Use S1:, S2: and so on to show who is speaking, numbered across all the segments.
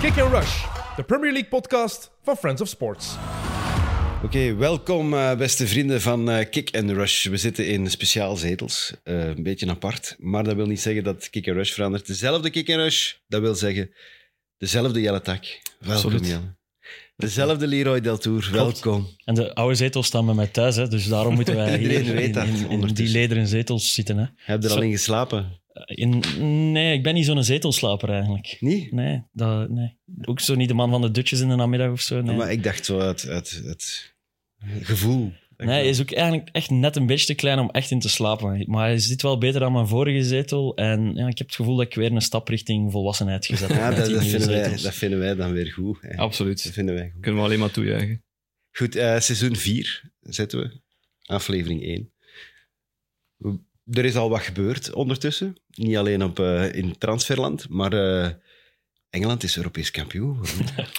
S1: Kick and Rush, de Premier League podcast van Friends of Sports.
S2: Oké, welkom eh, beste vrienden van eh, Kick and Rush. We zitten in speciaal zetels, eh, een beetje apart. Maar dat wil niet zeggen dat Kick and Rush verandert. Dezelfde Kick and Rush, dat wil zeggen dezelfde Jelle Tak. Welkom
S3: Absoluut.
S2: Jelle. Dezelfde Leroy Deltour, welkom.
S3: En de oude zetels staan bij mij thuis, hè, dus daarom moeten wij hier
S2: Iedereen weet
S3: in,
S2: dat
S3: in- in die
S2: ondertussen.
S3: lederen zetels zitten. Hè.
S2: Heb je er
S3: Zo-
S2: al in geslapen?
S3: In, nee, ik ben niet zo'n zetelslaper eigenlijk.
S2: Niet?
S3: Nee, dat, nee, ook zo niet de man van de dutjes in de namiddag of zo. Nee,
S2: Maar ik dacht zo uit het gevoel.
S3: nee hij is ook eigenlijk echt net een beetje te klein om echt in te slapen. Maar hij zit wel beter dan mijn vorige zetel. En ja, ik heb het gevoel dat ik weer een stap richting volwassenheid gezet heb.
S2: ja,
S3: met
S2: dat,
S3: die
S2: dat,
S3: nieuwe
S2: vinden wij,
S3: zetels.
S2: dat vinden wij dan weer goed. hè. Dat
S4: Absoluut.
S2: vinden wij goed.
S4: Kunnen we alleen maar toejuichen.
S2: Goed, eh, seizoen 4 zetten we. Aflevering 1. Er is al wat gebeurd ondertussen. Niet alleen op, eh, in transferland, maar eh, Engeland is Europees kampioen geworden. Daar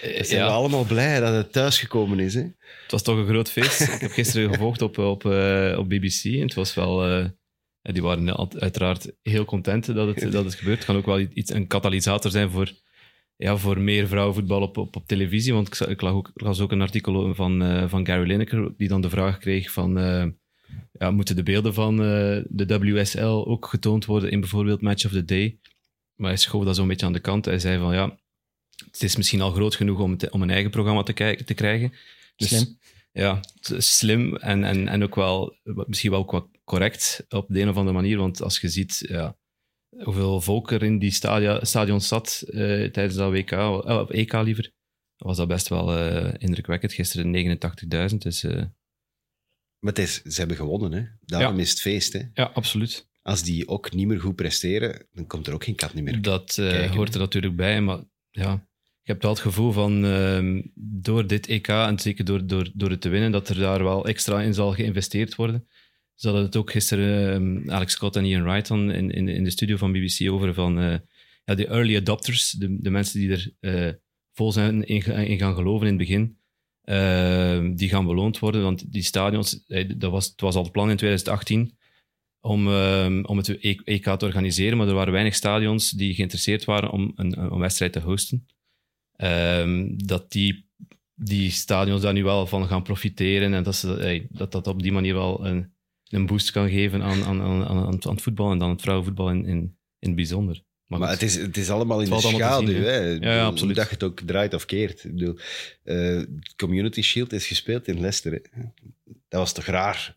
S2: zijn we
S4: Eh, ja,
S2: allemaal blij dat het thuisgekomen is. Hè?
S4: het was toch een groot feest. Ik heb gisteren gevolgd op, op, eh, op BBC. En het was wel... eh, die waren al- uiteraard heel content dat het, dat het gebeurt. Het kan ook wel iets, een katalysator zijn voor, ja, voor meer vrouwenvoetbal op, op, op televisie. Want ik, za- ik, lag ook, ik las ook een artikel van, eh, van Gary Lineker, die dan de vraag kreeg van... eh, ja, moeten de beelden van eh, de WSL ook getoond worden in bijvoorbeeld Match of the Day? Maar hij schoof dat zo'n beetje aan de kant. Hij zei van ja, het is misschien al groot genoeg om, het- om een eigen programma te, kijken, te krijgen. Dus
S3: Slim.
S4: Ja, het is slim en, en, en ook wel, misschien wel ook wat correct op de een of andere manier. Want als je ziet ja, hoeveel volk er in die stadia, stadion zat eh, tijdens dat WK, eh, op EK liever, was dat best wel eh, indrukwekkend. Gisteren 89.000, dus eh,
S2: Maar het is, ze hebben gewonnen. Hè? Daarom is het feest. Hè?
S4: ja, absoluut.
S2: Als die ook niet meer goed presteren, dan komt er ook geen kat niet meer.
S4: Dat eh,
S2: kijken.
S4: hoort er natuurlijk bij, maar ja, ik heb wel het gevoel van ehm, door dit EK en zeker door, door, door het te winnen, dat er daar wel extra in zal geïnvesteerd worden. Ze hadden het ook gisteren, ehm, Alex Scott en Ian Wright dan in, in, in de studio van BBC over van eh, ja, de early adopters, de, de mensen die er eh, vol zijn in, ga- in gaan geloven in het begin. ehm, die gaan beloond worden, want die stadions, eh, dat was, het was al het plan in 2018 om, ehm, om het E- EK te organiseren, maar er waren weinig stadions die geïnteresseerd waren om een, een wedstrijd te hosten. Ehm, dat die, die stadions daar nu wel van gaan profiteren en dat ze, eh, dat, dat op die manier wel een, een boost kan geven aan, aan, aan, aan, aan het voetbal en dan het vrouwenvoetbal in, in, in het bijzonder.
S2: Maar
S4: goed.
S2: het is, het is allemaal in
S4: Het
S2: de
S4: valt allemaal te
S2: schaduw.
S4: zien, hè?
S2: hè. Ik bedoel,
S4: ja, absoluut.
S2: Hoe dat je het ook draait of keert. Ik bedoel, eh, Community Shield is gespeeld in Leicester. Hè. Dat was toch raar?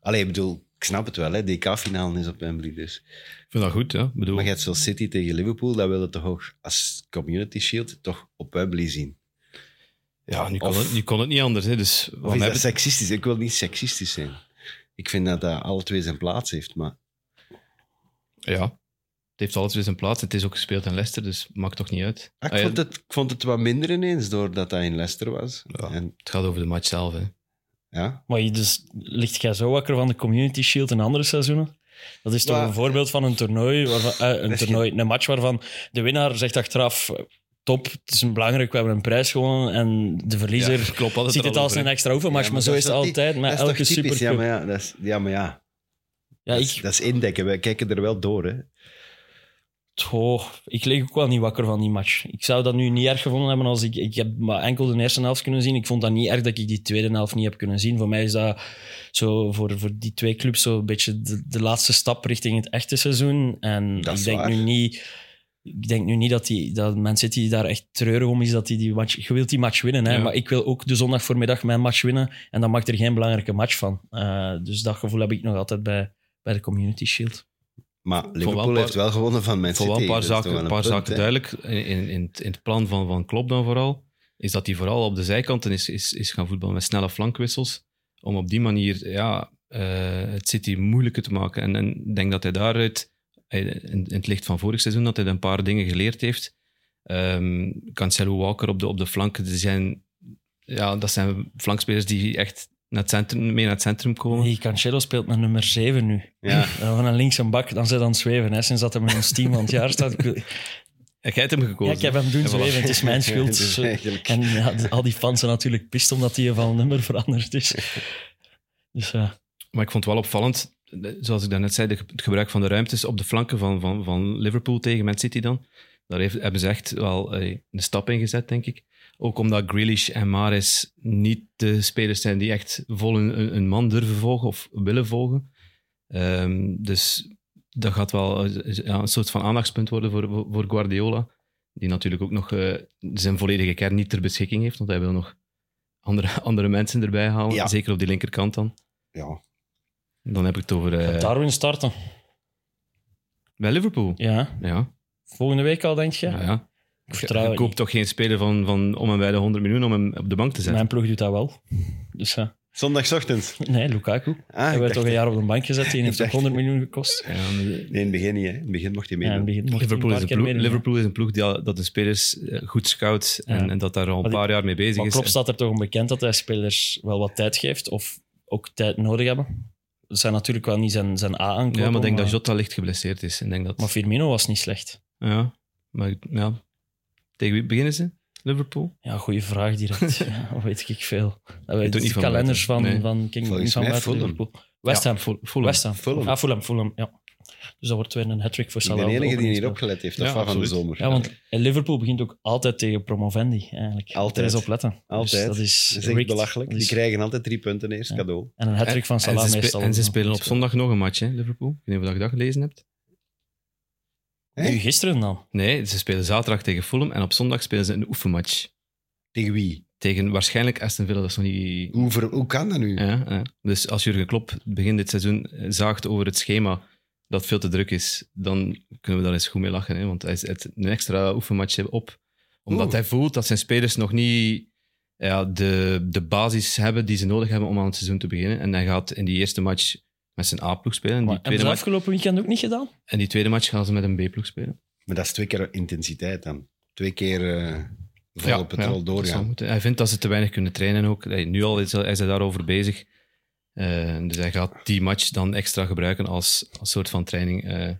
S2: Allee, ik bedoel, ik snap het wel. hè. DK-finale is op Wembley dus.
S4: Ik vind dat goed, ja. Ik bedoel,
S2: Maar je hebt zoals City tegen Liverpool, dat wil je toch ook als Community Shield toch op Wembley zien.
S4: ja, nu, kon
S2: of-
S4: het, nu kon het niet anders. Hè, dus
S2: Of
S4: waarom
S2: is dat
S4: hebben-
S2: seksistisch? Ik wil niet seksistisch zijn. Ik vind dat dat alle twee zijn plaats heeft, maar
S4: ja, het heeft altijd weer zijn plaats. Het is ook gespeeld in Leicester, dus maakt toch niet uit.
S2: Ah,
S4: Ah
S2: ik,
S4: ja,
S2: vond het, ik vond het wat minder ineens doordat dat in Leicester was.
S4: Ja.
S2: En,
S4: Het gaat over de match zelf. Hè.
S2: ja,
S3: Maar je dus, ligt jij zo wakker van de Community Shield in andere seizoenen? Dat is toch
S2: Maar-
S3: een voorbeeld van een toernooi, waarvan, eh, een,
S2: is
S3: toernooi een match waarvan de winnaar zegt achteraf... eh, Top, het is een belangrijk, we hebben een prijs gewonnen. En de verliezer
S4: Ja, klopt, altijd
S3: ziet het
S4: al
S3: als
S4: over,
S3: een
S4: hè.
S3: extra oefenmatch.
S2: Ja,
S3: maar,
S2: maar
S3: zo
S2: dat
S3: is
S2: is
S3: het
S2: dat niet-
S3: altijd met
S2: dat is
S3: elke
S2: toch typisch? Ja,
S3: supercup.
S2: maar ja, dat is, ja, maar ja.
S3: Ja,
S2: dat, is,
S3: ik,
S2: dat is indekken. Wij kijken er wel door. Hè.
S3: Goh, ik lig ook wel niet wakker van die match. Ik zou dat nu niet erg gevonden hebben als ik... Ik heb maar enkel de eerste helft kunnen zien. Ik vond dat niet erg dat ik die tweede helft niet heb kunnen zien. Voor mij is dat zo voor, voor die twee clubs zo'n beetje de, de laatste stap richting het echte seizoen. En
S2: Dat is
S3: ik denk
S2: waar.
S3: nu niet... Ik denk nu niet dat, die, dat Man City daar echt treurig om is dat die, die match... Je wilt die match winnen, hè?
S4: Ja.
S3: maar ik wil ook de zondag voormiddag mijn match winnen. En dan maakt er geen belangrijke match van. Eh, dus dat gevoel heb ik nog altijd bij, bij de Community Shield.
S2: Maar Liverpool
S4: een paar-
S2: heeft wel gewonnen van Man
S4: Ik vond
S2: City.
S4: wel een paar
S2: Dat is toch
S4: zaken,
S2: wel
S4: een
S2: punt,
S4: paar zaken
S2: hè.
S4: duidelijk. In, in, in het- in het plan van, van Klopp dan vooral, is dat hij vooral op de zijkanten is, is, is gaan voetballen met snelle flankwissels. Om op die manier ja, eh, het City moeilijker te maken. En en ik denk dat hij daaruit, hij- in, in het licht van vorig seizoen, dat hij een paar dingen geleerd heeft. Ehm Cancelo Walker op de, op de flanken, die zijn, ja, dat zijn flankspelers die echt naar het centrum, mee naar het centrum komen.
S3: Hey, Cancelo speelt met nummer 7 nu. Eh,
S2: Ja.
S3: Dan van een links en bak, dan zit aan het zweven. Hè. Sinds dat hij met ons team van het jaar staat. Ik, wil-
S4: Jij hebt hem gekozen.
S3: ja, ik heb hem doen
S4: En voilà.
S3: zweven, het is mijn
S2: Ja, dat is
S3: schuld. Eh,
S2: eigenlijk-
S3: En ja, de- al die fans zijn natuurlijk pist omdat hij van nummer veranderd is. Dus ja,
S4: Maar ik vond het wel opvallend, eh, zoals ik daarnet zei, de ge- het gebruik van de ruimtes op de flanken van, van, van Liverpool tegen Man City dan. Daar heeft, hebben ze echt wel eh, een stap in gezet, denk ik. Ook omdat Grealish en Maris niet de spelers zijn die echt vol een, een- een man durven volgen of willen volgen. Ehm, dus dat gaat wel eh, ja, een soort van aandachtspunt worden voor, voor- voor Guardiola. Die natuurlijk ook nog eh, zijn volledige kern niet ter beschikking heeft, want hij wil nog andere, andere mensen erbij halen.
S2: Ja.
S4: Zeker op die linkerkant dan.
S2: Ja.
S4: Dan heb ik het over eh,
S3: Darwin starten.
S4: bij Liverpool.
S3: Ja.
S4: Ja,
S3: Volgende week al, denk je?
S4: ja. ja.
S3: Ik
S4: Je,
S3: vertrouw
S4: je
S3: het
S4: koopt
S3: niet.
S4: toch geen speler van, van om en bij de 100 miljoen om hem op de bank te zetten?
S3: Mijn ploeg doet dat wel. Dus ja.
S2: Zondagochtend.
S3: Nee, Lukaku.
S2: Ah, ik
S3: Hij werd
S2: dacht-
S3: toch een jaar op de bank gezet. Die heeft
S2: dacht-
S3: ook 100 miljoen gekost.
S4: Ja, maar-
S2: Nee, in het begin niet. Hè. In het begin mocht hij
S3: Ja, in het
S2: meedoen.
S3: begin mocht
S4: Liverpool,
S3: hij een
S4: is een
S3: paar keer
S4: ploeg,
S3: meedoen, ja.
S4: Liverpool is een ploeg die al- dat de spelers eh, goed scout en,
S3: Ja.
S4: en dat daar al
S3: Maar
S4: een
S3: die-
S4: paar jaar mee bezig
S3: Maar
S4: is.
S3: Klopp staat er toch om bekend dat hij spelers wel wat tijd geeft of ook tijd nodig hebben. Dat zijn natuurlijk wel niet zijn, zijn A-aankopen.
S4: ja, maar ik denk dat Jota licht geblesseerd is. Ik denk dat,
S3: maar Firmino was niet slecht.
S4: ja, maar ik- ja. Tegen wie beginnen ze? Liverpool?
S3: Ja, goede vraag direct. ja, wat weet ik veel. Dat weet
S4: doet
S3: de
S4: niet van
S3: kalenders van,
S4: buiten. Nee.
S3: van King
S2: Volgens
S3: niet van
S2: mij
S3: buiten
S2: Fulham.
S3: Liverpool. West Ham.
S4: Ja, Ful- Fulham.
S3: West Ham.
S2: Fulham.
S3: Ah, Fulham, Fulham, ja. Dus dat wordt weer een hat-trick voor
S2: Ik
S3: Salah.
S2: ben de
S3: op
S2: enige die niet
S3: openingsdag.
S2: opgelet heeft, dat
S4: Ja,
S2: van de
S4: absoluut.
S2: zomer.
S3: Ja, want eh, Liverpool begint ook altijd tegen promovendi, eigenlijk.
S2: Altijd.
S3: Moet er eens op letten. Dus
S2: Altijd.
S3: dat is,
S2: Dat is echt
S3: rigged.
S2: belachelijk.
S3: Dat
S2: Die
S3: is-
S2: krijgen altijd drie punten eerst
S3: Ja.
S2: cadeau.
S3: En een hat-trick van Salah
S4: en ze, spe-
S3: meestal.
S4: en ze spelen op
S3: Ja.
S4: zondag nog een match, hè, Liverpool. Ik weet niet of je dat gelezen hebt.
S2: zondag.
S3: Nu gisteren dan.
S4: Nee, ze spelen zaterdag tegen Fulham en op zondag spelen ze een oefenmatch.
S2: Tegen wie?
S4: Tegen waarschijnlijk Aston Villa, dat is nog niet...
S2: Hoe, ver- hoe kan dat nu?
S4: Ja, ja. Dus als Jurgen Klopp begin dit seizoen eh, zaagt over het schema dat veel te druk is, dan kunnen we daar eens goed mee lachen. Hè? Want hij zet een extra oefenmatch op. Omdat
S2: Oeh.
S4: hij voelt dat zijn spelers nog niet ja, de, de basis hebben die ze nodig hebben om aan het seizoen te beginnen. En hij gaat in die eerste match met zijn A-ploeg spelen. En
S3: Maar
S4: die,
S3: hebben ze
S4: tweede match,
S3: afgelopen weekend ook niet gedaan?
S4: en die tweede match gaan ze met een B-ploeg spelen.
S2: Maar dat is twee keer intensiteit dan. Twee keer eh vol op het rol
S4: dat zou
S2: doorgaan.
S4: moeten. Hij vindt dat ze te weinig kunnen trainen ook. Hij- Nu al is hij, is hij daarover bezig. Eh, dus hij gaat die match dan extra gebruiken als, als soort van training eh,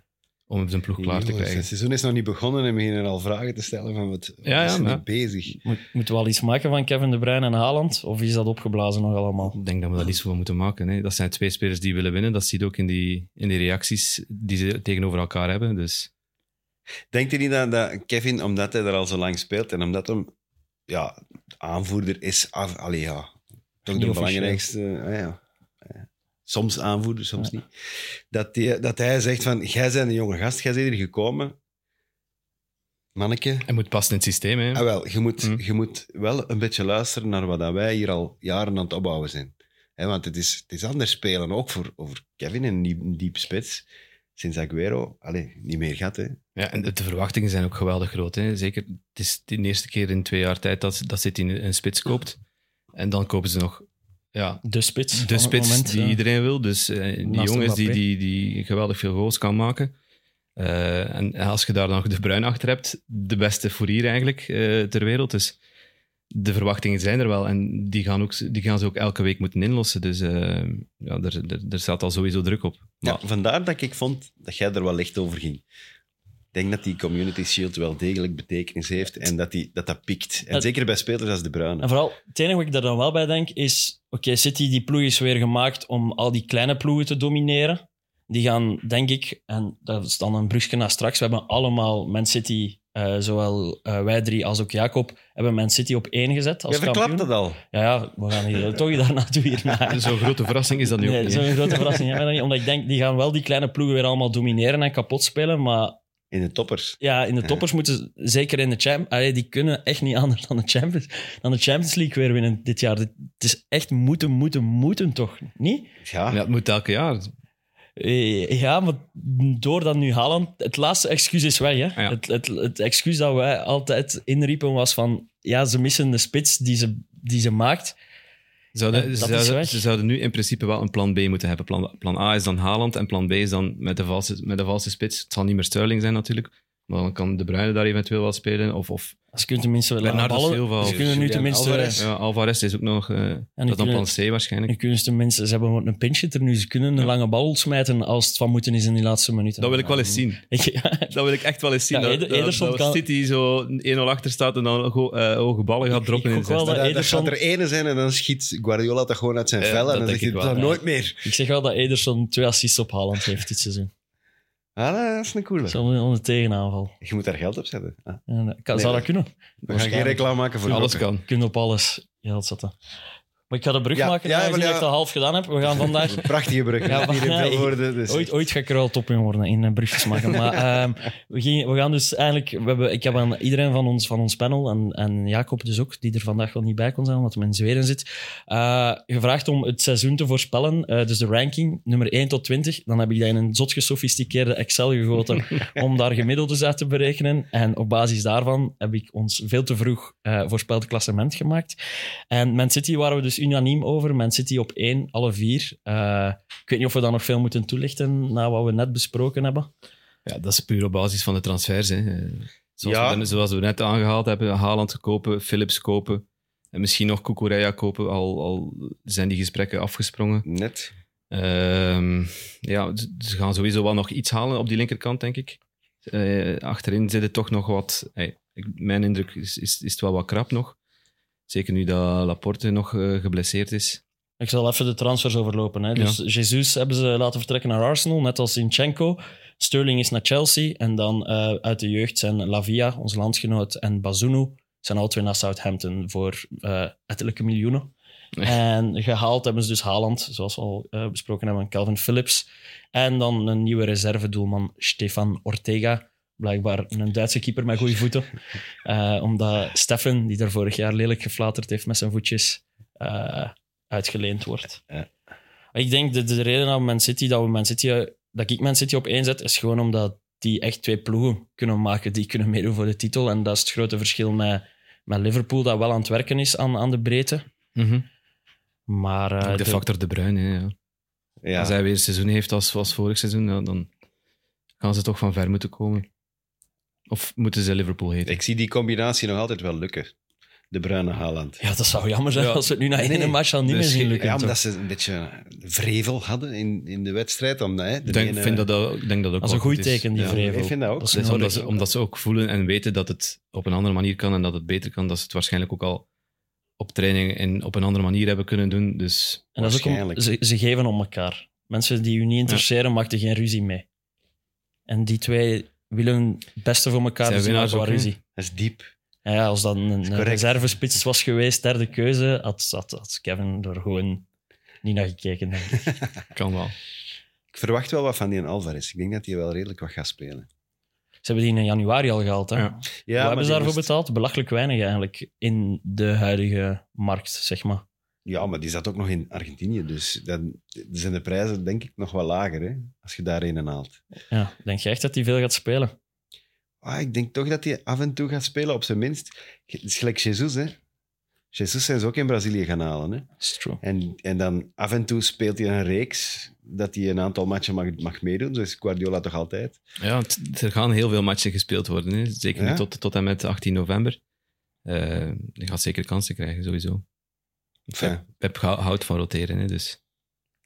S4: om zijn ploeg klaar te
S2: Jongens,
S4: krijgen.
S2: Het seizoen is nog niet begonnen en beginnen al vragen te stellen van wat, wat
S4: ja,
S2: is er
S4: maar-
S2: mee bezig?
S3: Moet- Moeten we al iets maken van Kevin De Bruyne en Haaland? Of is dat opgeblazen nog allemaal?
S4: Ik denk dat we daar iets van moeten maken. Hè. Dat zijn twee spelers die willen winnen. Dat zie je ook in die, in die reacties die ze tegenover elkaar hebben. Dus
S2: Denkt u niet dat, dat Kevin, omdat hij er al zo lang speelt en omdat hem ja, aanvoerder is, af, allee, ja, toch de
S3: officieel.
S2: belangrijkste. ah, ja. Ja. Soms aanvoerder, soms niet. Dat, die, dat hij zegt van, jij bent een jonge gast, jij bent hier gekomen. Manneke,
S4: hij moet passen in het systeem. Hè.
S2: Ah, wel, je, moet,
S4: Hm.
S2: je moet wel een beetje luisteren naar wat dat wij hier al jaren aan het opbouwen zijn. Hè, want het is, het is anders spelen, ook voor, voor Kevin, een diep, een diep spits. Sinds Aguero, allee, niet meer gaat, hè.
S4: Ja, en de de verwachtingen zijn ook geweldig groot. Hè. Zeker, het is de eerste keer in twee jaar tijd dat, dat City een een spits koopt. En dan kopen ze nog ja,
S3: De spits.
S4: de
S3: van het
S4: spits
S3: moment,
S4: die
S3: ja.
S4: iedereen wil. Dus eh, die
S3: Naast
S4: jongens die,
S3: Mbappé.
S4: die, die geweldig veel goals kan maken. Eh, en als je daar dan nog de Bruin achter hebt, de beste fourier eigenlijk eh, ter wereld. Dus de verwachtingen zijn er wel. En die gaan, ook, die gaan ze ook elke week moeten inlossen. Dus eh, ja, er, er, er staat al sowieso druk op.
S2: Ja,
S4: Maar
S2: vandaar dat ik vond dat jij er wel licht over ging. Ik denk dat die Community Shield wel degelijk betekenis heeft en dat die, dat, dat pikt. En
S3: Dat-
S2: zeker bij spelers als De Bruyne.
S3: En vooral, het enige wat ik daar dan wel bij denk is... Oké, City, die ploeg is weer gemaakt om al die kleine ploegen te domineren. Die gaan, denk ik, en dat is dan een brugje naar straks. We hebben allemaal Man City, eh, zowel eh, wij drie als ook Jacob, hebben Man City op één gezet als
S2: Jij verklapt
S3: kampioen.
S2: dat al.
S3: Ja, ja, we gaan hier toch daarna toe hierna.
S4: zo'n grote verrassing is dat nu ook
S3: Nee,
S4: niet.
S3: zo'n
S4: hè.
S3: grote verrassing hebben we dat niet. Omdat ik denk, die gaan wel die kleine ploegen weer allemaal domineren en kapot spelen. Maar
S2: In de toppers.
S3: ja, in de toppers moeten ze- zeker in de Champions... Allee, die kunnen echt niet anders dan de, Champions, dan de Champions League weer winnen dit jaar. Dit- Het is echt moeten, moeten, moeten toch? Niet?
S2: Ja,
S4: Ja, het moet elke jaar.
S3: Eh, Ja, maar doordat nu Haaland... Het laatste excuus is weg, hè.
S4: Ja.
S3: Het, het, het excuus dat wij altijd inriepen was van... Ja, ze missen de spits die ze, die ze maakt.
S4: Zouden,
S3: Ja,
S4: ze,
S3: dat is
S4: zouden,
S3: weg.
S4: ze zouden nu in principe wel een plan B moeten hebben. Plan, plan A is dan Haaland en plan B is dan met de valse, met de valse spits. Het zal niet meer Sterling zijn natuurlijk. Maar dan kan De Bruyne daar eventueel wel spelen. Of, of
S3: Ze kunnen tenminste wel
S4: Bernardo
S3: ballen...
S4: Silva of
S3: Ze kunnen nu
S2: Julian
S3: tenminste...
S2: Alvarez.
S4: ja, Alvarez is ook nog... eh, dat is dan
S3: kunnen-
S4: plan C waarschijnlijk.
S3: En kunnen ze tenminste, ze hebben gewoon een pinch hitter nu. Ze kunnen een lange bal smijten als het van moeten is in die laatste minuten.
S4: Dat wil ik wel eens zien.
S3: Ja,
S4: Dat wil ik echt wel eens zien.
S3: Ja,
S4: dat,
S3: Eder-
S4: dat-
S3: Ederson
S4: dat
S3: kan-
S4: City zo 1-0 achter staat en dan go- eh, hoge ballen gaat droppen
S3: ik
S4: in de
S3: gok wel
S2: Dat,
S4: zestien.
S2: dat
S3: Ederson-
S2: gaat er ene zijn en dan schiet Guardiola dat gewoon uit zijn
S4: Ja,
S2: vellen. En
S4: dat
S2: dan
S4: denk
S2: zegt hij,
S4: ik
S2: dat
S4: wel,
S2: nooit meer.
S3: ik zeg wel dat Ederson twee assists op Haaland heeft dit seizoen.
S2: Ah, dat is een coole.
S3: Zelfs onder tegenaanval.
S2: Je moet daar geld op zetten. Ah,
S3: En, eh, kan,
S2: Nee,
S3: zou dat
S2: dat-
S3: kunnen?
S2: we gaan geen reclame maken voor
S4: Alles
S2: roken.
S4: kan.
S3: Je kunt op alles geld zetten. Maar ik ga de brug
S2: Ja,
S3: maken,
S2: ja,
S3: aangezien
S2: maar ja.
S3: dat ik dat half gedaan heb. We gaan vandaag...
S2: Prachtige brug.
S3: Ja, maar-
S2: Hier in veel woorden. Dus.
S3: Ooit, ooit ga ik er wel top in worden, in eh, brugjes maken. Maar ehm, we, gingen, we gaan dus eigenlijk... We hebben, ik heb aan iedereen van ons, van ons panel, en, en Jacob dus ook, die er vandaag wel niet bij kon zijn, omdat hij in Zweden zit, eh, gevraagd om het seizoen te voorspellen. Eh, dus de ranking, nummer 1 tot 20. Dan heb ik dat in een zot gesofisticeerde Excel gegoten om daar gemiddeldes uit te berekenen. En op basis daarvan heb ik ons veel te vroeg eh, voorspeld klassement gemaakt. En Man City waren we dus unaniem over. Man City op 1, alle vier. Eh, ik weet niet of we dat nog veel moeten toelichten na wat we net besproken hebben.
S4: Ja, dat is puur op basis van de transfers. Hè. Eh, Zoals,
S2: Ja.
S4: we, dan- zoals we net aangehaald hebben, Haaland kopen, Philips kopen. En misschien nog Kukureya kopen, al, al zijn die gesprekken afgesprongen.
S2: Net.
S4: Ehm, ja, ze- ze gaan sowieso wel nog iets halen op die linkerkant, denk ik. Eh, achterin zitten toch nog wat... eh, ik- mijn indruk is, is, is het wel wat krap nog. Zeker nu dat Laporte nog eh, geblesseerd is.
S3: Ik zal even de transfers overlopen. Hè. Dus Jesus hebben ze laten vertrekken naar Arsenal, net als Sinchenko. Sterling is naar Chelsea. En dan eh, uit de jeugd zijn Lavia, onze landgenoot, en Bazunu zijn al twee naar Southampton voor eh ettelijke miljoenen. En gehaald hebben ze dus Haaland, zoals we al eh, besproken hebben, Calvin Phillips. En dan een nieuwe reservedoelman, Stefan Ortega. Blijkbaar een Duitse keeper met goede voeten. Eh, omdat Steffen, die daar vorig jaar lelijk geflaterd heeft met zijn voetjes, eh, uitgeleend wordt.
S2: Ja.
S3: Ik denk dat de reden dat, Man City, dat, we Man City, eh, dat ik Man City op één zet, is gewoon omdat die echt twee ploegen kunnen maken die kunnen meedoen voor de titel. En dat is het grote verschil met, met Liverpool, dat wel aan het werken is aan, aan de breedte. Maar eh,
S4: Ook de, factor De Bruyne, hè, ja.
S2: Ja.
S4: Als hij weer een seizoen heeft als, als vorig seizoen, ja, dan gaan ze toch van ver moeten komen. Of moeten ze Liverpool heten?
S2: Ik zie die combinatie nog altijd wel lukken. De bruine Haaland.
S3: ja, dat zou jammer zijn
S4: Ja.
S3: als we het nu na één
S2: Nee.
S3: match al niet
S4: Dus
S3: meer zien
S4: je-
S3: lukken.
S2: Ja,
S3: toch?
S2: omdat ze een beetje vrevel hadden in, in de wedstrijd. Omdat, hè, de
S4: Ik denk,
S2: ene-
S4: vind dat, dat, ik denk dat ook
S3: eh, Dat is een
S4: wel
S3: goed
S4: is.
S3: teken, die
S4: Ja.
S3: vrevel.
S2: ik vind dat ook.
S3: Dat is
S4: Dat is omdat,
S3: nodig.
S4: ze, omdat ze ook voelen en weten dat het op een andere manier kan en dat het beter kan, dat ze het waarschijnlijk ook al op training en op een andere manier hebben kunnen doen. Dus
S3: En dat is ook om,
S2: Waarschijnlijk.
S3: ze, ze geven om elkaar. Mensen die u niet interesseren, maken er geen ruzie mee. En die twee willen het beste voor elkaar,
S4: Zijn
S3: dus die
S4: winnaars
S3: maken wel
S4: ook, hè?
S3: ruzie.
S2: Dat is diep.
S3: Ja, ja, als dat een, een
S2: correct.
S3: reservespits was geweest, derde keuze, had, had, had Kevin er gewoon niet naar gekeken. Denk ik.
S4: kan wel.
S2: Ik verwacht wel wat van die Alvarez. Ik denk dat hij wel redelijk wat gaat spelen.
S3: Ze hebben die in januari al gehaald. Hè?
S4: Ja.
S3: Wat
S2: Ja,
S3: hebben ze daarvoor betaald? Belachelijk weinig eigenlijk in de huidige markt, zeg maar.
S2: Ja, maar die zat ook nog in Argentinië. Dus dan zijn de prijzen denk ik nog wel lager. Hè, als je daar een haalt.
S3: Ja, denk je echt dat hij veel gaat spelen?
S2: Ah, ik denk toch dat hij af en toe gaat spelen, op zijn minst. Het is gelijk Jesus, hè. Jesus zijn ze ook in Brazilië gaan halen, hè.
S3: It's true.
S2: En, en dan af en toe speelt hij een reeks dat hij een aantal matchen mag, mag meedoen. Zo is Guardiola toch altijd.
S4: Ja, het- er gaan heel veel matchen gespeeld worden. Hè. Zeker nu
S2: Ja.
S4: tot, tot en met 18 november. Eh, je gaat zeker kansen krijgen, sowieso.
S2: Enfin,
S4: Pep hou- houdt van roteren, hè, dus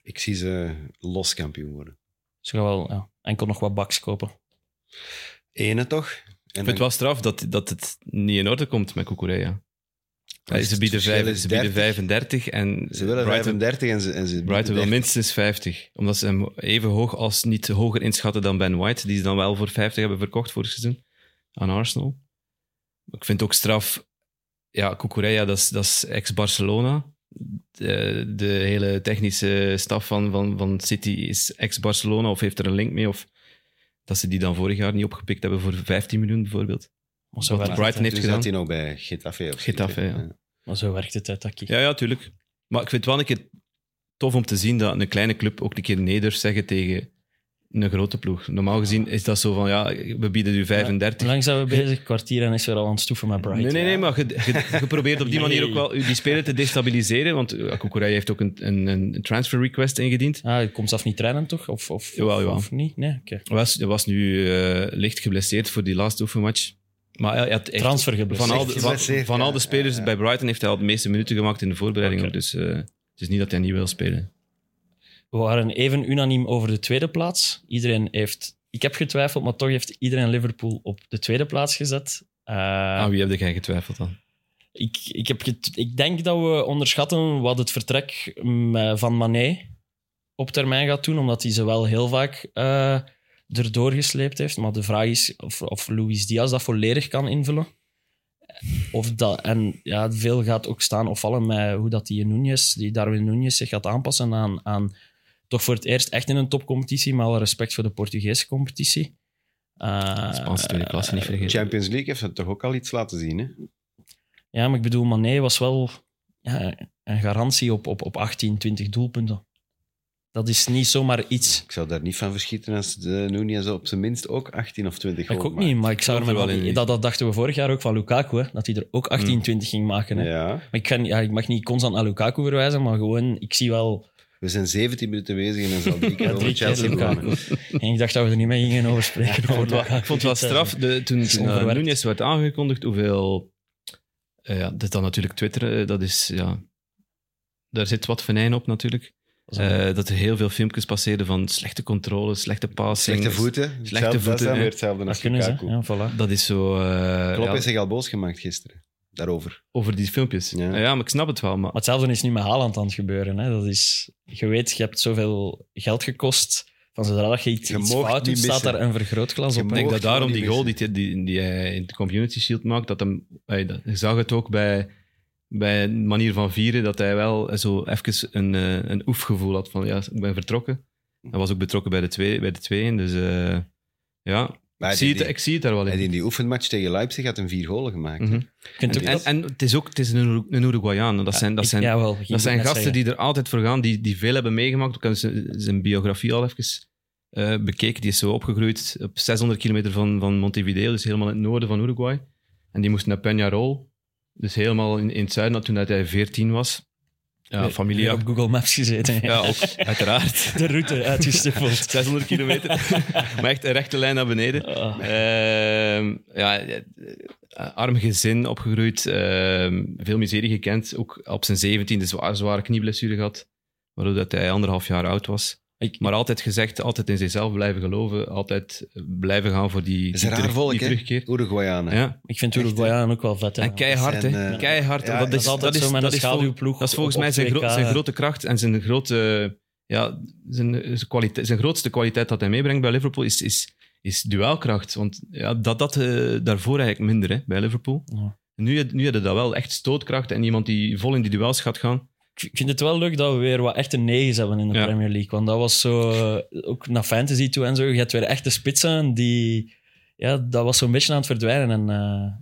S2: ik zie ze los kampioen worden.
S3: Ze gaan wel ja, enkel nog wat baks kopen.
S2: Ene toch? En
S4: Ik vind het wel straf dat, dat het niet in orde komt met Kukureya.
S2: Dus
S4: ze
S2: het
S4: bieden,
S2: verschil
S4: vijf-
S2: is
S4: ze
S2: 30.
S4: bieden 35 en
S2: ze willen
S4: Brighton,
S2: 35 en ze, en ze
S4: Brighton wil
S2: bieden
S4: minstens 50. Omdat ze hem even hoog als niet hoger inschatten dan Ben White, die ze dan wel voor 50 hebben verkocht vorig seizoen aan Arsenal. Ik vind het ook straf, ja, Kukureya, dat is, dat is ex-Barcelona. De, de hele technische staf van, van, van City is ex-Barcelona of heeft er een link mee. Of dat ze die dan vorig jaar niet opgepikt hebben voor 15 miljoen bijvoorbeeld.
S3: Maar zo,
S4: Wat
S3: werkt het,
S4: Brighton
S3: hè.
S4: heeft
S2: Dus
S4: gedaan.
S2: zat hij nog bij Getafe of
S4: Getafe,
S2: zoiets, hè?
S4: ja.
S3: maar zo werkt het uit, Taki.
S4: Ja, ja, tuurlijk. Maar ik vind het wel een keer tof om te zien dat een kleine club ook een keer nee durft zeggen tegen een grote ploeg. Normaal gezien is dat zo van, ja, we bieden u 35.
S3: Hoe lang zijn we bezig? Kwartier en is weer al aan het stoeven met Brighton.
S4: nee, nee, nee, maar je, je, je probeert op die manier
S3: Nee.
S4: ook wel die speler te destabiliseren, want ja, Kukurei heeft ook een, een, een transfer request ingediend.
S3: Ah, je komt zelf niet trainen, toch? Of, of,
S4: Jawel, jawel.
S3: of niet? Nee, oké.
S4: Hij was, hij was nu eh, licht geblesseerd voor die laatste oefenmatch. Maar hij had echt-
S3: Transfer
S4: van
S3: geblesseerd.
S4: al, de, van,
S2: geblesseerd,
S4: van
S2: ja,
S4: al de spelers
S2: ja, ja.
S4: bij Brighton heeft hij al de meeste minuten gemaakt in de voorbereiding.
S3: Oké.
S4: ook. Dus eh, het is niet dat hij niet wil spelen.
S3: We waren even unaniem over de tweede plaats. Iedereen heeft... Ik heb getwijfeld, maar toch heeft iedereen Liverpool op de tweede plaats gezet. Eh,
S4: Aan wie heb jij getwijfeld dan?
S3: ik, ik, heb get- ik denk dat we onderschatten wat het vertrek mm, eh, van Mané op termijn gaat doen, omdat hij ze wel heel vaak eh, erdoor gesleept heeft. Maar de vraag is of, of Luis Diaz dat volledig kan invullen. Of dat, en ja, veel gaat ook staan of vallen met hoe dat die Nunez, die Darwin Nunez zich gaat aanpassen aan, aan toch voor het eerst echt in een topcompetitie, maar wel respect voor de Portugese competitie. Eh,
S4: Spaanse tweede klasse, niet vergeten.
S2: Champions League heeft dat toch ook al iets laten zien, hè?
S3: Ja, maar ik bedoel, Mané was wel ja, een garantie op, op, op 18, 20 doelpunten. Dat is niet zomaar iets.
S2: Ik zou daar niet van verschieten als de Nunez op zijn minst ook 18 of 20
S3: Ik
S2: goals
S3: ook niet, maar ik zou er
S4: geloof er
S3: wel
S4: wel in.
S3: Dat, dat dachten we vorig jaar ook van Lukaku, hè, dat hij er ook 18,
S4: Hmm.
S3: 20 ging maken. Hè.
S2: maakt. Ja.
S3: Maar ik, kan, ja, ik mag niet constant naar Lukaku verwijzen, maar gewoon, ik zie wel...
S2: We zijn 17 minuten bezig en dan zal drie keer
S3: Ja,
S2: over
S3: drie keer
S2: Chelsea
S3: Lukaku.
S2: komen.
S3: En ik dacht dat we er niet mee gingen over spreken.
S4: Ik vond
S3: over
S4: het wel- ik vond het wel straf, de, toen,
S3: is
S4: toen eh,
S3: onverwerkt.
S4: Nunes werd aangekondigd, hoeveel... eh, ja, dit dan natuurlijk Twitter, eh, dat is... Ja, daar zit wat venijn op natuurlijk. Eh, dat er heel veel filmpjes passeerden van slechte controle, slechte passing.
S2: Slechte voeten. Hetzelfde- Dat
S4: voeten,
S2: is dan
S4: hè.
S2: weer hetzelfde
S3: dat
S2: als
S3: kunnen ze,
S2: Lukaku.
S3: hè. ja, voilà.
S4: Dat is zo... eh,
S2: Klopp
S4: ja,
S2: heeft zich al boos gemaakt gisteren. Daarover.
S4: over die filmpjes.
S2: Ja.
S4: Ja. maar ik snap het wel. Maar
S3: Maar hetzelfde is nu met Haaland aan het gebeuren. Hè. Dat is, je weet, je hebt zoveel geld gekost. Van zodra dat je iets,
S2: Je
S3: iets
S2: moogt
S3: fout doet,
S2: niet
S3: staat
S2: missen.
S3: daar een vergrootglas
S2: Je
S3: op.
S4: ik
S3: hè.
S4: denk dat
S2: mocht
S4: daarom
S2: gewoon
S4: die
S2: niet
S4: goal die, die, die hij in de Community Shield maakt, dat hem, hij, dat, je zag het ook bij, bij een manier van vieren, dat hij wel zo even een, eh, een oefgevoel had van ja, ik ben vertrokken. Hij was ook betrokken bij de twee, bij de tweeën, dus eh, ja,
S2: Maar hij
S4: ik zie,
S2: deed
S4: het, ik zie het daar wel
S2: Ah, die- hij
S4: in.
S2: deed die oefenmatch tegen Leipzig had een vier golen gemaakt.
S4: Mhm.
S3: Ik vind
S4: En,
S3: ook
S4: en,
S3: dat-
S4: en het is ook het is een, Oeru- een Uruguayan, dat zijn, dat
S3: ik-
S4: zijn,
S3: jawel, ging
S4: dat
S3: ik
S4: zijn
S3: net
S4: gasten
S3: zeggen.
S4: die er altijd voor gaan, die, die veel hebben meegemaakt. Ik heb zijn, zijn biografie al even eh, bekeken. Die is zo opgegroeid op 600 kilometer van, van Montevideo, dus helemaal in het noorden van Uruguay. En die moest naar Peñarol, dus helemaal in, in het zuiden, toen dat hij 14 was. Ja,
S3: Weer-
S4: familie.
S3: weer op Google Maps gezeten.
S4: Ja, ook, uiteraard.
S3: De route uitgestippeld.
S4: 600 kilometer, maar echt een rechte lijn naar beneden.
S3: Ah,
S4: Ehm, ja, eh, arm gezin opgegroeid, ehm, veel miserie gekend. Ook op zijn zeventiende zwaar, zware knieblessure gehad, waardoor dat hij anderhalf jaar oud was.
S3: ik-
S4: Maar altijd gezegd, altijd in zichzelf blijven geloven, altijd blijven gaan voor die,
S2: Dat is
S4: die
S2: een raar
S4: terug-
S2: volk,
S4: die
S2: hè?
S4: terugkeer.
S2: Uruguayanen.
S4: Ja.
S3: ik vind
S2: Echt,
S3: Uruguayan ook wel vet. hè.
S4: En keihard,
S2: zijn,
S4: hè?
S2: eh,
S4: Keihard.
S2: ja,
S4: dat,
S2: dat
S4: is,
S3: is altijd
S4: dat, is,
S3: zo met
S4: dat,
S3: een
S4: is vol-
S3: schaduwploeg
S4: dat is volgens
S3: op-
S4: mij
S3: op
S4: zijn, gro-
S3: 2K.
S4: zijn grote kracht en zijn grote... Ja, zijn, zijn, kwaliteit, zijn grootste kwaliteit dat hij meebrengt bij Liverpool is, is, is duelkracht. Want ja, dat, dat eh, daarvoor eigenlijk minder hè, bij Liverpool.
S3: Ja.
S4: Nu, had- nu hadden dat wel echt stootkracht en iemand die vol in die duels gaat gaan.
S3: Ik vind het wel leuk dat we weer wat echte negens hebben in de
S4: Ja.
S3: Premier League. Want dat was zo, eh, ook naar fantasy toe en zo. Je hebt weer echte spitsen die, ja, dat was zo'n beetje aan het verdwijnen. En eh,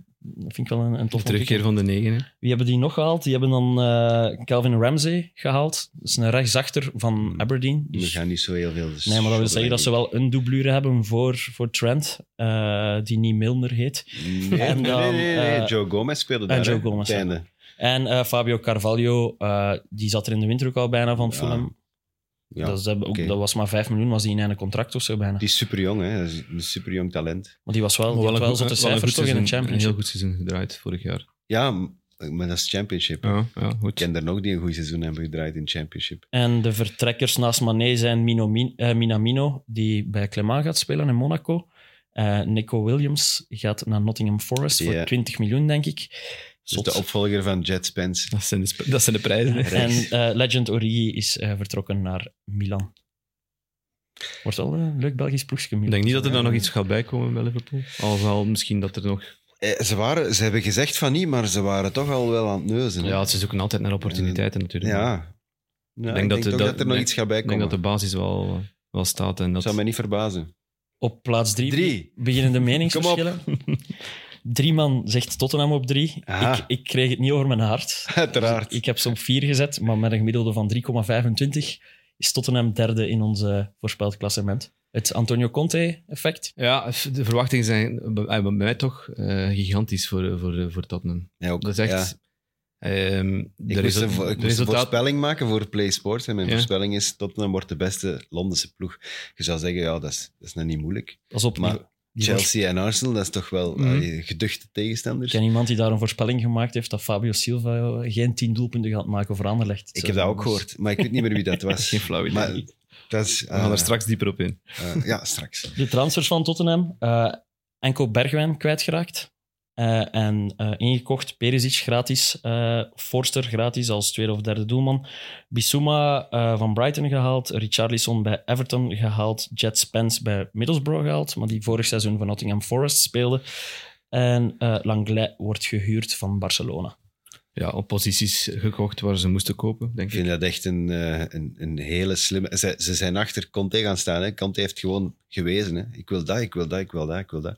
S3: dat vind ik wel een, een
S4: De
S3: tof
S4: terugkeer van de negen. hè.
S3: Wie hebben die nog gehaald? Die hebben dan eh, Calvin Ramsey gehaald. Dat is een rechtsachter van Aberdeen.
S2: We
S3: Dus,
S2: gaan niet zo heel veel.
S3: nee, maar dat wil zeggen dat ze wel een doublure hebben voor, voor Trent, eh, die niet Milner heet.
S2: Nee, nee,
S3: En dan,
S2: nee, nee, nee.
S3: eh,
S2: Joe Gomez speelde
S3: en
S2: daar.
S3: Joe
S2: hè,
S3: Gomez,
S2: op het
S3: ja.
S2: einde.
S3: En eh, Fabio Carvalho, eh, die zat er in de winter ook al bijna van
S2: Ja,
S3: Fulham.
S2: Ja.
S3: dat, is- dat- ook-
S2: oké.
S3: dat was maar 5 miljoen, was die in een contract of zo bijna.
S2: Die is super jong, hè? Dat is Een super jong talent.
S3: Maar die was wel,
S4: Maar
S3: die had wel
S4: goed-
S3: zotte
S4: wel een
S3: cijfers
S4: goed
S3: toch in de
S4: seizoen, Een heel
S3: championship.
S4: goed seizoen gedraaid vorig jaar.
S2: Ja, m- maar dat is Championship.
S4: Ja, ja goed.
S2: Ik ken er nog die een goed seizoen hebben gedraaid in Championship.
S3: En de vertrekkers naast Mané zijn Mino, Min- eh, Minamino, die bij Clément gaat spelen in Monaco. Eh, Nico Williams gaat naar Nottingham Forest voor
S2: Ja.
S3: 20 miljoen, denk ik.
S2: Dus
S3: Zot.
S2: de opvolger van Jet Spence.
S4: Dat zijn de, sp- dat zijn de prijzen. hè.
S3: en eh, Legend Origi is eh, vertrokken naar Milan. Wordt wel een leuk Belgisch ploegje. Milan.
S4: Ik denk niet dat er dan nog iets gaat bijkomen bij Liverpool. Alhoewel, misschien dat er nog...
S2: Eh, ze, waren, ze hebben gezegd van niet, maar ze waren toch al wel aan het neuzen. hè?
S4: Ja, ze zoeken altijd naar opportuniteiten natuurlijk.
S2: ja.
S4: Maar
S2: Ja, ik
S4: denk
S2: denk,
S4: dat de-
S2: toch
S4: dat-
S2: dat er nog
S4: nee,
S2: iets gaat bij
S4: Ik denk
S2: komen.
S4: dat de
S2: Dat
S4: basis wel, wel staat. En dat...
S2: zou mij niet verbazen.
S3: Op plaats drie,
S2: Drie.
S3: beginnen de meningsverschillen. Drie man zegt Tottenham op drie.
S2: Aha.
S3: Ik, ik kreeg het niet over mijn hart.
S2: Ah. Uiteraard.
S3: Ik heb ze op 4 gezet, maar met een gemiddelde van 3,25 is Tottenham derde in ons eh, voorspeld klassement. Het Antonio Conte-effect.
S4: Ja, de verwachtingen zijn bij, bij mij toch eh, gigantisch voor, eh, voor, voor Tottenham.
S2: Ja, ook,
S4: Dat is
S2: ja.
S4: echt... ehm, de
S2: Ik moest,
S4: resul-
S2: een, vo- ik
S4: de
S2: moest een
S4: resultaat,
S2: voorspelling maken voor Play Sports. En mijn
S4: Ja.
S2: voorspelling is: Tottenham wordt de beste Londense ploeg. Je zou zeggen, ja, dat is, dat is nog niet moeilijk.
S3: Pas op,
S2: Maar
S3: die- die voorspelling-
S2: Chelsea en Arsenal, dat is toch wel
S4: Mhm.
S2: eh, geduchte
S3: Ik
S2: tegenstanders.
S3: ken iemand die daar een voorspelling gemaakt heeft dat Fabio Silva geen 10 doelpunten gaat maken voor Anderlecht. Dus-
S2: Ik heb dat ook gehoord, maar ik weet niet meer wie dat was.
S4: geen flauw idee.
S2: Maar dat is,
S4: We gaan
S2: eh,
S4: er straks dieper op in.
S2: eh, ja, straks.
S3: De transfers van Tottenham. eh Enko Bergwijn kwijtgeraakt. Eh, en eh, ingekocht, Perisic gratis, eh, Forster gratis als tweede of derde doelman. Bissouma eh, van Brighton gehaald, Richarlison bij Everton gehaald, Jet Spence bij Middlesbrough gehaald, maar die vorig seizoen van Nottingham Forest speelde. En eh Langlais wordt gehuurd van Barcelona.
S4: Ja, op posities gekocht waar ze moesten kopen, denk
S2: Ik
S4: ik.
S2: vind dat echt een, eh, een, een hele slimme... Ze, ze zijn achter Conte gaan staan. Hè. Conte heeft gewoon gewezen. Hè. Ik wil dat, ik wil dat, ik wil dat, ik wil dat.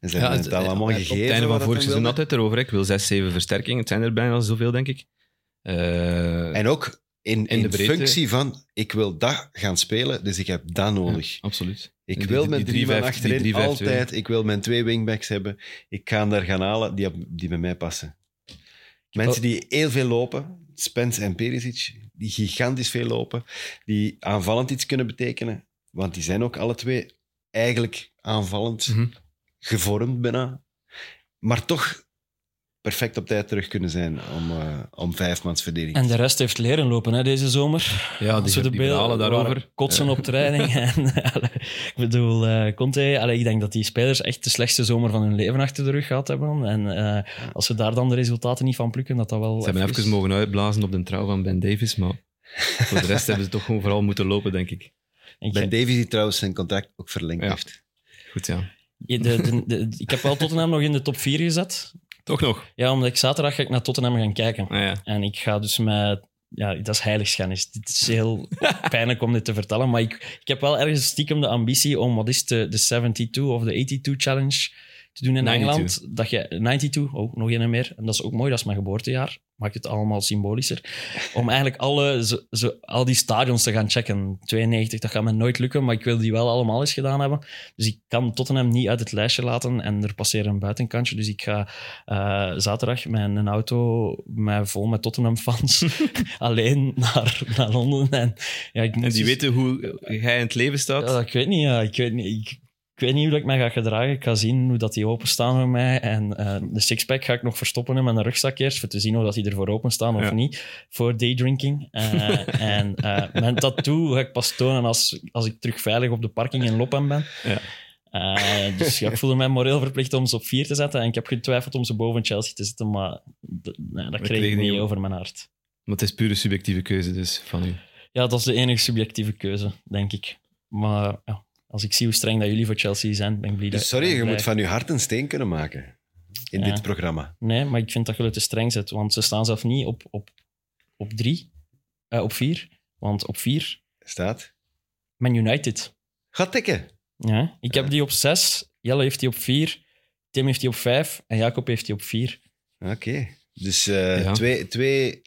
S2: En ze hebben het
S4: eh,
S2: al allemaal
S4: op
S2: gegeven.
S4: het einde
S2: wat
S4: van
S2: dat
S4: vorig
S2: dan
S4: seizoen
S2: wilde.
S4: altijd erover. hè. Ik wil zes, zeven versterkingen. Het zijn er bijna zoveel, denk ik. Eh,
S2: En ook in, in,
S4: de
S2: de
S4: breedte.
S2: functie van, ik wil dat gaan spelen, dus ik heb dat nodig.
S4: ja, absoluut.
S2: Ik
S4: Die-
S2: wil
S4: die-
S2: mijn
S4: die
S2: drie man
S4: 3-5-2, die
S2: achterin
S4: 3-5-2.
S2: altijd. Ik wil mijn twee wingbacks hebben. Ik ga hem daar gaan halen die, op- die bij mij passen. Mensen die heel veel lopen, Spence en Perisic, die gigantisch veel lopen, die aanvallend iets kunnen betekenen, want die zijn ook alle twee eigenlijk aanvallend
S4: Mhm.
S2: gevormd bijna, maar toch perfect op tijd terug kunnen zijn om, eh om vijfmansverdediging.
S3: En de rest heeft leren lopen hè, deze zomer.
S4: Ja,
S3: Als
S4: Ah, die,
S3: we
S4: die,
S3: de beelden
S4: verhalen daarover.
S3: waren Kotsen op training. en, eh, allee, ik bedoel, eh Conte, allee, ik denk dat die spelers echt de slechtste zomer van hun leven achter de rug gehad hebben. En eh, als ze daar dan de resultaten niet van plukken, dat dat wel...
S4: Ze hebben
S3: even-
S4: Oh, even mogen uitblazen op de trouw van Ben Davis, maar voor de rest hebben ze toch gewoon vooral moeten lopen, denk ik.
S3: Ik-
S2: Ben Davies die trouwens zijn contract ook verlengd
S4: Ja.
S2: heeft.
S4: Goed, ja.
S3: de- de- de- de- ik heb wel Tottenham nog in de top 4 gezet.
S4: Toch nog?
S3: Ja, omdat ik zaterdag ga ik naar Tottenham gaan kijken.
S4: Ah, ja.
S3: En ik ga dus met... Ja, dat is heiligschennis. Dit is heel pijnlijk om dit te vertellen, maar ik, ik heb wel ergens stiekem de ambitie om, wat is het, de, de 72 of de 82 challenge te doen in
S4: 92.
S3: Engeland. Dat je, 92, ook nog een en meer. En dat is ook mooi, dat is mijn geboortejaar. Maakt het allemaal symbolischer. Om eigenlijk alle, zo, zo- al die stadions te gaan checken. 92, dat gaat me nooit lukken, maar ik wil die wel allemaal eens gedaan hebben. Dus ik kan Tottenham niet uit het lijstje laten en er passeert een buitenkantje. Dus ik ga eh, zaterdag met een auto met, vol met Tottenham-fans alleen naar, naar Londen. En, ja, ik moet
S4: En die
S3: dus-
S4: weten hoe jij in het leven staat.
S3: ja, ik weet niet. Ja. Ik, weet niet ik, ik weet niet hoe ik mij ga gedragen. Ik ga zien hoe dat die openstaan voor mij. En eh, de sixpack ga ik nog verstoppen in mijn rugzak eerst, voor te zien of dat die ervoor openstaan of
S4: Ja.
S3: niet, voor daydrinking. Eh en eh, mijn tattoo ga ik pas tonen als, als ik terug veilig op de parking in Lopem ben.
S4: Ja.
S3: Eh, dus ja, ik voelde mij moreel verplicht om ze op vier te zetten. En ik heb getwijfeld om ze boven Chelsea te zetten, maar d- nee, dat kreeg
S4: kregen
S3: ik
S4: niet
S3: niet
S4: om.
S3: over mijn hart.
S4: Maar het is pure subjectieve keuze dus van u.
S3: Ja, dat is de enige subjectieve keuze, denk ik. Maar ja, als ik zie hoe streng dat jullie voor Chelsea zijn, ben ik blij. dat-
S2: Dus sorry,
S3: ben
S2: je
S3: blij.
S2: moet van je hart een steen kunnen maken in
S3: Ja.
S2: dit programma.
S3: Nee, maar ik vind dat je te streng zet, want ze staan zelf niet op, op, op drie, eh, op vier. Want op vier,
S2: Staat?
S3: Man United.
S2: Gaat tikken.
S3: Ja, ik heb die op zes, Jelle heeft die op vier, Tim heeft die op vijf en Jacob heeft die op vier.
S2: Oké. Dus eh,
S4: Ja.
S2: twee, twee,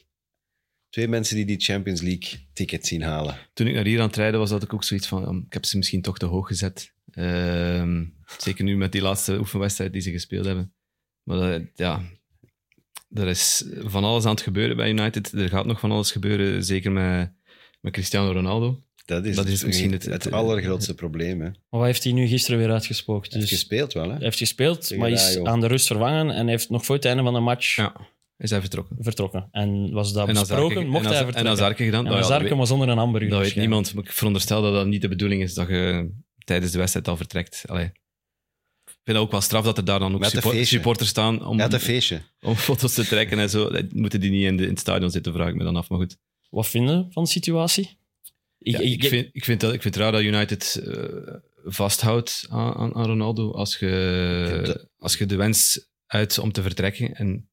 S2: twee mensen die die Champions League ticket zien halen.
S4: Toen ik naar hier aan het rijden was, had ik ook zoiets van, um, ik heb ze misschien toch te hoog gezet. Ehm, zeker nu met die laatste oefenwedstrijd die ze gespeeld hebben. Maar dat- ja, er is van alles aan het gebeuren bij United. Er gaat nog van alles gebeuren, zeker met, met Cristiano Ronaldo.
S2: Dat is,
S4: Dat is misschien
S2: het,
S4: het-
S2: het allergrootste probleem. Hè.
S3: Maar wat heeft hij nu gisteren weer uitgespookt?
S2: Dus,
S3: Dus,
S2: gespeeld wel, hè?
S3: hij heeft gespeeld,
S2: Tegen
S3: maar is
S2: Rayo.
S3: aan de rust vervangen en heeft nog voor het einde van de match
S4: Ja. Is hij vertrokken?
S3: vertrokken. En was dat
S4: En als
S3: besproken,
S4: Arke-
S3: mocht
S4: en
S3: hij
S4: als-
S3: vertrekken.
S4: En als Arke gedaan?
S3: En
S4: Nou ja,
S3: Azarke
S4: dat weet-
S3: was onder een hamburger.
S4: dat weet
S3: waarschijnlijk.
S4: niemand. Maar ik veronderstel dat dat niet de bedoeling is dat je eh, tijdens de wedstrijd al vertrekt. Allee. Ik vind het ook wel straf dat er daar dan ook
S2: Met een
S4: support-
S2: feestje.
S4: supporters staan om,
S2: Hij had een feestje.
S4: om foto's te trekken en zo. Dat Moeten die niet in, de, in het stadion zitten, vraag ik me dan af. Maar goed.
S3: Wat vinden van de situatie? Ik,
S4: Ja,
S3: ik,
S4: ik, vind, ik, vind dat, ik vind het raar dat United eh, vasthoudt aan, aan, aan Ronaldo als je, als je de wens uit om te vertrekken en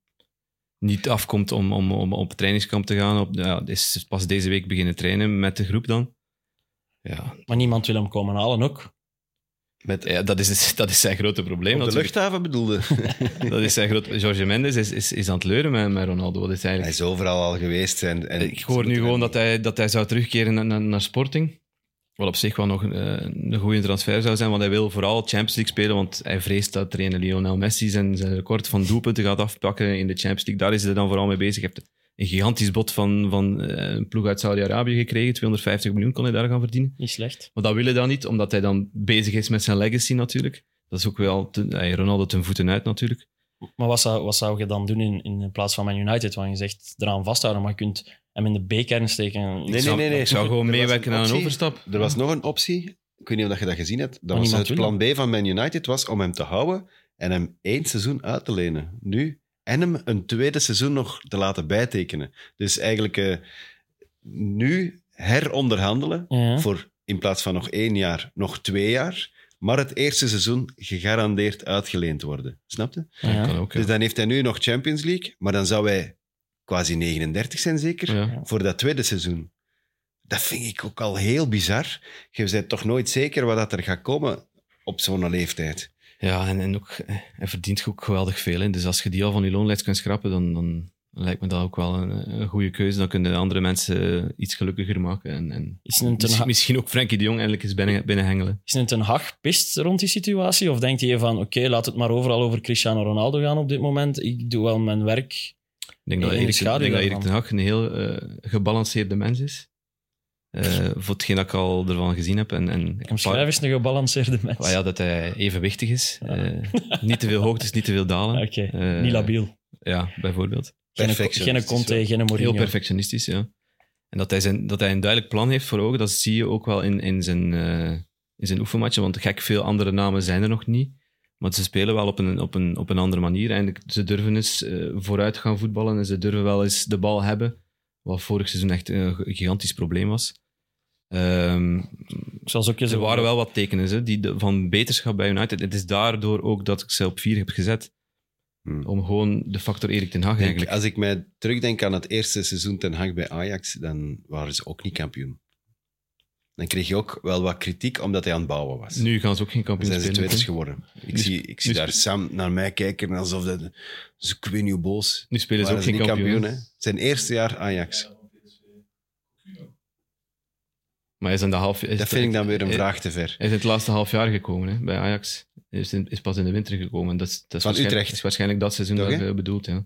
S4: niet afkomt om, om, om op trainingskamp te gaan. Op, ja, het is pas deze week beginnen trainen met de groep dan. Ja,
S3: maar niemand wil hem komen halen ook.
S2: Met,
S4: ja dat, is, dat is zijn grote probleem.
S2: op de
S4: natuurlijk.
S2: luchthaven bedoelde.
S4: Dat is zijn grote... Jorge Mendes is, is, is aan het leuren met, met Ronaldo. Dat is
S2: hij
S4: eigenlijk...
S2: is overal al geweest. En, en
S4: Ik hoor nu gewoon dat hij, dat hij zou terugkeren naar, naar, naar Sporting. Wat op zich wel nog eh, een goede transfer zou zijn, want hij wil vooral Champions League spelen, want hij vreest dat trainer Lionel Messi zijn, zijn record van doelpunten gaat afpakken in de Champions League. Daar is hij dan vooral mee bezig. Hij heeft een gigantisch bod van, van eh, een ploeg uit Saudi-Arabië gekregen. 250 miljoen kon hij daar gaan verdienen.
S3: Niet slecht.
S4: Maar dat wil hij dan niet, omdat hij dan bezig is met zijn legacy natuurlijk. Dat is ook wel ten- hij Ronaldo ten voeten uit natuurlijk.
S3: Maar wat zou, wat zou je dan doen in, in plaats van Man United? Want je zegt eraan vasthouden, maar je kunt hem in de B-kern steken.
S2: Nee, nee, nee. nee.
S4: Ik zou gewoon
S2: Er was
S4: meewerken aan een
S2: optie.
S4: overstap.
S2: Er was nog een optie. ik weet niet of dat je dat gezien hebt, dat
S3: Maar
S2: was
S3: Oh, niemand
S2: het
S3: wil
S2: plan B van Man United was om hem te houden en hem één seizoen uit te lenen. Nu, en hem een tweede seizoen nog te laten bijtekenen. Dus eigenlijk eh, nu heronderhandelen
S3: Ja.
S2: voor in plaats van nog één jaar, nog twee jaar. Maar het eerste seizoen gegarandeerd uitgeleend worden. Snap je?
S3: Ja.
S4: Kan ook, ja.
S2: Dus dan heeft hij nu nog Champions League, maar dan zou hij quasi 39 zijn zeker
S4: Ja.
S2: voor dat tweede seizoen. Dat vind ik ook al heel bizar. Je bent toch nooit zeker wat dat er gaat komen op zo'n leeftijd.
S4: Ja, en, en ook, eh, hij verdient ook geweldig veel. Hè. Dus als je die al van je loonlijst kunt schrappen, dan, dan lijkt me dat ook wel een, een goede keuze. Dan kunnen andere mensen iets gelukkiger maken. En, en
S3: Is een ten,
S4: misschien,
S3: Hag-
S4: misschien ook Frenkie de Jong eindelijk eens binnen, binnenhengelen.
S3: is een ten Hag pist rond die situatie? Of denkt hij van, oké, laat het maar overal over Cristiano Ronaldo gaan op dit moment. Ik doe wel mijn werk.
S4: Ik denk dat
S3: In de
S4: Erik, ik
S3: schaduw
S4: denk dat Erik
S3: daarvan.
S4: ten Hag een heel eh, gebalanceerde mens is. Eh, voor hetgeen dat ik al ervan gezien heb. En, en
S3: Om schrijven is een gebalanceerde mens.
S4: Ah ja, dat hij evenwichtig is.
S3: Ja.
S4: Eh, niet te veel hoogtes, niet te veel dalen.
S3: Oké,
S4: Eh,
S3: niet labiel.
S4: Ja, bijvoorbeeld.
S3: Geen, geen
S2: perfectionistisch
S3: Conte,
S2: wel.
S3: geen Mourinho.
S4: Heel perfectionistisch, ja. En dat hij, zijn, dat hij een duidelijk plan heeft voor ogen, dat zie je ook wel in, in, zijn, eh, in zijn oefenmatchen. Want gek veel andere namen zijn er nog niet. Maar ze spelen wel op een, op een, op een andere manier. En ze durven eens eh, vooruit gaan voetballen en ze durven wel eens de bal hebben. Wat vorig seizoen echt een g- gigantisch probleem was. Ehm,
S3: Zoals ook je
S4: er waren wel wat tekenen hè, die, de- van beterschap bij United. Het is daardoor ook dat ik ze op vier heb gezet.
S2: Hmm.
S4: Om gewoon de factor Erik ten Hag eigenlijk.
S2: Als ik mij terugdenk aan het eerste seizoen ten Hag bij Ajax, dan waren ze ook niet kampioen. Dan kreeg je ook wel wat kritiek omdat hij aan het bouwen was.
S4: Nu gaan ze ook geen kampioen
S2: zijn ze
S4: spelen.
S2: tweeders
S4: hè.
S2: geworden. Ik
S4: Nu-
S2: zie, ik zie
S4: nu-
S2: daar Sam naar mij kijken alsof dat... Dus ik weet niet hoe boos.
S4: Nu spelen ze
S2: Waren
S4: ook
S2: ze
S4: geen
S2: niet
S4: kampioen.
S2: hè? Zijn eerste jaar Ajax.
S4: Maar hij is in de half, hij is
S2: Dat vind ik dan weer een
S4: hij-
S2: vraag te ver.
S4: Hij is in het laatste half jaar gekomen hè, bij Ajax. Hij is, in- is pas in de winter gekomen. Dat is, dat is
S2: Van
S4: waarschijnlijk-
S2: Utrecht.
S4: is waarschijnlijk dat seizoen
S2: Toch,
S4: dat
S2: hè?
S4: je bedoelt. Ja.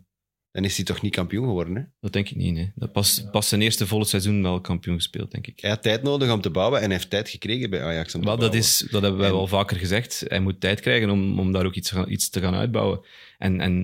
S2: Dan is hij toch niet kampioen geworden, hè?
S4: Dat denk ik niet. Nee. Dat pas, pas zijn eerste volle seizoen wel kampioen gespeeld, denk ik.
S2: Hij had tijd nodig om te bouwen en hij heeft tijd gekregen bij Ajax. Om te
S4: Maar dat,
S2: bouwen.
S4: is, dat hebben wij
S2: En-
S4: wel vaker gezegd. Hij moet tijd krijgen om, om daar ook iets, gaan- iets te gaan uitbouwen. En, en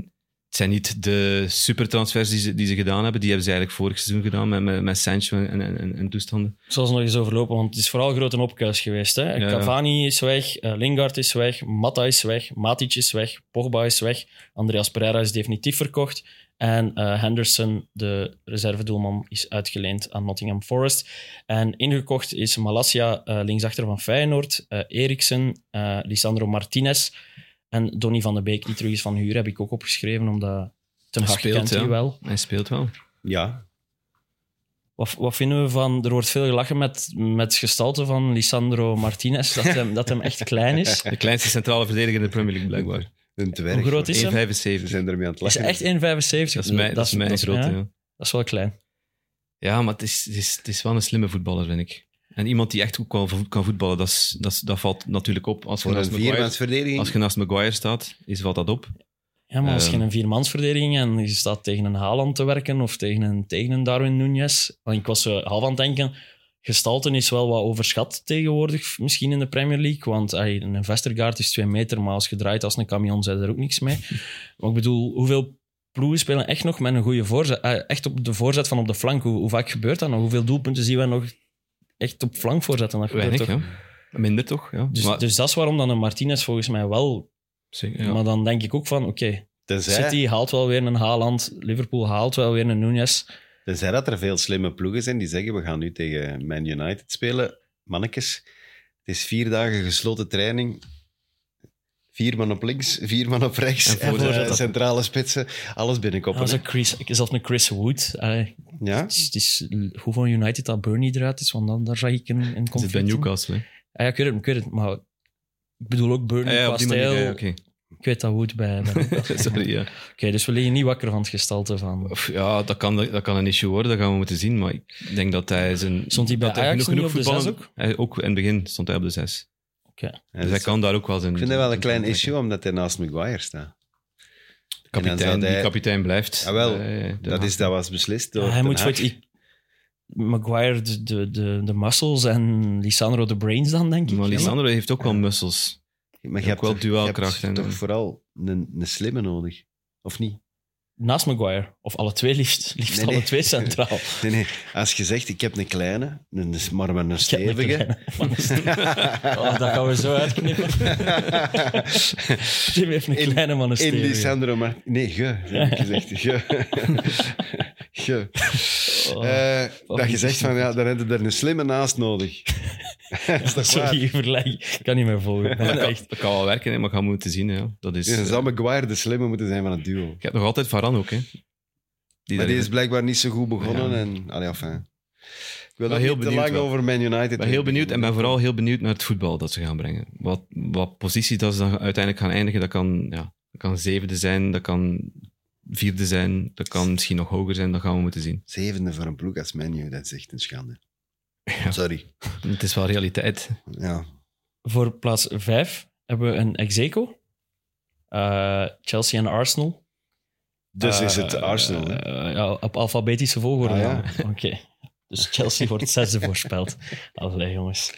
S4: het zijn niet de supertransfers die ze, die ze gedaan hebben. Die hebben ze eigenlijk vorig seizoen gedaan met, met, met Sancho en, en, en, en toestanden.
S3: Zoals nog eens overlopen, want het is vooral groot een opkuis geweest. Hè?
S4: ja.
S3: Cavani is weg, eh, Lingard is weg, Matta is weg, Matic is weg, Pogba is weg, Andreas Pereira is definitief verkocht en eh, Henderson, de reservedoelman, is uitgeleend aan Nottingham Forest. En ingekocht is Malasia, eh, linksachter van Feyenoord, eh Eriksen, eh, Lisandro Martinez en Donny van de Beek, die terug is van huur, heb ik ook opgeschreven, omdat Ten Hag
S4: Speelt,
S3: kent
S4: ja.
S3: hij wel.
S4: Hij speelt wel.
S2: Ja,
S3: Wat, wat vinden we van... Er wordt veel gelachen met, met het gestalte van Lisandro Martinez, dat hem, dat hem echt klein is.
S4: De kleinste centrale verdediger in de Premier League, blijkbaar.
S2: een dwerg.
S3: Hoe groot is hij?
S4: 1,75.
S2: Ze zijn ermee aan het
S3: Is
S2: lachen.
S3: hij echt 1,75?
S4: Dat is mijn, dat is mijn grote.
S3: ja,
S4: Ja,
S3: dat is wel klein.
S4: Ja, maar het is, het, is, het is wel een slimme voetballer, vind ik. En iemand die echt ook wel vo- kan voetballen, dat, is, dat, is- dat valt natuurlijk op. Als je,
S2: Voor een
S4: naast Maguire,
S2: viermansverdediging.
S4: als je naast Maguire staat, is, valt dat op.
S3: Ja, maar als je
S4: Ehm.
S3: een viermansverdediging en je staat tegen een Haaland te werken of tegen een, tegen een Darwin Nunez... Want ik was eh, half aan het denken, gestalten is wel wat overschat tegenwoordig, misschien in de Premier League. Want ey, een Vestergaard is twee meter, maar als je draait als een camion, zijn er ook niks mee. Maar ik bedoel, hoeveel ploegen spelen echt nog met een goede voorzet? eh, echt op de voorzet van op de flank. Hoe, hoe vaak gebeurt dat nog? Hoeveel doelpunten zien we nog echt op flank voorzetten? Dat gebeurt
S4: Weinig,
S3: toch?
S4: ja. Minder toch? Ja.
S3: Dus,
S4: Maar-
S3: dus dat is waarom dan een Martinez volgens mij wel.
S4: zeker, ja.
S3: Maar dan denk ik ook van, oké,
S2: Tenzij,
S3: City haalt wel weer een Haaland, Liverpool haalt wel weer een Nunez.
S2: tenzij dat er veel slimme ploegen zijn die zeggen, we gaan nu tegen Man United spelen. Mannetjes, het is vier dagen gesloten training. Vier man op links, vier man op rechts.
S4: En
S2: En
S4: voorzet
S2: eh,
S4: dat-
S2: centrale spitsen, alles binnenkoppen.
S3: Als
S2: hè.
S3: een Chris, zelfs een Chris Wood. Allee,
S2: Ja?
S3: het is, het is goed van United dat Burnley eruit is, want dan, daar zag ik een, een
S4: Hij Zit
S3: conflict
S4: bij
S3: in.
S4: Newcastle. hè.
S3: Ah, ja, ik weet het, ik weet het, maar ik bedoel ook
S4: Ah,
S3: Burnley
S4: ja,
S3: qua
S4: op die manier.
S3: stijl.
S4: ja, oké.
S3: Ik weet dat Wood bij. bij- Oké,
S4: Sorry, ja.
S3: dus we liggen niet wakker van het gestalte van.
S4: Of, ja, dat kan, dat kan een issue worden, dat gaan we moeten zien. Maar ik denk dat hij zijn...
S3: Stond hij bij
S4: dat hij
S3: Ajax
S4: genoeg-
S3: niet op de
S4: genoeg
S3: zes
S4: voetballen- Hij, ook in het begin stond hij op de zes.
S2: Ja,
S4: Dus
S2: dat
S4: hij
S2: is-
S4: kan daar ook wel zijn...
S2: Ik vind dat wel een
S4: zijn
S2: klein
S4: trekken.
S2: issue, omdat hij naast Maguire staat. En dan zou
S4: Kapitein, die
S2: hij-
S4: kapitein blijft.
S2: Ah, wel,
S4: Eh, Den
S2: Dat,
S4: Haag.
S2: is, dat was beslist door
S3: Ja, hij
S2: Ten
S3: moet
S2: Hag.
S3: voor het- ik- Maguire de, de, de, de muscles en Lisandro de brains dan, denk ik.
S4: Maar
S3: Ja,
S4: Lisandro heeft ook wel muscles.
S2: Maar
S4: Ook wel
S2: toch-
S4: dualkracht
S2: Je
S4: en-
S2: hebt toch vooral een, een slimme nodig, of niet?
S3: naast Maguire. Of alle twee liefst. Liefst
S2: Nee,
S3: alle
S2: nee.
S3: twee centraal.
S2: Nee, nee. Als je zegt, ik heb een kleine, een, is maar met een
S3: Ik heb een
S2: stevige.
S3: kleine- Wat is dit? Oh, dat gaan we zo uitknippen. Jim heeft een
S2: In-
S3: kleine man een
S2: In die
S3: stevige.
S2: Sandro Mar- Nee, ge, heb ik gezegd. Ge. Ge.
S3: Oh,
S2: Eh, dat je
S3: fucking
S2: zegt van, ja, dan heb je er een slimme naast nodig. dat is toch waar?
S3: Sorry, vergelijk. Ik kan niet meer volgen. Maar echt.
S4: Dat kan wel werken, hè, maar ik ga moeten zien. Ja. Dat is,
S2: Dan
S4: eh,
S2: zou Maguire de slimme moeten zijn van het duo.
S4: ik heb nog altijd Varane ook. Hè. Die
S2: Maar
S4: daar-
S2: die is blijkbaar niet zo goed begonnen.
S4: Ja.
S2: En, allee, enfin. Ik wil
S4: Ben
S2: daar
S4: heel
S2: niet te
S4: benieuwd
S2: lang
S4: wel.
S2: over Man United.
S4: Ik ben heel benieuwd en ben vooral heel benieuwd naar het voetbal dat ze gaan brengen. Wat, wat positie dat ze dan uiteindelijk gaan eindigen, dat kan, ja, dat kan zevende zijn, dat kan vierde zijn, dat kan misschien nog hoger zijn, dat gaan we moeten zien.
S2: Zevende voor een ploeg als menu, dat is echt een schande. Sorry.
S4: Het is wel realiteit.
S2: Ja.
S3: Voor plaats 5 hebben we een Execo. Eh, Chelsea en Arsenal.
S2: Dus
S3: Eh,
S2: is het Arsenal. hè?
S3: eh, ja, op alfabetische volgorde.
S2: Ah, ja.
S3: namelijk. Oké. Dus Chelsea wordt zesde voorspeld. Allee, jongens.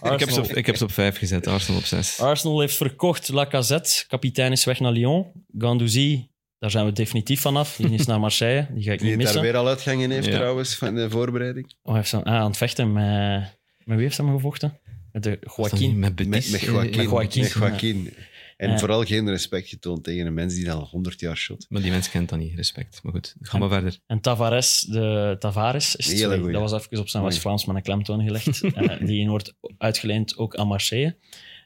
S3: Arsenal,
S4: Ik heb, ze op, ik heb ze op vijf gezet, Arsenal op
S2: Ah,
S4: zes.
S3: Arsenal heeft verkocht Lacazette. Kapitein is weg naar Lyon. Gandouzi, daar zijn we definitief vanaf. Die is naar Marseille. Die ga ik
S2: Die het daar
S3: niet missen.
S2: weer al uitgangen heeft
S4: Ja.
S2: trouwens, van de voorbereiding.
S3: Oh, hij heeft zijn, ah, aan het vechten met... Met wie heeft hij hem gevochten? Met de
S4: Was dat niet
S3: Joaquin.
S4: Met
S2: Met,
S4: Betis.
S2: eh, met Joaquin.
S3: Met Joaquin,
S2: Met Joaquin. En
S3: Ja.
S2: vooral geen respect getoond tegen een mens die al 100 jaar shot.
S4: Maar die mens kent dat niet, respect. Maar goed, ga maar verder.
S3: En Tavares, de Tavares is
S2: Hele
S3: twee.
S2: goeie.
S3: Dat was even op zijn
S2: Mooi.
S3: West-Vlaams met een klemtoon gelegd. Eh, die wordt uitgeleend ook aan Marseille.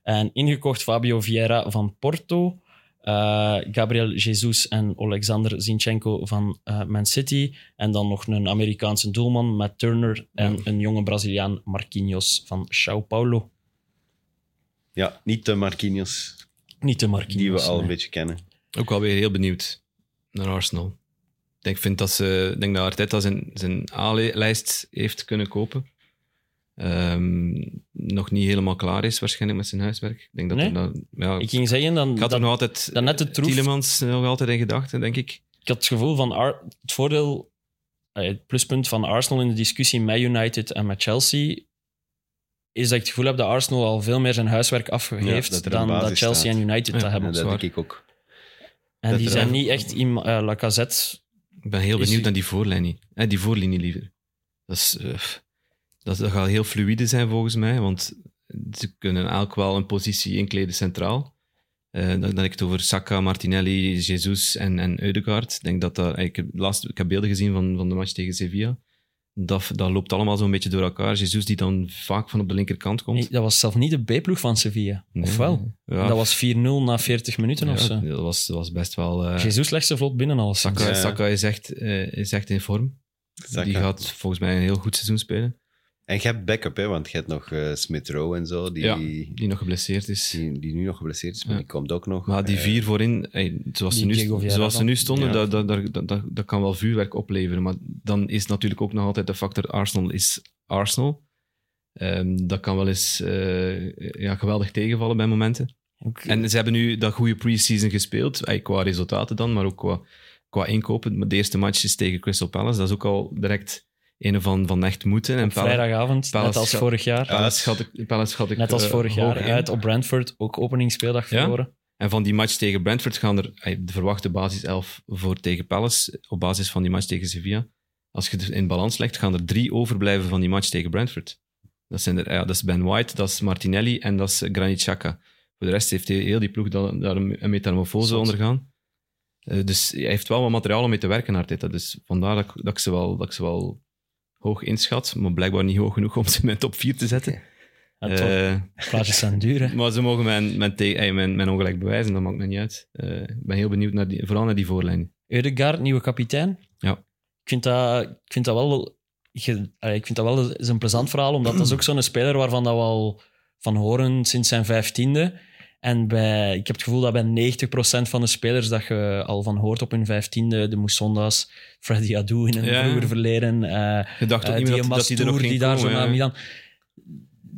S3: En ingekocht Fabio Vieira van Porto. eh, Gabriel Jesus en Alexander Zinchenko van eh, Man City. En dan nog een Amerikaanse doelman, Matt Turner. En een jonge Braziliaan, Marquinhos van Sao Paulo.
S2: Ja, niet de Marquinhos,
S3: Niet de Marquinhos.
S2: die we al een
S3: nee.
S2: beetje kennen.
S4: Ook alweer heel benieuwd naar Arsenal. Ik denk, vind dat, ze, ik denk dat Arteta zijn, zijn A-lijst heeft kunnen kopen. Ehm, nog niet helemaal klaar is waarschijnlijk met zijn huiswerk. Ik denk dat
S3: Nee?
S4: er dan, ja,
S3: Ik ging zeggen, dan,
S4: ik had
S3: dat-
S4: er nog altijd
S3: dat net de troef-
S4: Tielemans nog altijd in gedachten, denk ik.
S3: ik had het gevoel van Ar- het voordeel, eh, het pluspunt van Arsenal in de discussie met United en met Chelsea, is dat ik het gevoel heb dat Arsenal al veel meer zijn huiswerk afgeeft
S2: Ja, dat er een
S3: dan
S2: basis
S3: dat Chelsea
S2: staat.
S3: en United
S4: Ja,
S3: dat
S2: Ja,
S3: hebben.
S2: dat
S4: zwaar.
S2: denk ik ook.
S3: en
S2: dat
S3: die
S2: er
S3: zijn
S2: al-
S3: niet echt iemand, eh Lacazette.
S4: Ik ben heel
S3: Is-
S4: benieuwd naar die voorlijnie. Eh, die voorlinie liever. Dat, is, eh, dat, dat gaat heel fluïde zijn volgens mij, want ze kunnen elk wel een positie inkleden centraal. Eh, dan, dan heb ik het over Saka, Martinelli, Jesus en, en Eudegaard. Ik denk dat dat, ik, heb laatst, ik heb beelden gezien van, van de match tegen Sevilla. Dat, dat loopt allemaal zo'n beetje door elkaar. Jesus die dan vaak van op de linkerkant
S3: Nee,
S4: komt.
S3: Dat was zelf niet de B-ploeg van Sevilla. of wel?
S4: Ja,
S3: Dat was 4-0 na 40 minuten of zo.
S4: ja, dat, was, dat was best wel... eh,
S3: Jesus legt ze vlot binnen alles.
S4: Saka,
S2: Ja.
S4: Saka is, echt, eh, is echt in vorm.
S2: Saka.
S4: Die gaat volgens mij een heel goed seizoen spelen.
S2: En je hebt backup, hè, want je hebt nog eh Smith Rowe en zo, die,
S4: Ja.
S2: die,
S4: die nog geblesseerd is.
S2: die nu nog geblesseerd is, maar
S4: Ja.
S2: die komt ook nog.
S4: Maar die
S2: Eh,
S4: vier voorin, hey, zoals, ze
S3: Die Diego
S4: nu,
S3: Vieira
S4: zoals ze
S3: dan.
S4: nu stonden,
S2: Ja.
S4: dat, dat, dat, dat, dat, dat kan wel vuurwerk opleveren. Maar dan is natuurlijk ook nog altijd de factor Arsenal is Arsenal. Ehm, dat kan wel eens eh, ja, geweldig tegenvallen bij momenten.
S3: Ook-
S4: En ze hebben nu dat goede pre-season gespeeld, hey, qua resultaten dan, maar ook qua, qua inkopen. Maar De eerste match is tegen Crystal Palace. Dat is ook al direct een van, van echt moeten. En
S3: op
S4: Palace,
S3: vrijdagavond, net
S4: Palace-
S3: als vorig jaar.
S4: Palace schat ik, Palace schat ik
S3: net als
S4: eh,
S3: vorig jaar.
S4: hoog in.
S3: Uit op Brentford, ook openingsspeeldag
S4: Ja?
S3: verloren.
S4: En van die match tegen Brentford gaan er ey, de verwachte basis 11 voor tegen Palace. Op basis van die match tegen Sevilla. Als je het in balans legt, gaan er drie overblijven van die match tegen Brentford. Dat, zijn er, ja, dat is Ben White, dat is Martinelli en dat is eh, Granit Xhaka. Voor de rest heeft heel- heel die ploeg dan- daar een een metamorfose
S3: Zot.
S4: ondergaan. Eh, dus hij heeft wel wat materiaal om mee te werken, Arteta. Dus vandaar dat, ik- dat, ik ze wel, dat ik ze wel hoog inschat. Maar blijkbaar niet hoog genoeg om ze in mijn top 4 te zetten.
S3: Ja, toch,
S4: Eh,
S3: plaatjes zijn duur, hè.
S4: maar ze mogen mijn, mijn, te- ey, mijn, mijn ongelijk bewijzen, dat maakt me niet uit. Eh, Ik ben heel benieuwd, naar die, vooral naar die voorlijn.
S3: Eudegaard, nieuwe kapitein.
S4: Ja.
S3: Ik vind dat, ik vind dat wel... ge- allee, Ik vind dat wel eens een plezant verhaal, omdat dat is ook zo'n speler waarvan dat we al van horen sinds zijn vijftiende. En bij, ik heb het gevoel dat bij 90% van de spelers dat je al van hoort op hun vijftiende, de Moussondas, Freddy Adu in een
S4: Ja.
S3: vroeger verleden, eh,
S4: Je dacht ook
S3: eh,
S4: niet meer
S3: die
S4: dat, dat die er nog
S3: Mastour
S4: ging
S3: die daar zo
S4: komen, eh,
S3: naar
S4: hè.
S3: Milan...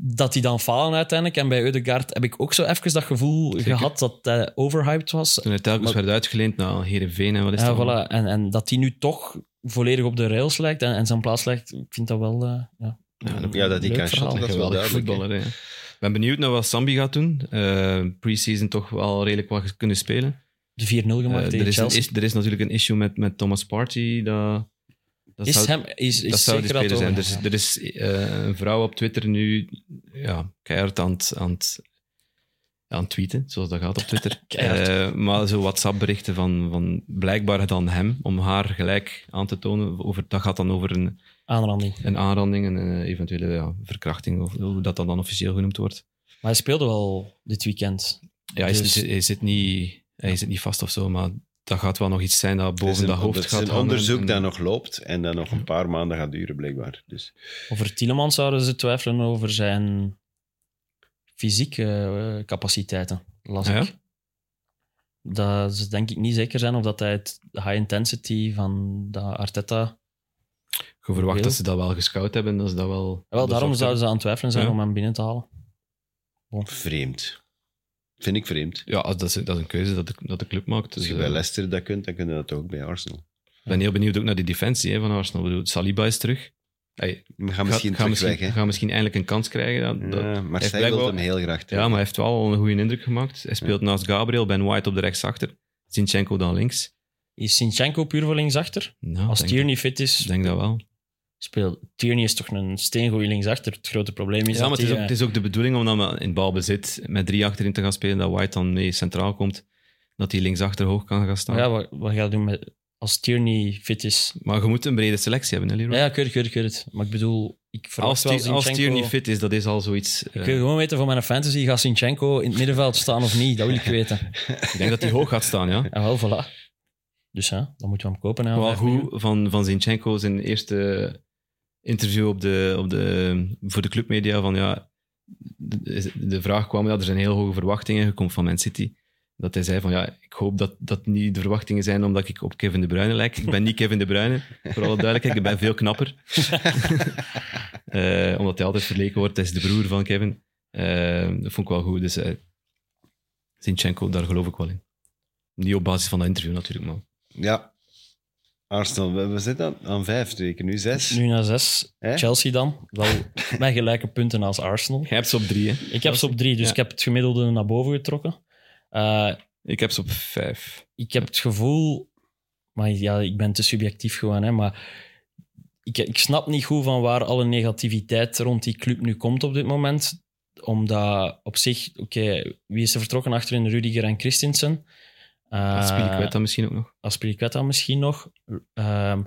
S3: Dat die dan falen uiteindelijk. En bij Eudegaard heb ik ook zo even dat gevoel
S4: Zeker.
S3: gehad dat hij overhyped was.
S4: Toen hij telkens
S3: Maar-
S4: werd uitgeleend naar Herenveen en wat is
S3: Ja,
S4: dat? allemaal?
S3: voilà. en, en dat hij nu toch volledig op de rails lijkt en, en zijn plaats lijkt, ik vind dat wel... eh, ja.
S4: Ja, dat-
S2: Ja, dat die
S3: Leuk
S2: kan
S3: verhaal.
S2: shotten, dat is wel
S4: Geweldig
S2: duidelijk. hè.
S4: voetballer. hè. Ik ben benieuwd naar wat Sambi gaat doen. Eh Pre-season toch wel redelijk wat kunnen spelen.
S3: de 4-0 gemaakt
S4: Eh,
S3: tegen
S4: er, is een
S3: Chelsea.
S4: is- er is natuurlijk een issue met, met Thomas Partey. Dat, dat
S3: Is,
S4: zou-
S3: hem, is, is
S4: dat zou de
S3: zeker
S4: speler
S3: dat
S4: zijn. dus-
S3: over.
S4: Er is, er is eh, een vrouw op Twitter nu ja, keihard aan het, aan, het, aan het tweeten, zoals dat gaat op Twitter.
S3: Keihard.
S4: Eh, maar zo WhatsApp-berichten van, van blijkbaar dan hem, om haar gelijk aan te tonen. Over, dat gaat dan over een,
S3: Aanranding.
S4: een aanranding, een eh, eventuele ja, verkrachting, of hoe dat dan, dan officieel genoemd wordt.
S3: Maar hij speelde wel dit weekend.
S4: Ja, hij,
S3: Dus-
S4: zit, hij, zit niet, hij zit niet vast of zo, maar dat gaat wel nog iets zijn dat
S2: Het is
S4: boven
S2: een-
S4: dat hoofd
S2: het is
S4: gaat
S2: een
S4: hangen
S2: onderzoek
S4: en-
S2: dat nog loopt en dat nog een paar maanden gaat duren, blijkbaar. Dus
S3: Over Tielemans zouden ze twijfelen over zijn fysieke eh, capaciteiten, las
S4: Ja?
S3: ik. Dat ze denk ik niet zeker zijn of dat hij het high intensity van dat Arteta...
S4: Je verwacht
S3: Heel.
S4: dat ze dat wel gescout hebben, dat ze dat wel...
S3: Wel, daarom
S4: onderzocht
S3: zouden ze aan het twijfelen zijn
S4: Ja.
S3: om hem binnen te halen.
S2: vreemd. Vind ik vreemd.
S4: Ja, als dat is, dat is een keuze dat de, dat de club maakt.
S2: Als
S4: Dus,
S2: je
S4: eh,
S2: bij Leicester dat kunt, dan kun je dat ook bij Arsenal.
S4: ik ben heel benieuwd ook naar die defensie hè, van Arsenal. Ik bedoel, Saliba is terug. Hey,
S2: We gaan
S4: gaat-
S2: misschien
S4: gaat
S2: terug
S4: misschien,
S2: weg, hè.
S4: gaat misschien eindelijk een kans krijgen. Dat, dat-
S2: Ja, maar
S4: heeft
S2: zij wil
S4: blijkbaar-
S2: hem heel graag
S4: ja,
S2: terug.
S4: maar hij heeft wel al een goede indruk gemaakt. Hij speelt naast Gabriel, Ben White op de rechtsachter. Zinchenko dan links.
S3: Is Sinchenko puur voor linksachter?
S4: Nou,
S3: Als
S4: denk-
S3: Tierney fit
S4: Ik
S3: is,
S4: denk dat wel.
S3: speelt... Tierney is toch een steengoeie linksachter? Het grote probleem is
S4: Ja,
S3: dat eh,
S4: maar het is,
S3: hij,
S4: ook, het is ook de bedoeling om dan wel in balbezit met drie achterin te gaan spelen, dat White dan mee centraal komt, dat hij linksachter hoog kan gaan staan.
S3: Maar ja, wat, wat ga je doen met, als Tierney fit is?
S4: Maar je moet een brede selectie hebben, hè, Leroy?
S3: Ja, ja, ik weet het, ik weet het, ik weet het. Maar ik bedoel, ik verwacht
S4: als,
S3: wel
S4: Tier- als
S3: Zinchenko-
S4: Tierney fit is, dat is al zoiets... eh,
S3: Ik wil gewoon weten van mijn fantasy, gaat Sinchenko in het middenveld staan of niet? Dat wil ik weten.
S4: ik denk dat hij hoog gaat staan, ja.
S3: En wel, voilà. Dus ja, dan moeten we hem kopen. Hè,
S4: Wel
S3: Vijf miljoen.
S4: goed van, van Zinchenko, zijn eerste interview op de, op de, voor de clubmedia. Van, ja, de, de vraag kwam dat er zijn heel hoge verwachtingen. Je komt van Man City. Dat hij zei van ja, ik hoop dat dat niet de verwachtingen zijn omdat ik op Kevin De Bruyne lijk. Ik ben niet Kevin De Bruyne, voor alle duidelijkheid. Ik ben veel knapper. Eh, omdat hij altijd verleken wordt. Hij is de broer van Kevin. Eh, dat vond ik wel goed. Dus eh, Zinchenko, daar geloof ik wel in. Niet op basis van dat interview natuurlijk, maar...
S2: Ja. Arsenal, we, we zitten aan, aan vijf zeker, nu zes.
S3: Nu naar zes.
S2: Hè?
S3: Chelsea dan. Wel met gelijke punten als Arsenal.
S4: Jij hebt ze op drie, hè?
S3: Ik heb ze op drie, dus
S4: Ja.
S3: ik heb het gemiddelde naar boven getrokken. Eh,
S4: Ik heb ze op vijf.
S3: ik heb het gevoel... Maar ja, ik ben te subjectief gewoon, hè, maar... Ik, ik snap niet goed van waar alle negativiteit rond die club nu komt op dit moment. Omdat op zich, oké, wie is er vertrokken achterin? Rudiger en Christensen.
S4: Uh,
S3: Uh,
S4: Spilicueta dan misschien ook nog.
S3: Aspiriqueta misschien nog. Ehm,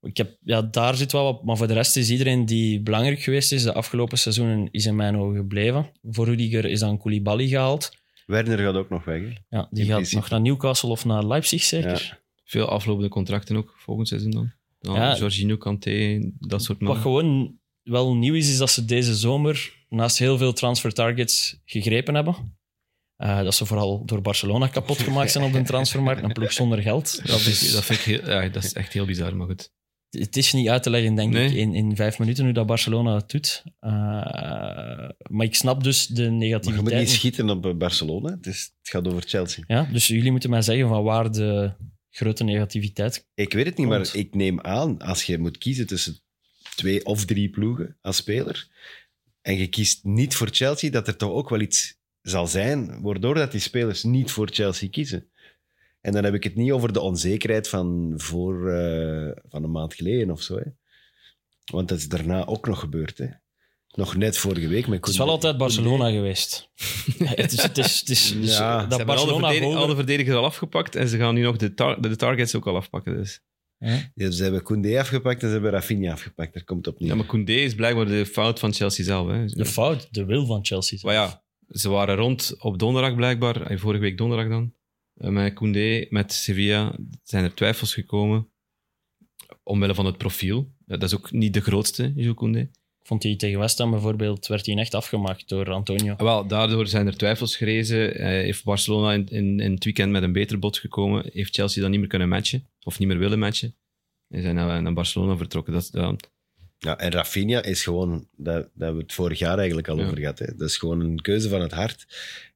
S3: ik heb, ja, daar zit wel wat, maar voor de rest is iedereen die belangrijk geweest is de afgelopen seizoenen is in mijn ogen gebleven. Voor Rudiger is dan Koulibaly gehaald.
S2: Werner gaat ook nog weg. hè.
S3: Ja, die
S2: In
S3: gaat
S2: principe.
S3: nog naar Newcastle of naar Leipzig zeker.
S4: Veel aflopende contracten ook, volgend seizoen dan. dan
S3: Ja.
S4: Jorginho, Kanté, dat soort
S3: Wat
S4: mannen.
S3: gewoon wel nieuw is, is dat ze deze zomer naast heel veel transfer targets gegrepen hebben. Eh, dat ze vooral door Barcelona kapot gemaakt zijn op de transfermarkt. Een ploeg zonder geld.
S4: Dat, vind ik, dat, vind ik heel- ja, dat is echt heel bizar, maar goed.
S3: het is niet uit te leggen, denk
S4: Nee.
S3: ik, in, in vijf minuten hoe dat Barcelona het doet. Eh, maar ik snap dus de
S2: Maar je moet
S3: negativiteit.
S2: niet
S3: niet.
S2: schieten op eh, Barcelona. Het, is, het gaat over Chelsea.
S3: Ja, dus jullie moeten mij zeggen van waar de grote negativiteit.
S2: Ik weet het niet,
S3: Komt.
S2: maar ik neem aan, als je moet kiezen tussen twee of drie ploegen als speler, en je kiest niet voor Chelsea, dat er toch ook wel iets zal zijn, waardoor dat die spelers niet voor Chelsea kiezen. En dan heb ik het niet over de onzekerheid van, voor, eh, van een maand geleden of zo. Hè. Want dat is daarna ook nog gebeurd. Hè. Nog net vorige week. Met
S3: Het is wel altijd Barcelona geweest. het is, het is, het is, dus
S2: Ja, ze
S3: dat
S4: hebben alle,
S3: Barcelona
S4: verdedig- alle
S3: hoger-
S4: verdedigers al afgepakt en ze gaan nu nog de, tar- de targets ook al afpakken. Dus.
S2: Ja, ze hebben Koundé afgepakt en ze hebben Rafinha afgepakt. Daar komt het op neer.
S4: Ja, maar Koundé is blijkbaar de fout van Chelsea zelf. Hè.
S3: de fout, de wil van Chelsea.
S4: Maar ja, ze waren rond op donderdag blijkbaar, eh, vorige week donderdag dan, eh, met Koundé, met Sevilla, zijn er twijfels gekomen omwille van het profiel. Eh, Dat is ook niet de grootste, Jules Koundé.
S3: Ik vond hij tegen West Ham bijvoorbeeld, werd hij echt afgemaakt door Antonio.
S4: Ah, Wel, daardoor zijn er twijfels gerezen. Eh, heeft Barcelona in, in, in het weekend met een beter bod gekomen? Heeft Chelsea dan niet meer kunnen matchen? Of niet meer willen matchen? En zijn eh, naar, naar Barcelona vertrokken. Dat, is- ja,
S2: Ja, en Rafinha is gewoon, dat, dat we het vorig jaar eigenlijk al
S4: Ja.
S2: over gehad. Hè. Dat is gewoon een keuze van het hart.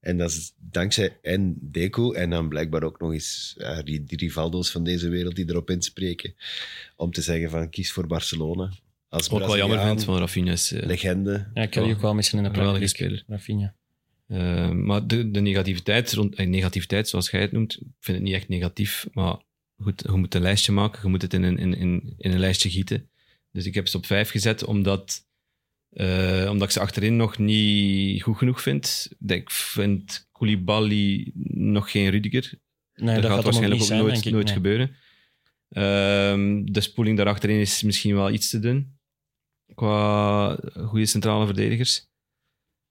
S2: En dat is dankzij en Deco en dan blijkbaar ook nog eens ja, die, die Rivaldo's van deze wereld die erop inspreken. Om te zeggen van kies voor Barcelona. Als
S4: wat ik wel jammer
S2: Braziliaan,
S4: vind, want Rafinha is eh,
S2: Legende.
S3: Ja, ik heb die ook wel misschien in de
S4: Geweldige
S3: Premier League. Rafinha.
S4: Eh, maar de, de negativiteit, rond, eh, negativiteit, zoals jij het noemt, ik vind het niet echt negatief. Maar goed, je moet een lijstje maken, je moet het in een, in, in, in een lijstje gieten. Dus ik heb ze op vijf gezet, omdat, eh, omdat ik ze achterin nog niet goed genoeg vind. Dat Ik vind Koulibaly nog geen Rudiger.
S3: Nee,
S4: dat, gaat
S3: dat, hem ook
S4: waarschijnlijk
S3: niet
S4: ook
S3: zijn,
S4: nooit,
S3: denk ik.
S4: nooit
S3: nee.
S4: gebeuren. Ehm, de spoeling daarachterin is misschien wel iets te dun. Qua goede centrale verdedigers.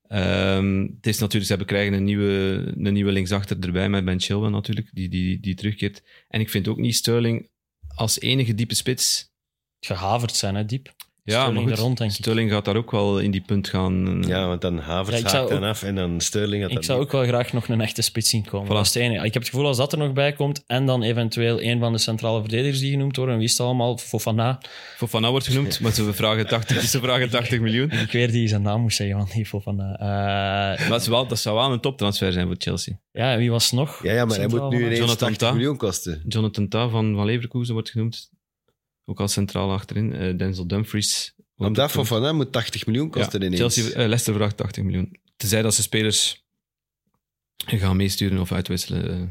S4: Ehm, het is natuurlijk, ze hebben krijgen een nieuwe, een nieuwe linksachter erbij met Ben Chilwell natuurlijk, die, die, die terugkeert. En ik vind ook niet Sterling als enige diepe spits.
S3: Gehaverd zijn, hè, diep.
S4: Ja,
S3: Sterling
S4: maar goed,
S3: er rond, denk ik.
S4: Sterling gaat daar ook wel in die punt gaan. eh,
S2: Ja, want dan Havertz
S3: Ja, ik zou
S2: haakt dan
S3: ook-
S2: af en dan Sterling had
S3: Ik
S2: dat
S3: zou
S2: niet.
S3: ook wel graag nog een echte spits zien komen.
S4: Voilà.
S3: Dat is het enige. Ik heb het gevoel als dat er nog bij komt en dan eventueel een van de centrale verdedigers die genoemd worden. Wie is het allemaal? Fofana.
S4: Fofana wordt genoemd, maar ze vragen 80, ze vragen 80 miljoen.
S3: Ik weet die zijn naam moest zeggen, want die Fofana. Eh,
S4: Maar dat, is wel, dat zou wel een toptransfer zijn voor Chelsea.
S3: ja, en wie was het nog?
S2: Ja, ja, maar hij
S3: Centraal
S2: moet nu
S3: van-
S2: ineens
S4: Jonathan
S2: 80
S4: Ta.
S2: miljoen kosten.
S4: Jonathan Ta van, van Leverkusen wordt genoemd. Ook als centraal achterin. Eh, Denzel Dumfries. wordt
S2: Omdat
S4: ook
S2: van
S4: genoemd.
S2: Van Dam moet 80 miljoen kosten
S4: Ja,
S2: ineens.
S4: Chelsea, eh, Leicester vraagt 80 miljoen. Tenzij dat ze spelers gaan meesturen of uitwisselen. eh.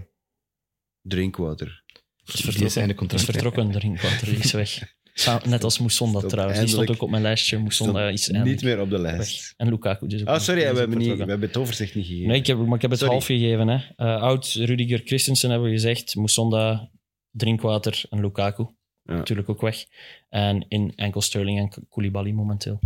S2: Drinkwater.
S3: Is
S4: Die is
S3: vertrokken.
S4: einde
S3: Is
S4: contract.
S3: vertrokken, drinkwater is weg. Sa- Net als Mousson dat
S2: Stop,
S3: trouwens. Die stond
S2: eindelijk.
S3: ook op mijn lijstje. Mousson eh, is eindelijk
S2: Niet meer op de
S3: weg.
S2: lijst.
S3: En Lukaku dus ook.
S2: Ah,
S3: nog.
S2: sorry,
S3: Die
S2: hè,
S3: is
S2: we
S3: ook
S2: hebben, niet, we
S3: vertrokken.
S2: hebben het overzicht niet gegeven.
S3: Nee, ik heb, maar ik heb het
S2: Sorry.
S3: half gegeven. Hè. Eh, Oud, Rudiger, Christensen hebben we gezegd. Moussonda, Drinkwater en Lukaku.
S2: Ja.
S3: Natuurlijk ook weg. En in enkel Sterling en Koulibaly momenteel.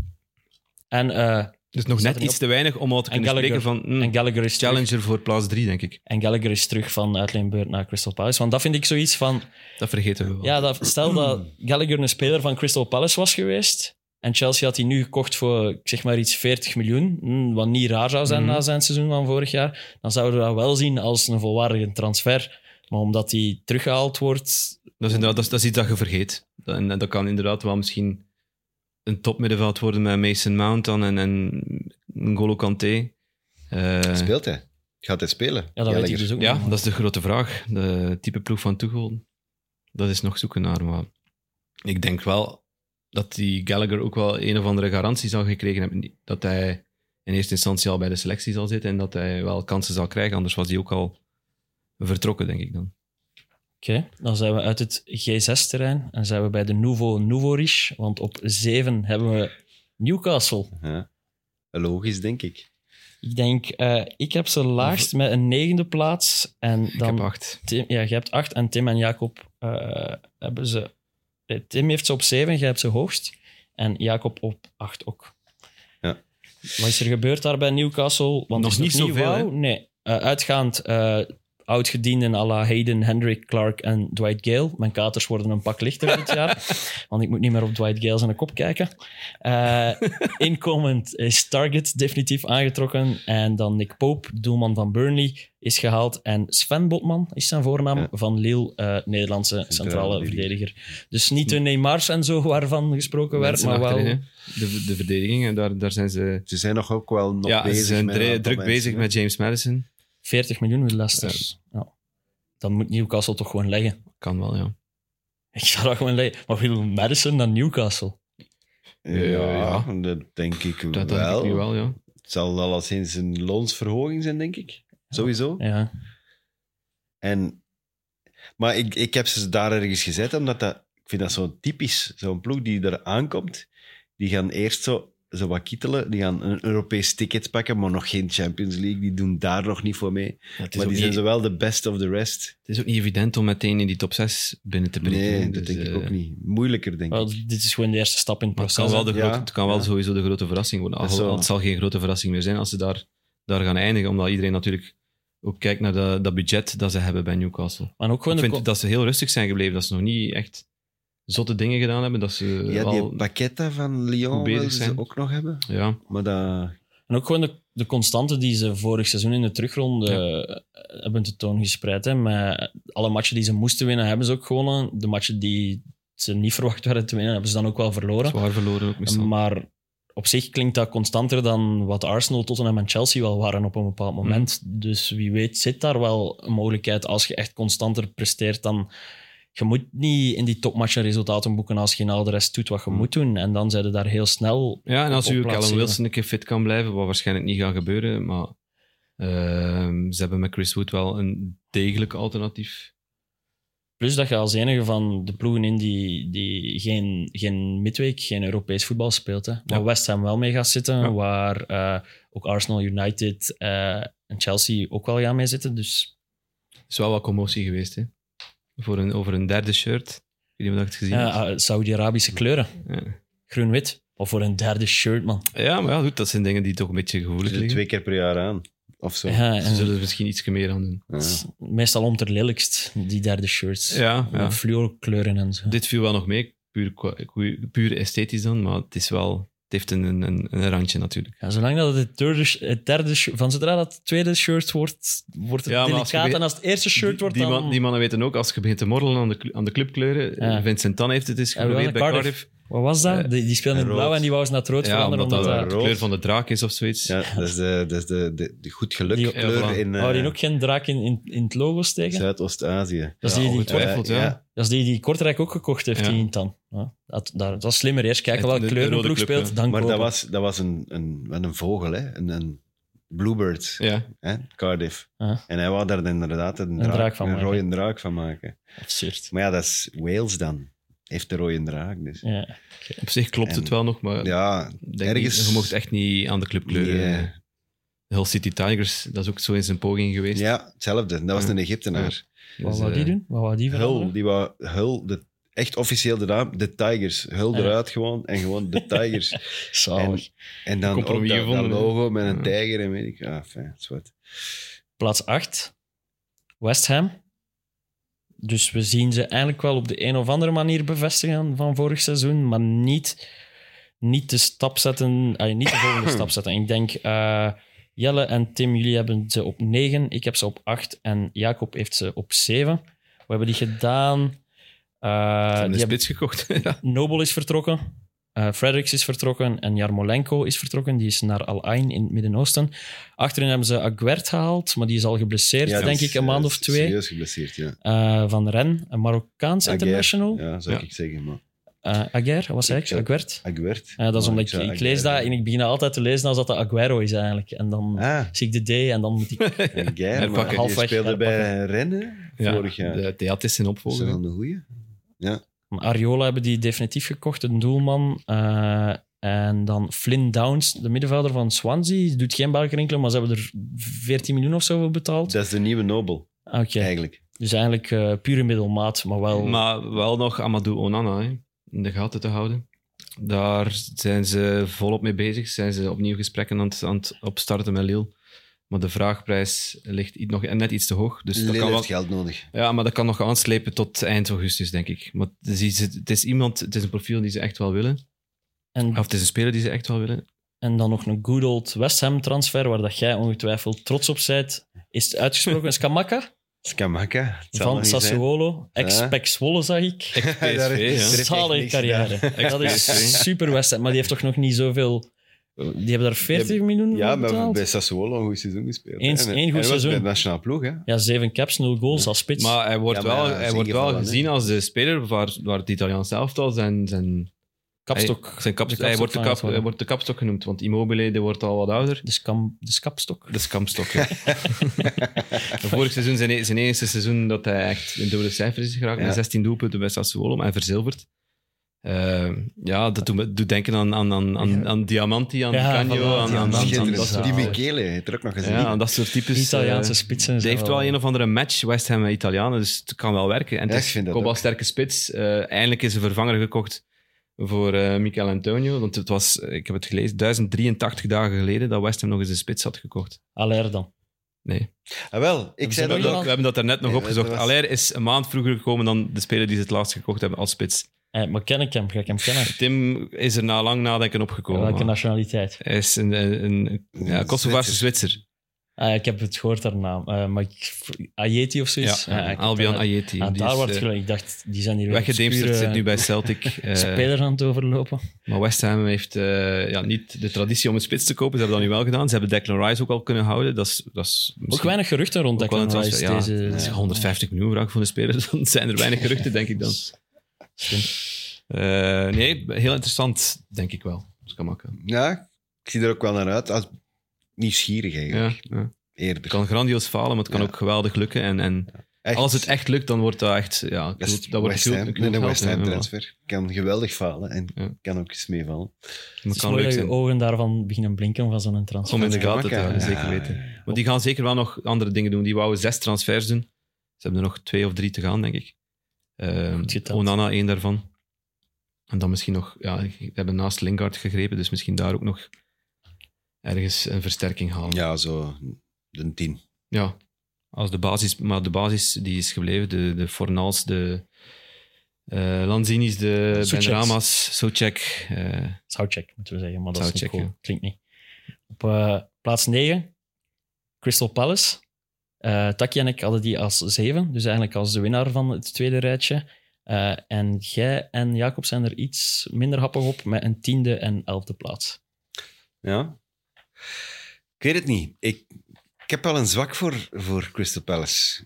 S3: En, eh,
S4: Dus nog
S3: Staat
S4: net
S3: er niet
S4: iets te weinig om al te
S3: En
S4: kunnen spreken
S3: Gallagher.
S4: van mm,
S3: en Gallagher is terug.
S4: challenger voor plaats 3, denk ik.
S3: En Gallagher is terug van uitleenbeurt naar Crystal Palace. Want dat vind ik zoiets van...
S4: Dat vergeten we wel.
S3: Ja, dat, stel dat Gallagher een speler van Crystal Palace was geweest. En Chelsea had hij nu gekocht voor ik zeg maar iets 40 miljoen. hm, Wat niet raar zou zijn
S4: Mhm.
S3: na zijn seizoen van vorig jaar. Dan zouden we dat wel zien als een volwaardige transfer. Maar omdat hij teruggehaald wordt.
S4: Dat, is inderdaad, dat, is, dat is iets dat je vergeet. Dat- En en dat kan inderdaad wel misschien een topmiddenveld worden met Mason Mount dan en, en N'Golo Kanté. Eh,
S2: Speelt hij? Gaat hij spelen?
S3: Ja, dat weet ik dus ook
S4: Ja,
S3: niet.
S4: dat is de grote vraag. De type ploeg van Tuchel, dat is nog zoeken naar. Maar ik denk wel dat die Gallagher ook wel een of andere garantie zal gekregen hebben. Dat hij in eerste instantie al bij de selectie zal zitten en dat hij wel kansen zal krijgen. Anders was hij ook al vertrokken, denk ik dan.
S3: Oké, dan zijn we uit het G6-terrein. En zijn we bij de Nouveau Nouveau Riche. Want op 7 hebben we Newcastle.
S2: Ja. Logisch, denk ik.
S3: Ik denk, eh, ik heb ze laagst met een negende plaats. En
S4: Ik
S3: dan
S4: heb acht.
S3: Tim, ja, je hebt acht en Tim en Jacob eh, hebben ze. nee, Tim heeft ze op zeven, jij hebt ze hoogst. En Jacob op acht ook.
S2: Ja.
S3: Wat is er gebeurd daar bij Newcastle? Want
S4: Nog
S3: het is
S4: niet zoveel,
S3: wauw. Nee. Eh, uitgaand eh oudgedienden à la Hayden, Hendrik, Clark en Dwight Gale. Mijn katers worden een pak lichter dit jaar. Want ik moet niet meer op Dwight Gale zijn kop kijken. Eh, inkomend is Target definitief aangetrokken. En dan Nick Pope, doelman van Burnley, is gehaald. En Sven Botman is zijn voornaam,
S2: Ja.
S3: van Lille, eh, Nederlandse centrale, verdediger.
S2: verdediger.
S3: Dus niet de Neymars en zo waarvan gesproken werd,
S4: Mensen
S3: maar wel...
S4: achterin, hè. De, de verdediging, en daar, daar zijn ze...
S2: Ze zijn nog ook wel nog
S4: ja,
S2: bezig
S4: ze zijn
S2: met een
S4: dre-
S2: aantal
S4: druk
S2: mensen,
S4: bezig
S2: hè.
S4: met James Madison.
S3: 40 miljoen met Leicester. Ja. Dan moet Newcastle toch gewoon leggen.
S4: Kan wel, ja.
S3: Ik zou dat gewoon leggen. Maar wil Madison naar Newcastle?
S2: Ja, dat denk ik
S4: Dat denk
S2: wel.
S4: ik nu wel, ja.
S2: Het zal al eens een loonsverhoging zijn, denk ik. Sowieso.
S3: Ja.
S2: En, maar ik, ik heb ze daar ergens gezet, omdat dat, ik vind dat zo typisch. Zo'n ploeg die er aankomt, die gaan eerst zo, zo wat kittelen. Die gaan een Europees ticket pakken, maar nog geen Champions League. Die doen daar nog niet voor mee.
S4: Het is
S2: Maar
S4: ook
S2: die zijn
S4: niet-
S2: zowel de best of the rest.
S4: Het is ook niet evident om meteen in die top 6 binnen te breken.
S2: Nee,
S4: hè.
S2: dat
S4: Dus,
S2: denk ik
S4: eh,
S2: ook niet. Moeilijker, denk
S3: Wel,
S2: ik.
S3: dit is gewoon de eerste stap in het
S4: Maar het
S3: proces.
S4: kan wel,
S3: hè.
S4: de
S2: Ja,
S4: grote, het kan wel
S2: ja.
S4: sowieso de grote verrassing worden.
S2: Dat is
S4: Alhoewel,
S2: wel-
S4: het zal geen grote verrassing meer zijn als ze daar, daar gaan eindigen. Omdat iedereen natuurlijk ook kijkt naar de, dat budget dat ze hebben bij Newcastle.
S3: Maar ook gewoon
S4: Ik
S3: de
S4: vind
S3: ko-
S4: dat ze heel rustig zijn gebleven. Dat ze nog niet echt zotte dingen gedaan hebben. Dat ze
S2: Ja,
S4: wel-
S2: die pakketten van Lyon
S4: goed bezig
S2: wilden ze
S4: zijn.
S2: ook nog hebben.
S4: ja.
S2: Maar dat...
S3: En ook gewoon de, de constante die ze vorig seizoen in de terugronde eh, hebben tentoon gespreid. Hè. Met alle matchen die ze moesten winnen, hebben ze ook gewonnen. De matchen die ze niet verwacht werden te winnen, hebben ze dan ook wel verloren.
S4: zwaar verloren ook misschien.
S3: Maar op zich klinkt dat constanter dan wat Arsenal, Tottenham en Chelsea wel waren op een bepaald moment. Dus wie weet zit daar wel een mogelijkheid als je echt constanter presteert dan... Je moet niet in die topmatchen resultaten boeken als je nou de rest doet wat je
S4: Mm.
S3: moet doen. En dan zijn ze daar heel snel
S4: Ja, en als
S3: op
S4: u
S3: plaats
S4: Callum
S3: zeven.
S4: Wilson een keer fit kan blijven, wat waarschijnlijk niet gaat gebeuren, maar Ehm, ze hebben met Chris Wood wel een degelijk alternatief.
S3: Plus dat je als enige van de ploegen in die, die geen, geen midweek, geen Europees voetbal speelt. Hè. Waar
S4: Ja.
S3: West Ham wel mee gaat zitten,
S4: Ja.
S3: waar eh, ook Arsenal, United eh, en Chelsea ook wel gaan mee zitten. Dus
S4: Het is wel wat commotie geweest, hè? Voor een, over een derde shirt. Ik weet niet of je het gezien hebt.
S3: ja, eh, Saudi-Arabische kleuren.
S4: Ja.
S3: Groen-wit. Of voor een derde shirt, man.
S4: Ja, maar ja, goed, dat zijn dingen die toch een beetje gevoelig
S2: Dus
S4: liggen.
S2: twee keer per jaar aan. Of zo.
S3: Ja, en
S4: Ze zullen er misschien iets meer aan doen.
S2: Ja.
S3: het is Meestal om ter lelijkst, die derde shirts.
S4: Ja, ja.
S3: Met Fluorkleuren en zo.
S4: Dit viel wel nog mee, puur, qua- qua- puur esthetisch dan, maar het is wel... Het heeft een, een, een- een randje natuurlijk.
S3: Ja, zolang dat het, derde, sh- het derde sh- van zodra dat het tweede shirt wordt, wordt het
S4: Ja, maar als je
S3: delicaat.
S4: be-
S3: En als het eerste shirt
S4: die,
S3: wordt,
S4: die,
S3: dan...
S4: man- die mannen weten ook, als je begint te morrelen aan de, cl- aan de clubkleuren...
S3: Ja.
S4: eh, Vincent Tan heeft het eens
S3: Ja, wel,
S4: geprobeerd bij
S3: Cardiff.
S4: Cardiff.
S3: Wat was dat?
S4: Eh,
S3: Die, die speelde in
S2: rood.
S3: blauw en die wou ze naar het rood
S4: Ja,
S3: veranderen.
S4: omdat dat
S3: omdat
S4: de
S2: rood.
S4: kleur van de draak is of zoiets.
S2: Ja, dat is de, dat is de, de, de goed geluk
S3: Die-
S2: kleur
S4: Ja, voilà.
S2: in
S3: dat-
S2: eh,
S3: Wou die ook geen draak in, in, in het logo steken?
S2: Zuidoost-Azië.
S3: Dat is die, die,
S4: ongetwijfeld,
S2: Eh,
S4: ja.
S2: ja.
S3: dat is die die Kortrijk ook gekocht heeft,
S4: Ja.
S3: die Intan. Ja, dat, dat, dat was slimmer. Eerst kijken
S4: Het-
S3: welke
S4: de- de
S3: kleur een
S4: rode
S3: ploeg
S4: club,
S3: speelt,
S4: ja.
S3: dan
S2: Maar dat
S3: kopen.
S2: was, dat was een, een, wel een vogel, hè? Een, een bluebird,
S4: Ja.
S2: hè? Cardiff.
S3: Ja.
S2: En hij wou daar inderdaad een, draak,
S3: draak van
S2: een
S3: maken.
S2: rode draak van maken.
S3: Absurd.
S2: Maar ja, dat is Wales dan. Heeft de rode draak, dus. Ja,
S3: Ja.
S4: Op zich klopt het
S2: En-
S4: wel nog, maar... ik denk
S2: ergens...
S4: niet- je mocht echt niet aan de clubkleuren...
S2: Nee.
S4: eh, Hull City Tigers, dat is ook zo eens een poging geweest.
S2: ja, hetzelfde. Dat was
S4: Ja.
S2: een Egyptenaar.
S3: Wat
S4: Dus,
S3: wou die
S4: eh,
S3: doen? Wat wou Ah. die
S2: Hul,
S3: veranderen?
S2: die wou Hul, de, echt officieel de naam, de Tigers. Hul
S3: Ah, Ja.
S2: eruit gewoon en gewoon de Tigers.
S3: Zalig.
S2: En dan ook dat,
S4: compromis
S2: dat
S4: gevonden, hè?
S2: logo met een
S4: Ja.
S2: tijger en weet ik. Ah, fijn, zwart.
S3: Plaats 8, West Ham. Dus we zien ze eigenlijk wel op de een of andere manier bevestigen van vorig seizoen, maar niet, niet de stap zetten, ah, niet de volgende stap zetten. Ik denk, eh, Jelle en Tim, jullie hebben ze op 9, ik heb ze op 8 en Jacob heeft ze op 7. We hebben die gedaan. Eh,
S4: Ze
S3: die
S4: hebben een
S3: hebben-
S4: spits gekocht. ja.
S3: Nobel is vertrokken. eh Fredericks is vertrokken en Jarmolenko is vertrokken. Die is naar Al Ain in het Midden-Oosten. Achterin hebben ze Aguert gehaald, maar die is al geblesseerd,
S2: Ja,
S3: denk
S2: die
S3: ik,
S2: is,
S3: een maand
S2: eh,
S3: of twee.
S2: Serieus geblesseerd, ja.
S3: Eh, van Ren, een Marokkaans
S2: Aguert,
S3: international.
S2: Ja, zou
S4: Ja.
S2: ik zeggen, maar...
S3: Eh Aguer, wat zei ik?
S2: Ik-
S3: Aguert.
S2: Aguert.
S3: Eh, dat is
S2: Maar
S3: omdat ik,
S2: Ah, zou
S3: ik lees
S2: Aguert
S3: dat en ik begin altijd te lezen als dat de Aguero is eigenlijk. En dan
S2: Ah,
S3: zie ik de D en dan moet ik...
S2: Aguert. maar
S4: Herpakken.
S2: die
S3: Halfweg
S2: speelde bij
S3: herpakken.
S2: Rennen
S4: Ja,
S2: vorig jaar.
S4: De Theat is zijn
S2: Is dat
S4: opvolger.
S2: dan de goeie?
S3: Maar Ariola hebben die definitief gekocht, een doelman. Eh, en dan Flynn Downs, de middenvelder van Swansea. Die doet geen belgenkelen, maar ze hebben er 14 miljoen of zo voor betaald.
S2: Dat is de nieuwe Nobel,
S3: Oké,
S2: eigenlijk.
S3: dus eigenlijk eh, pure middelmaat, maar wel...
S4: Maar wel nog Amadou Onana hè, in de gaten te houden. Daar zijn ze volop mee bezig. Zijn ze opnieuw gesprekken aan het, aan het opstarten met Lille. Maar de vraagprijs ligt i- nog net iets te hoog. Dus dat
S2: Lille
S4: kan wel,
S2: heeft geld nodig.
S4: ja, maar dat kan nog aanslepen tot eind augustus, denk ik. Maar het is, iets- het is iemand, het is een profiel die ze echt wel willen. Of
S3: en,
S4: het is een speler die ze echt wel willen.
S3: en dan nog een good old West Ham transfer, waar dat jij ongetwijfeld trots op bent. Is het uitgesproken Skamaka
S2: Skamaka. het zal nog
S3: van
S2: niet zijn.
S3: Sassuolo.
S2: Ja.
S3: Ex-Pek Zwolle, zag ik.
S2: Daar
S4: PSV,
S2: is- er
S4: ja.
S2: heeft echt
S3: Zalige
S2: niks
S3: carrière. Dat is
S4: Ex-PSV.
S3: super West Ham, maar die heeft toch nog niet zoveel... Die hebben daar 40 miljoen voor
S2: Ja, maar we hebben
S3: betaald?
S2: bij Sassuolo een goed seizoen gespeeld.
S3: Eens-
S2: hè. En-
S3: één goed
S2: en hij was
S3: seizoen.
S2: Bij de nationale ploeg, hè?
S3: Ja, zeven caps, nul goals als spits.
S4: Maar hij wordt
S2: Ja, maar ja,
S4: wel,
S2: hij is
S4: hij wordt wel
S2: ingevallen, hè.
S4: gezien als de speler waar, waar het Italiaans elftal zijn, zijn
S3: kapstok.
S4: Hij, zijn kapstok,
S3: De
S4: hij, wordt de
S3: kapstok
S4: kap,
S3: van het
S4: hij wordt de kapstok genoemd, want Immobile die wordt al wat ouder.
S3: Dus, kam, dus kapstok.
S4: De skamstok. ja. Vorig seizoen, zijn, e- zijn eerste seizoen, dat hij echt in dubbele cijfers is geraakt.
S2: Ja.
S4: Met 16 doelpunten bij Sassuolo, maar hij verzilverd. Eh, ja, dat doet, me- doet denken aan, aan, aan, aan, aan Diamanti, aan
S3: Ja,
S4: Canio,
S3: voilà,
S4: aan, aan, aan, aan,
S2: Schitterend.
S4: dat soort,
S2: Die
S3: zalig.
S2: Michele heeft er ook nog gezien.
S4: ja, aan dat soort types.
S3: Italiaanse
S4: eh,
S3: spitsen.
S4: die
S3: zijn
S4: heeft wel een of andere match, West Ham en Italianen, dus het kan wel werken. En
S2: Ja,
S4: het
S2: ik
S4: is
S2: vind dat
S4: Kobal
S2: ook.
S4: sterke spits. Eh, eindelijk is een vervanger gekocht voor eh Michael Antonio, want het was, eh, ik heb het gelezen, 1083 dagen geleden dat West Ham nog eens een spits had gekocht.
S3: Aller dan.
S4: Nee.
S2: Ah, wel, ik
S3: ze
S2: zei
S3: nog
S2: dat ook.
S4: We
S3: iemand?
S4: hebben dat daarnet nog
S2: Nee,
S4: opgezocht.
S2: dat was-
S4: Allaire is een maand vroeger gekomen dan de speler die ze het laatst gekocht hebben als spits.
S3: Eh, maar ken ik hem? Ga ik hem kennen?
S4: Tim is er na lang nadenken opgekomen.
S3: Welke
S4: maar
S3: nationaliteit?
S4: Hij is een, een, een ja, Kosovaarse Zwitser.
S3: Ah, ik heb het gehoord, haar naam. Eh, maar ik, Ayeti of zoiets?
S4: Ja,
S3: Ah, ik-
S4: Albion
S3: ah,
S4: Ayeti.
S3: ah,
S4: Die
S3: daar
S4: is,
S3: wordt
S4: eh,
S3: gelijk. Ik dacht, die zijn hier weer
S4: Weggedemsterd
S3: obscure
S4: zit nu bij Celtic. eh,
S3: Spelers aan het overlopen.
S4: Maar West Ham heeft eh, ja, niet de traditie om een spits te kopen. Ze hebben dat nu wel gedaan. Ze hebben Declan Rice ook al kunnen houden. Dat is, dat is
S3: Ook
S4: misschien
S3: weinig geruchten rond
S4: ook wel een
S3: Declan Rice.
S4: transfer. Ja,
S3: deze,
S4: het is 150 miljoen vraag voor een speler. Dan zijn er weinig geruchten, denk ik dan.
S3: Slim.
S4: Eh, nee, heel interessant, denk ik wel. Dat kan maken.
S2: Ja, ik zie er ook wel naar uit. Als nieuwsgierig eigenlijk.
S4: Ja, ja.
S2: Eerder.
S4: Het kan grandioos falen, maar het kan
S2: Ja.
S4: ook geweldig lukken. En, en
S2: Echt.
S4: als het echt lukt, dan wordt dat echt... Ja, ik
S2: Dat is
S4: bedoel, dat wordt
S2: West
S4: heel-
S2: Ham.
S4: heel
S2: Nee, de
S4: geld,
S2: West
S4: ja,
S2: Ham
S4: ja.
S2: transfer. Kan geweldig falen en
S4: Ja.
S2: kan ook eens meevallen.
S4: Maar
S3: Het
S4: het
S3: is
S4: kan
S3: mooi
S4: leuk
S3: dat je
S4: zijn.
S3: ogen daarvan beginnen blinken van zo'n transfer.
S4: Om in de
S2: Dat
S4: gaten te
S2: kan,
S4: houden,
S2: ja.
S4: zeker weten. Maar die gaan zeker wel nog andere dingen doen. Die wouden zes transfers doen. Ze hebben er nog twee of drie te gaan, denk ik. Ehm,
S3: Goed geteld.
S4: Onana, één daarvan. En dan misschien nog... Ja, we hebben naast Lingard gegrepen, dus misschien daar ook nog ergens een versterking halen.
S2: Ja, zo de tien.
S4: Ja, als de basis, maar de basis die is gebleven. De, de Fornals, de eh Lanzinis, de
S3: Souceks.
S4: Benrama's, Socek. eh
S3: Soundcheck, moeten we zeggen. Maar dat is niet
S4: Soundcheck,
S3: cool.
S4: ja.
S3: Klinkt niet. Op eh, plaats 9, Crystal Palace. Eh Taki en ik hadden die als 7, dus eigenlijk als de winnaar van het tweede rijtje. Eh, en jij en Jacob zijn er iets minder happig op met een tiende en elfde plaats.
S2: Ja. Ik weet het niet. Ik, ik heb wel een zwak voor, voor Crystal Palace.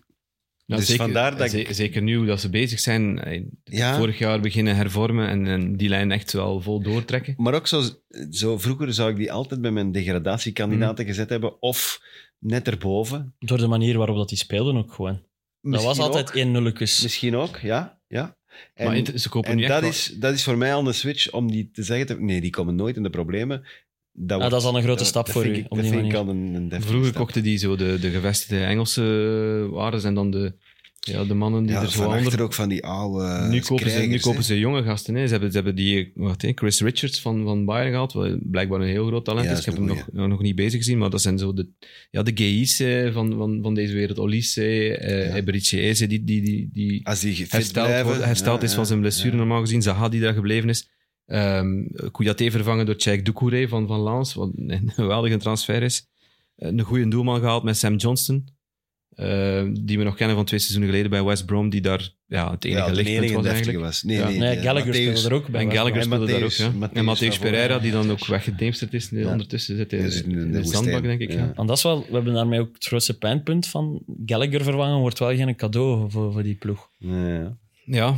S4: ja,
S2: Dus vandaar dat ik-
S4: ze- Zeker nu dat ze bezig zijn. eh,
S2: Ja,
S4: Vorig jaar beginnen hervormen en, en die lijn echt wel vol doortrekken.
S2: maar ook zo, zo vroeger zou ik die altijd bij mijn degradatiekandidaten
S4: Hmm.
S2: gezet hebben. Of net erboven.
S3: Door de manier waarop dat die speelden ook gewoon.
S2: Misschien
S3: dat was altijd
S2: ook.
S3: 1 0 kus.
S2: Misschien ook, ja. ja. En,
S4: maar inter- ze kopen
S2: en
S4: nu echt
S2: dat,
S4: wel-
S2: is, dat is voor mij al een switch om die te zeggen... te- nee, die komen nooit in de problemen.
S4: Ah,
S2: Dat, wordt-
S3: Ah, dat is al een grote
S2: dat-
S3: stap
S2: dat
S3: voor
S2: vind
S3: u,
S2: ik-
S3: op
S2: dat
S3: die
S2: vind ik
S3: manier.
S2: al een, een deftige
S4: Vroeger
S2: stap.
S4: kochten die zo de, de gevestigde Engelse waarden en dan de, ja, de mannen die
S2: ja,
S4: er zo
S2: van
S4: onder
S2: achter ook van die oude
S4: nu kopen, ze, nu
S2: krijgers, hè.
S4: kopen ze jonge gasten. Hè. Ze, hebben, ze hebben die wat, hè, Chris Richards van, van Bayern gehaald, wat blijkbaar een heel groot talent
S2: Ja,
S4: is.
S2: dat
S4: Ik
S2: is
S4: heb hem
S2: een
S4: nog, nog niet bezig gezien, maar dat zijn zo de, ja, de GI's eh, van, van, van deze wereld. Olise,
S2: Ja.
S4: eh Eberiche Eze, die, die, die, die
S2: Als die fit
S4: hersteld,
S2: blijven,
S4: wordt- hersteld
S2: ja,
S4: is
S2: ja,
S4: van zijn blessure
S2: ja.
S4: normaal gezien. Zaha die daar gebleven is. Ehm Kouyaté vervangen door Tjeik Doucouré van, van Lens, wat een geweldige transfer is. Eh, Een goede doelman gehaald met Sam Johnston. eh, die we nog kennen van twee seizoenen geleden bij West Brom, die daar ja, het enige
S2: Ja, de
S4: lichtpunt
S2: enige
S4: was
S2: deftige
S4: eigenlijk.
S2: was. Nee,
S4: Ja.
S2: nee,
S3: Nee,
S2: de-
S3: Gallagher
S2: Matthäus-
S3: speelde er ook bij.
S4: En Gallagher
S2: En
S4: speelde daar ook,
S2: Matthäus-
S4: ja. en
S2: Matthäus
S4: Matthäus
S2: daarvoor,
S4: Pereira,
S2: ja.
S4: die dan ook weggedemsterd is.
S2: Ja.
S4: Ondertussen zit hij
S2: Ja,
S4: in,
S2: zit
S4: de, zandbak, denk ik. Ja.
S3: En dat is wel, we hebben daarmee ook het woordse pijnpunt van Gallagher vervangen wordt wel geen cadeau voor, voor die ploeg.
S2: Ja, ja.
S4: Ja.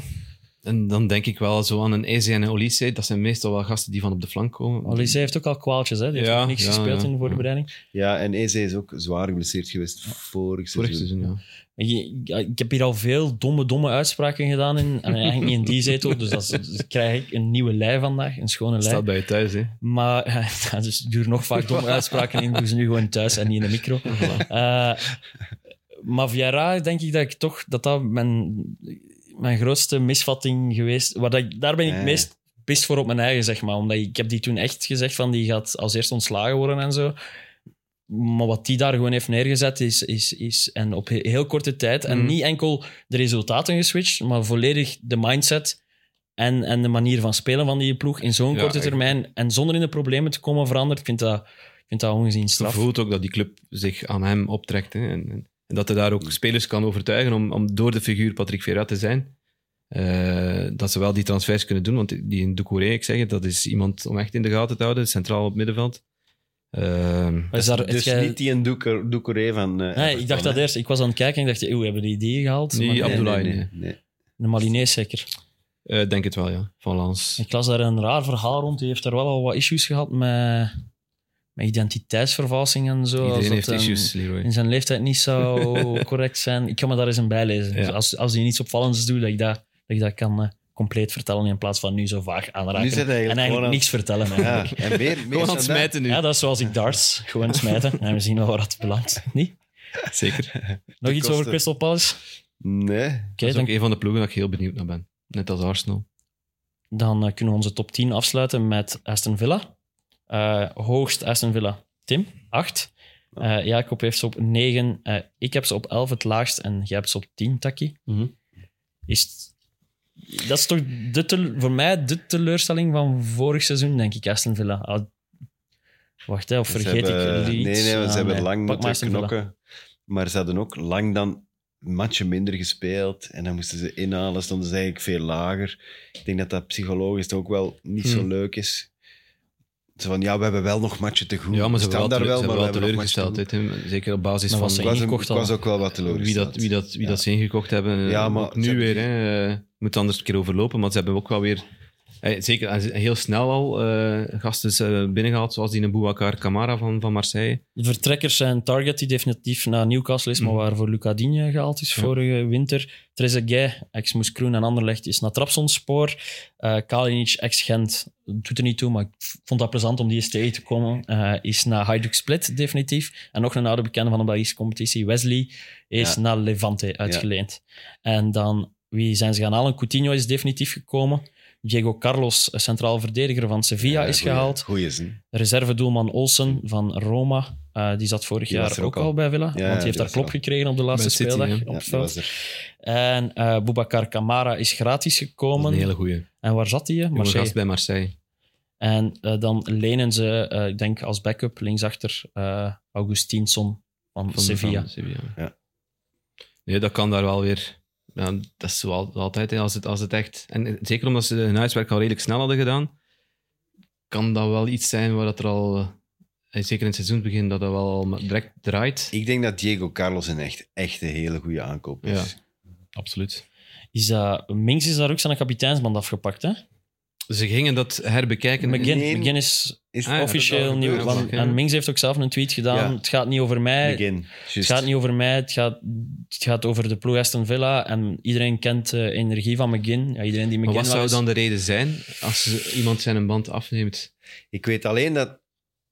S4: En dan denk ik wel zo aan een Eze en een Olise. Dat zijn meestal wel gasten die van op de flank komen.
S3: Alice heeft ook al kwaaltjes, hè? die heeft
S4: Ja,
S3: nog niks
S4: ja,
S3: gespeeld
S4: ja, ja.
S3: in de voorbereiding.
S2: Ja, en EZ is ook zwaar geblesseerd geweest vorig seizoen.
S4: Vorig seizoen, ja.
S3: Je- ja, Ik heb hier al veel domme, domme uitspraken gedaan. In, en eigenlijk niet in die zetel, dus dat is- dus krijg ik een nieuwe lei vandaag. Een schone lei.
S4: Staat bij je thuis, hè.
S3: Maar ja, dat is duur nog vaak domme uitspraken in. Doe ze nu gewoon thuis en niet in de micro. Eh, maar Viera, denk ik dat ik toch dat dat mijn, mijn grootste misvatting geweest. Waar dat, ik- daar ben ik het
S2: Ja.
S3: meest pist voor op mijn eigen, zeg maar. Omdat ik, ik heb die toen echt gezegd van die gaat als eerst ontslagen worden en zo. Maar wat die daar gewoon heeft neergezet is, is, is en op he- heel korte tijd. En
S4: Mhm.
S3: niet enkel de resultaten geswitcht, maar volledig de mindset en, en de manier van spelen van die ploeg in zo'n
S4: Ja,
S3: korte
S4: echt.
S3: termijn. En zonder in de problemen te komen veranderd. Ik vind dat, ik vind dat ongezien
S4: Je
S3: straf.
S4: voelt ook dat die club zich aan hem optrekt. Hè. En, en dat hij daar ook spelers kan overtuigen om, om door de figuur Patrick Vera te zijn. Eh, dat ze wel die transfers kunnen doen. Want die in Doucouré, ik zeg het, dat is iemand om echt in de gaten te houden. Centraal op middenveld. Ehm,
S3: Maar Is daar, heb
S2: Dus
S3: jij-
S2: niet die een Doeker- Doekeré van... eh,
S3: Nee, ik
S2: Everton,
S3: dacht dat
S2: hè.
S3: eerst. Ik was aan het kijken en ik dacht, eeuw, hebben die die gehaald?
S4: Nee,
S3: Maar
S4: ja.
S2: Nee,
S4: Abdoulaye,
S2: nee, nee,
S4: nee.
S2: nee.
S3: De Malinees zeker.
S4: eh, denk het wel, ja. Van Lans.
S3: Ik las daar een raar verhaal rond. Die heeft daar wel al wat issues gehad met, met identiteitsvervalsing en zo. Als
S4: Iedereen
S3: dat
S4: heeft
S3: een-
S4: issues, Leroy.
S3: In zijn leeftijd niet zou correct zijn. Ik kan me daar eens een bijlezen.
S4: Ja.
S3: Dus als, als hij niets opvallends doet, dat ik dat, dat, ik dat kan eh, compleet vertellen in plaats van nu zo vaag aanraken.
S2: Nu zit hij eigenlijk
S3: en eigenlijk
S2: gewoon aan-
S3: niks vertellen.
S2: Ja,
S3: Eigenlijk.
S2: Ah, en meer, meer
S4: Gewoon aan
S2: dan
S4: het
S2: dat.
S4: smijten nu.
S3: Ja, dat is zoals ik darts. Gewoon smijten. En we zien wel waar dat belandt. Niet?
S4: Zeker. Dat
S3: Nog iets over
S2: kosten.
S3: Crystal Palace? Oké,
S2: Nee.
S4: is
S3: dan,
S4: ook een van de ploegen dat ik heel benieuwd naar ben. Net als Arsenal.
S3: dan eh, kunnen we onze top 10 afsluiten met Aston Villa. Eh, hoogst Aston Villa. Tim, 8. Jacob heeft ze op 9. ik heb ze op 11 het laagst. En jij hebt ze op 10, Taki.
S2: Mhm.
S3: Is het- dat is toch de tele- voor mij de teleurstelling van vorig seizoen, denk ik, Aston Villa. Ah, wacht, hè, of
S2: Ze
S3: vergeet
S2: hebben-
S3: ik
S2: Nee,
S3: jullie
S2: nee,
S3: iets?
S2: ze
S3: Ah,
S2: hebben
S3: nee.
S2: lang
S3: Pak maar
S2: moeten
S3: Aston Villa.
S2: knokken. Maar ze hadden ook lang dan matchen minder gespeeld. En dan moesten ze inhalen, stonden ze eigenlijk veel lager. Ik denk dat dat psychologisch ook wel niet zo
S4: Hmm.
S2: leuk is. Zo van, ja, we hebben wel nog matchen te goed.
S4: Ja, maar ze
S2: We
S4: hebben wel,
S2: staan daar
S4: teleur- ze hebben wel
S2: maar we hebben nog matchen te
S4: teleurgesteld.
S2: goed.
S4: hè, Tim. Zeker op basis
S3: Maar
S4: van...
S3: was
S2: Ik
S3: ze
S2: was, hem-
S3: ingekocht
S2: ik was ook wel wat teleurgesteld.
S4: wie dat, wie dat, wie
S2: Ja.
S4: dat ze ingekocht hebben.
S2: Ja,
S4: Ja,
S2: maar
S4: maar nu
S2: ze hebben-
S4: weer. Hè, eh, moet anders een keer overlopen. Maar ze hebben ook wel weer Eh, zeker, en ze- en heel snel al eh, gasten eh, binnengehaald, zoals die Boubacar Camara van, van Marseille.
S3: De vertrekkers zijn Target, die definitief naar Newcastle is,
S2: Mm.
S3: maar
S4: Mhm.
S3: waarvoor Luca Digne gehaald is
S4: Ja.
S3: vorige winter. Trezeguet, ex-Moes Kroen en Anderlecht, is naar Trabzonspor. Eh Kalinic, ex-Gent, doet er niet toe, maar ik vond dat plezant om die eens tegen te komen. Eh, is naar Hajduk Split, definitief. En nog een oude bekende van de Belgische competitie, Wesley, is
S2: Ja.
S3: naar Levante uitgeleend. En dan, wie zijn ze gaan halen? Coutinho is definitief gekomen. Diego Carlos, een centraal verdediger van Sevilla, is gehaald
S2: Goeie zin.
S3: reservedoelman Olsen
S4: Hm.
S3: van Roma. eh, die zat vorig
S2: Die was
S3: jaar
S2: er
S3: ook
S2: ook
S3: al
S2: al.
S3: bij Villa.
S2: Ja,
S3: want die
S2: die
S3: heeft
S2: was
S3: daar
S2: er
S3: klop
S2: al.
S3: gekregen op de laatste
S4: Bij City,
S3: speeldag.
S4: ja.
S3: op
S2: Ja,
S3: het
S2: dat
S3: veld.
S2: was er.
S3: En eh Boubacar Kamara is gratis
S4: Dat is
S3: gekomen.
S4: een hele goeie.
S3: En waar zat hij? eh?
S4: Jonge
S3: Marseille.
S4: gast bij Marseille.
S3: En eh, dan lenen ze, eh, ik denk als backup, linksachter eh Augustinsson van,
S4: Van
S3: Sevilla.
S4: van Sevilla.
S2: Ja.
S4: Nee, dat kan daar wel weer. Ja, dat is wel altijd, hè, als het, als het echt... En eh, zeker omdat ze hun huiswerk al redelijk snel hadden gedaan, kan dat wel iets zijn waar dat er al... eh, Zeker in het seizoensbegin, dat dat wel al direct draait.
S2: Ik denk dat Diego Carlos een echt, echt een hele goede aankoop is.
S4: Absoluut.
S3: Is dat, Minks is daar ook zijn kapiteinsband afgepakt. Hè?
S4: Ze gingen dat herbekijken.
S3: McGinn,
S2: nee.
S3: McGinn is
S2: Is
S4: Ah, ja, dat is
S3: officieel
S4: al
S3: nieuw.
S4: gebeurd,
S3: want-
S4: ja.
S3: en Minks heeft ook zelf een tweet gedaan.
S2: Ja.
S3: Het gaat niet over mij.
S2: Begin.
S3: Het
S2: Juist.
S3: gaat niet over mij, het gaat, het gaat over de ploeg Aston Villa. En iedereen kent de energie van McGinn. Ja, iedereen die
S4: Maar wat
S3: McGinn wel
S4: zou
S3: eens-
S4: dan de reden zijn als ze- iemand zijn een band afneemt?
S2: Ik weet alleen dat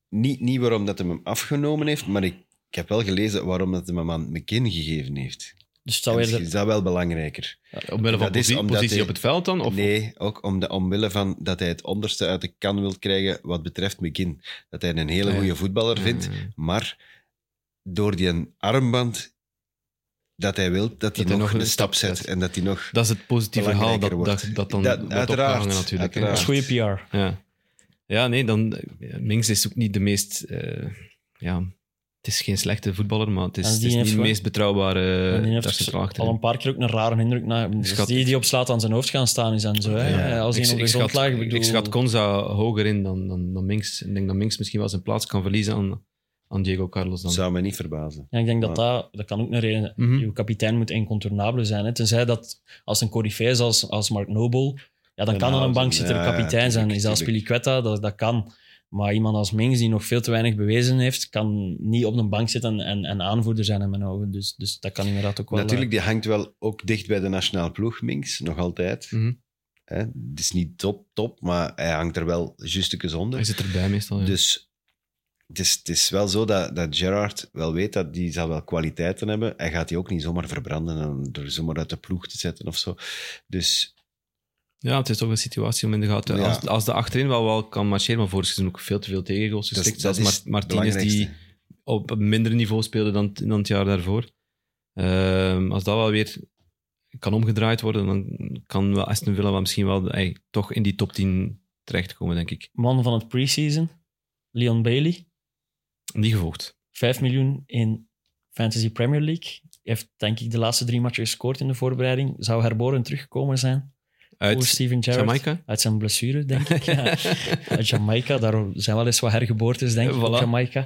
S2: niet, niet waarom dat hem hem afgenomen heeft, maar ik, ik heb wel gelezen waarom dat hem hem aan McKin gegeven heeft.
S3: Dus het
S2: En
S3: zou
S2: Misschien
S3: eerder...
S2: is dat wel belangrijker.
S4: Omwille van
S2: Dat is
S4: posi-
S2: omdat
S4: positie
S2: hij-
S4: op het veld dan? Of
S2: Nee, ook om de, omwille van dat hij het onderste uit de kan wil krijgen wat betreft McGinn. Dat hij een hele
S4: Ja.
S2: goede voetballer
S4: Ja,
S2: vindt,
S4: ja, ja.
S2: maar door die armband dat hij wil, dat, hij nog, een stap zet. En dat hij nog...
S4: Dat is het positieve verhaal dat,
S2: Belangrijker
S4: dat,
S2: wordt.
S4: dat dan
S2: Dat-
S4: wordt
S2: uiteraard,
S4: opgehangen natuurlijk. hè.
S3: Dat is
S2: uiteraard.
S3: goede PR.
S4: Ja. ja, nee, dan... ja, Minks is ook niet de meest... eh, ja, het is geen slechte voetballer, maar het is,
S3: En die
S4: het is
S3: heeft
S4: niet de
S3: gewoon-
S4: meest betrouwbare
S3: en die
S4: daar
S3: heeft
S4: centraal achterin.
S3: al een paar keer ook een rare indruk. Na, dus
S4: schat-
S3: die die op slaat aan zijn hoofd gaan staan is en zo. Hè?
S2: Ja.
S3: Als hij
S4: Ik-
S3: op de
S4: ik
S3: grond
S4: schat-
S3: lag, bedoel...
S4: Ik schat Konza hoger in dan, dan, dan Minks. Ik denk dat Minks misschien wel zijn plaats kan verliezen aan, aan Diego Carlos. Dan.
S2: zou me niet verbazen.
S3: Ja, ik denk dat, dat dat kan ook een reden zijn.
S4: Mhm.
S3: Je kapitein moet incontournabel zijn. Hè? Tenzij dat als een coryfee is als, als Mark Noble, ja, dan
S2: Ja,
S3: kan er een
S2: nou,
S3: bankzitter
S2: ja, ja,
S3: kapitein zijn.
S2: tuurlijk,
S3: Is als
S2: tuurlijk.
S3: Piliquetta, dat, dat kan. Maar iemand als Mings, die nog veel te weinig bewezen heeft, kan niet op een bank zitten en, en aanvoerder zijn in mijn ogen. Dus, dus dat kan inderdaad ook wel... eh,
S2: Natuurlijk, die hangt wel ook dicht bij de nationale ploeg, Minks, nog altijd.
S4: Mhm.
S2: Hè, Het is niet top, top, maar hij hangt er wel justekes
S4: Hij
S2: onder.
S4: zit erbij meestal. Ja.
S2: Dus het is, het is wel zo dat, dat Gerard wel weet dat die zal wel kwaliteiten hebben. Hij gaat die ook niet zomaar verbranden en door zomaar uit de ploeg te zetten of zo. Dus
S4: Ja, het is toch een situatie om in de gaten.
S2: Ja.
S4: Als, als de achterin wel, wel kan marcheren, maar vorig seizoen ook veel te veel tegengoals
S2: dat,
S4: gestikt.
S2: dat
S4: Zelfs
S2: is
S4: Mart- Martinez
S2: belangrijkste.
S4: die op een minder niveau speelde dan, dan het jaar daarvoor. Ehm, als dat wel weer kan omgedraaid worden, dan kan wel Aston Villa wel misschien wel ey, toch in die top 10 terechtkomen, denk ik.
S3: Man van het preseason, Leon Bailey,
S4: Niet gevolgd.
S3: 5 miljoen in Fantasy Premier League. Heeft denk ik de laatste drie matchen gescoord in de voorbereiding. Zou herboren teruggekomen zijn voor
S4: Uit
S3: Steven Gerrard.
S4: Jamaica.
S3: Uit zijn blessure, denk ik. Ja. Uit Jamaica, daar zijn wel eens wat hergeboortes, denk ik, op
S4: Voilà.
S3: Jamaica.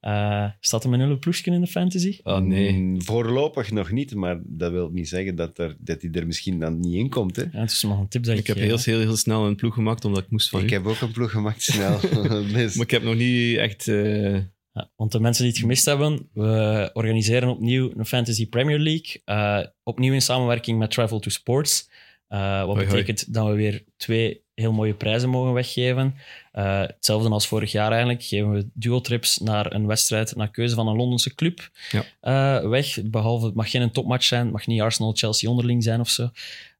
S3: Eh, staat hem een hele ploesje in de fantasy?
S4: Ah nee.
S2: Mm, Voorlopig nog niet, maar dat wil niet zeggen dat, er, dat hij er misschien dan niet in komt. Hè?
S3: Ja, het is nog een tip dat ik,
S4: Ik heb
S3: geef,
S4: heel,
S3: hè.
S4: heel, heel snel een ploeg gemaakt, omdat ik moest van
S2: Ik
S4: u.
S2: heb ook een ploeg gemaakt snel. Dus-
S4: Maar ik heb nog niet echt... eh,
S3: Ja, want de mensen die het gemist hebben, we organiseren opnieuw een Fantasy Premier League. eh, opnieuw in samenwerking met Travel to Sports. Eh, wat
S4: Hoi, hoi.
S3: betekent dat we weer twee heel mooie prijzen mogen weggeven. Eh, hetzelfde als vorig jaar eigenlijk. Geven we duotrips naar een wedstrijd naar keuze van een Londense club eh, weg. Behalve, het mag geen topmatch zijn. Het mag niet Arsenal-Chelsea onderling zijn of zo.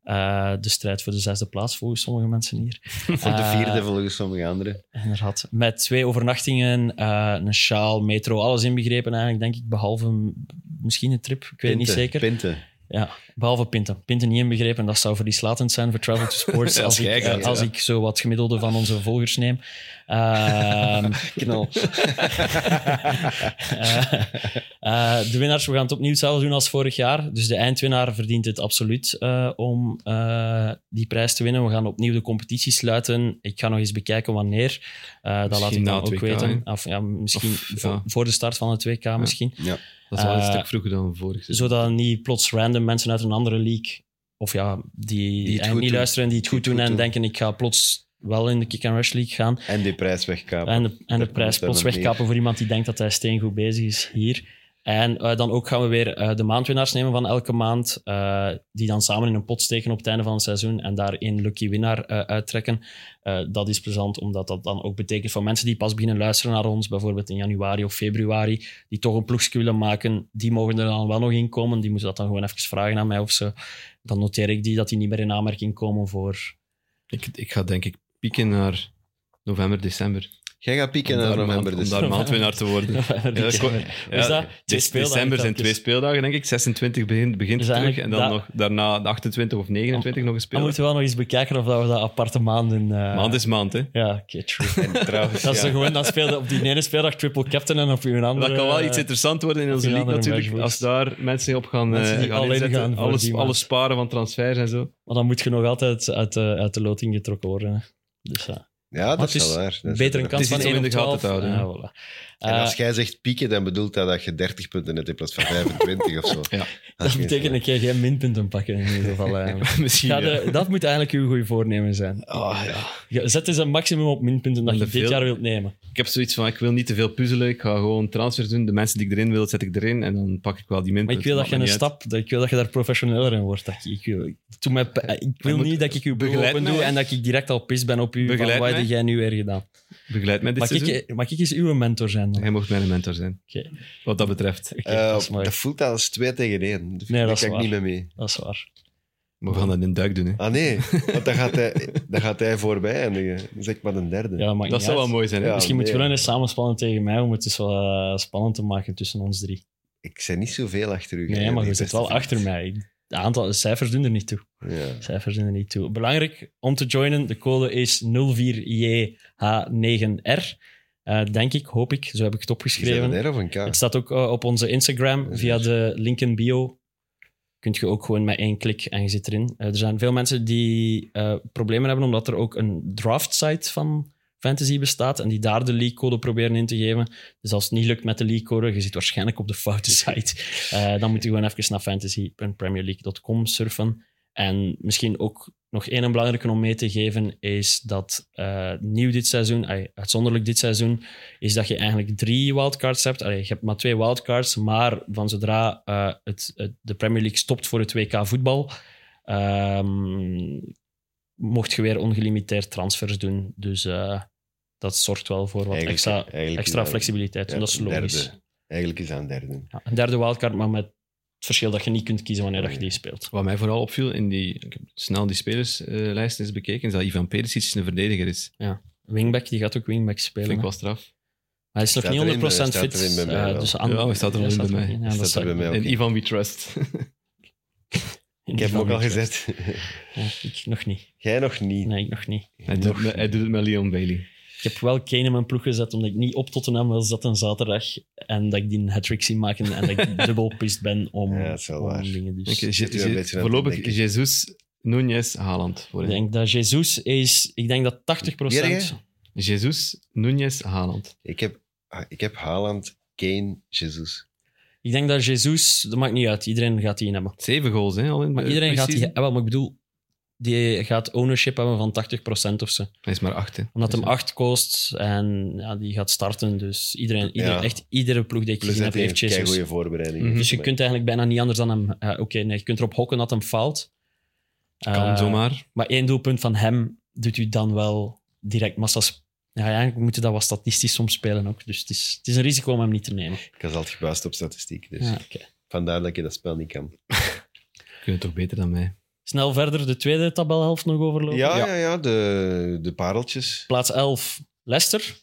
S3: Eh, de strijd voor de zesde plaats volgens sommige mensen hier.
S2: Van de vierde
S3: Eh,
S2: volgens sommige anderen.
S3: Inderdaad. Met twee overnachtingen, eh, een sjaal, metro, alles inbegrepen eigenlijk, denk ik. Behalve m- misschien een trip, ik weet het
S2: Pinten,
S3: niet zeker.
S2: Pinten.
S3: Ja, behalve pinten. Pinten niet inbegrepen, dat zou verlieslatend zijn voor Travel to Sports.
S4: Ja,
S3: als ik,
S4: schijgend,
S3: eh, als
S4: ja.
S3: ik zo wat gemiddelde van onze volgers neem. Ehm,
S2: Knal.
S3: Eh, eh, de winnaars, we gaan het opnieuw hetzelfde doen als vorig jaar. Dus de eindwinnaar verdient het absoluut eh, om eh, die prijs te winnen. We gaan opnieuw de competitie sluiten. Ik ga nog eens bekijken wanneer. Eh dat laat
S4: Misschien
S3: ik
S4: na
S3: dan
S4: het
S3: ook
S4: WK,
S3: weten. Of, ja, misschien
S4: Of,
S3: voor,
S4: ja.
S3: voor de start van het WK misschien.
S2: Ja.
S4: dat is wel een
S3: Eh,
S4: stuk vroeger dan vorig seizoen.
S3: Zodat niet plots random mensen uit een andere league of ja, die,
S2: Die het
S3: en
S2: goed
S3: niet
S2: doen.
S3: luisteren, die het
S2: Die
S3: goed
S2: het
S3: doen
S2: goed
S3: en
S2: doen.
S3: denken ik ga plots wel in de kick and rush league gaan
S2: En die prijs wegkapen.
S3: en de, en de
S2: Dat
S3: prijs
S2: moet
S3: plots
S2: hebben
S3: wegkappen voor iemand die denkt dat hij steengoed bezig is hier. En eh, dan ook gaan we weer eh, de maandwinnaars nemen van elke maand, eh, die dan samen in een pot steken op het einde van het seizoen en daar één lucky winnaar eh, uittrekken. Eh, dat is plezant, omdat dat dan ook betekent voor mensen die pas beginnen luisteren naar ons, bijvoorbeeld in januari of februari, die toch een ploegje willen maken, die mogen er dan wel nog in komen. Die moeten dat dan gewoon even vragen aan mij of zo. Dan noteer ik die dat die niet meer in aanmerking komen voor...
S4: Ik, ik ga denk ik pieken naar november, december.
S2: Jij gaat pieken
S4: Om
S2: naar
S4: daar
S2: november.
S4: maand-
S2: Dus.
S4: Om daar maandwinnaar te worden. Ja, dat is gewoon-
S3: Hoe is dat? Twee
S4: de-
S3: speeldagen
S4: December zijn
S3: telkens.
S4: twee speeldagen, denk ik. 26 begint, begint
S3: Dus
S4: het terug. En dan
S3: eigenlijk dat-
S4: nog,
S3: Oh,
S4: daarna de 28 of 29 nog een
S3: Dan
S4: speeldag.
S3: moeten we wel nog eens bekijken of dat we dat aparte maanden... eh,
S4: Maand is maand, hè.
S3: Ja, oké, true.
S2: En trouwens,
S3: Dat is
S2: ja,
S3: zo gewoon, dan speelde op die ene speeldag triple captain en op uw andere...
S4: Dat kan wel iets interessant worden in onze
S3: eh, een
S4: league
S3: andere
S4: natuurlijk.
S3: matchbox.
S4: Als daar mensen op gaan,
S3: Mensen
S4: eh,
S3: die
S4: gaan
S3: alleen
S4: inzetten.
S3: gaan voor
S4: alles,
S3: die
S4: alles
S3: maand.
S4: sparen van transfers en zo.
S3: Maar dan moet je nog altijd uit, de- uit de loting getrokken worden. hè. Dus ja,
S2: ja, dat
S3: Maar het
S2: is
S3: is
S2: wel waar. Dat is
S3: beter een
S2: waar.
S3: kans
S4: Het
S3: van
S4: is iets
S3: 1
S4: om
S3: op
S4: in de gaten
S3: 12.
S4: te houden,
S3: Ja,
S4: hè.
S3: voilà.
S2: En
S3: Eh,
S2: als jij zegt pieken, dan bedoelt dat dat je 30 punten net in plaats van 25 of zo.
S4: Ja.
S2: is
S3: dat
S2: geen
S3: betekent dat je geen minpunten pakken in ieder geval. eigenlijk.
S4: Misschien.
S3: Ja,
S4: ja.
S3: de- dat moet eigenlijk uw goede voornemen zijn.
S4: Ah, ja.
S3: Je- Zet eens een maximum op minpunten dat
S4: Om
S3: je
S4: de
S3: dit
S4: veel-
S3: jaar wilt nemen.
S4: Ik heb zoiets van, ik wil niet te veel puzzelen. Ik ga gewoon transfers doen. De mensen die ik erin wil, zet ik erin. En dan pak ik wel die
S3: Maar
S4: minpunten.
S3: ik wil dat je
S4: Maakt
S3: een
S4: me niet uit.
S3: stap, dat- ik wil dat je daar professioneler in wordt. Dat ik, ik, wil- doe mij pe- ik wil
S4: Eh, moet-
S3: niet dat ik je bureau
S4: begeleid
S3: open doe
S4: mij.
S3: en dat ik direct al pis ben op u. Van,
S4: Begeleid
S3: wat heb
S4: mij.
S3: jij nu weer gedaan?
S4: Begeleid mij dit
S3: Mag
S4: seizoen.
S3: ik, mag ik eens uw mentor zijn dan?
S4: Hij mocht mijn mentor zijn.
S3: Oké.
S4: Wat dat betreft.
S3: Oké,
S2: Eh,
S3: dat is mooi.
S2: dat voelt als 2 tegen 1. Daar
S3: Nee, dat is
S2: kan ik
S3: waar.
S2: niet meer mee.
S3: Dat is waar.
S4: We gaan dat in duik doen. Hè.
S2: Ah nee, want dan gaat hij, dan gaat hij voorbij eindigen. Dan eh, zeg ik maar een derde.
S3: Ja, maakt
S4: Dat
S3: niet
S4: zou
S3: uit.
S4: wel mooi zijn. hè.
S2: Ja.
S3: Misschien moet je
S2: nee.
S3: wel eens samenspannen tegen mij om het dus wel eh, spannend te maken tussen ons drie.
S2: Ik ben niet zoveel achter u.
S3: Nee,
S2: hè,
S3: maar
S2: die
S3: je zit
S2: beste
S3: wel
S2: vriend.
S3: achter mij. Ik- De aantal de cijfers doen er niet toe.
S2: Ja.
S3: Cijfers doen er niet toe. Belangrijk om te joinen, de code is 04JH9R. Eh, denk ik, hoop ik. Zo heb ik het
S2: Is dat
S3: opgeschreven.
S2: een R of een K?
S3: Het staat ook eh, op onze Instagram
S2: Ja,
S3: via
S2: zeker.
S3: de link in bio. Kunt je ook gewoon met één klik en je zit erin. Eh, er zijn veel mensen die eh, problemen hebben omdat er ook een draft site van Fantasy bestaat en die daar de leakcode proberen in te geven. Dus als het niet lukt met de leakcode, je zit waarschijnlijk op de foute site. Eh, dan moet je gewoon even naar fantasy.premierleague.com surfen. En misschien ook nog één belangrijke om mee te geven is dat eh, nieuw dit seizoen, ai, uitzonderlijk dit seizoen, is dat je eigenlijk drie wildcards hebt. Allee, je hebt maar twee wildcards, maar van zodra eh, het, het- de Premier League stopt voor het WK voetbal, ehm, mocht je weer ongelimiteerd transfers doen. Dus eh, dat zorgt wel voor wat
S2: Eigenlijk-
S3: extra,
S2: eigenlijk
S3: extra
S2: is dat-
S3: flexibiliteit.
S2: ja,
S3: en dat is
S2: een
S3: logisch.
S2: derde. Eigenlijk is dat een derde. Dus
S3: Ja, een derde wildcard, maar met het verschil dat je niet kunt kiezen wanneer dat je die speelt.
S4: Wat mij vooral opviel in die. Ik heb snel die spelerslijst eens bekeken. Is dat Ivan Perisic een verdediger is.
S3: Wingback, die gaat ook wingback spelen.
S4: Vind ik
S3: hè.
S4: wel straf.
S3: Maar hij is nog
S2: Staat
S3: niet 100%
S2: erin, eh, staat
S3: fit.
S2: erin bij mij
S3: eh,
S2: wel.
S3: dus aan-
S4: Ja, hij staat er wel in bij
S3: er
S4: mij.
S3: in, ja,
S2: Staat
S3: dat
S2: er
S3: zou-
S2: bij mij ook.
S4: En Ivan We Trust.
S3: in
S2: Ik
S3: die
S2: heb hem ook
S3: van-
S2: al gezet.
S3: Ja, ik nog niet.
S2: Jij nog niet.
S3: Nee, ik nog niet.
S4: hij, doet, het met- hij doet het met Leon Bailey.
S2: Dus
S3: Ik heb wel Kane in mijn ploeg gezet, omdat ik niet op Tottenham wil zetten zaterdag. En dat ik die een hat-trick zie maken en dat ik dubbel pist ben om,
S2: Ja, dat is wel
S3: om
S2: waar.
S3: dingen. Dus.
S4: Oké,
S2: zit
S4: Je-
S2: u een
S4: Je-
S2: beetje aan te
S4: voorlopig
S2: denken.
S4: Jesus, Nunez, Haaland. Voor
S3: Ik
S4: hem.
S3: denk dat Jesus is... Ik denk dat 80%...
S2: Jij,
S4: Jesus, Nunez, Haaland.
S2: Ik heb, ah, ik heb Haaland, Kane, Jesus.
S3: Ik denk dat Jesus... Dat maakt niet uit. Iedereen gaat die in hebben.
S4: Zeven goals, hè? Al in
S3: Maar
S4: de
S3: iedereen gaat die...
S4: preseason.
S3: eh, wel, maar ik bedoel... Die gaat ownership hebben van 80% of zo.
S4: Hij is maar acht, hè.
S3: Omdat hem
S4: Dus,
S3: 8 kost en ja, die gaat starten. Dus iedereen, ieder-
S2: Ja.
S3: echt iedere ploeg die ik
S2: Plus
S3: gezien heb,
S2: dat hij
S3: heeft
S2: een
S3: Jesus.
S2: goede voorbereiding.
S4: Mhm.
S2: heeft.
S3: Dus je kunt eigenlijk bijna niet anders dan hem... eh, Oké, nee, je kunt erop hokken dat hem faalt.
S4: Kan
S3: Eh,
S4: zomaar.
S3: Maar één doelpunt van hem doet u dan wel direct massa's. Ja, eigenlijk moet je dat wel statistisch soms spelen ook. Dus het is, het is een risico om hem niet te nemen.
S2: Ik was altijd gebaasd op statistiek. Dus
S3: Ja, oké.
S2: vandaar dat je dat spel niet kan.
S4: Je kunt het toch beter dan mij.
S3: Snel verder de tweede tabelhelft nog overlopen.
S2: Ja, ja, ja, de, de pareltjes.
S3: Plaats 11, Leicester.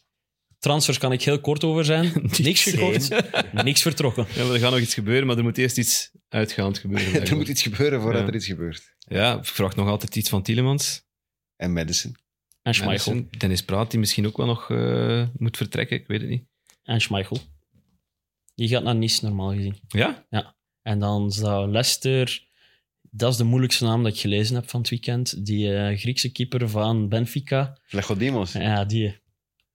S3: Transfers kan ik heel kort over zijn. Niks gekocht, niks vertrokken.
S4: Ja, maar er gaat nog iets gebeuren, maar er moet eerst iets uitgaand gebeuren.
S2: er moet
S4: blijkbaar.
S2: iets gebeuren voordat
S4: Ja.
S2: er iets gebeurt.
S4: Ja, ik verwacht nog altijd iets van Tielemans.
S2: En Madison.
S3: En Schmeichel.
S4: Madison, Dennis Praat, die misschien ook wel nog eh, moet vertrekken. Ik weet het niet.
S3: En Schmeichel. Die gaat naar Nice, normaal gezien.
S4: Ja?
S3: En dan zou Leicester... Dat is de moeilijkste naam dat ik gelezen heb van het weekend. Die eh, Griekse keeper van Benfica.
S2: Vlachodimos.
S3: Ja, die.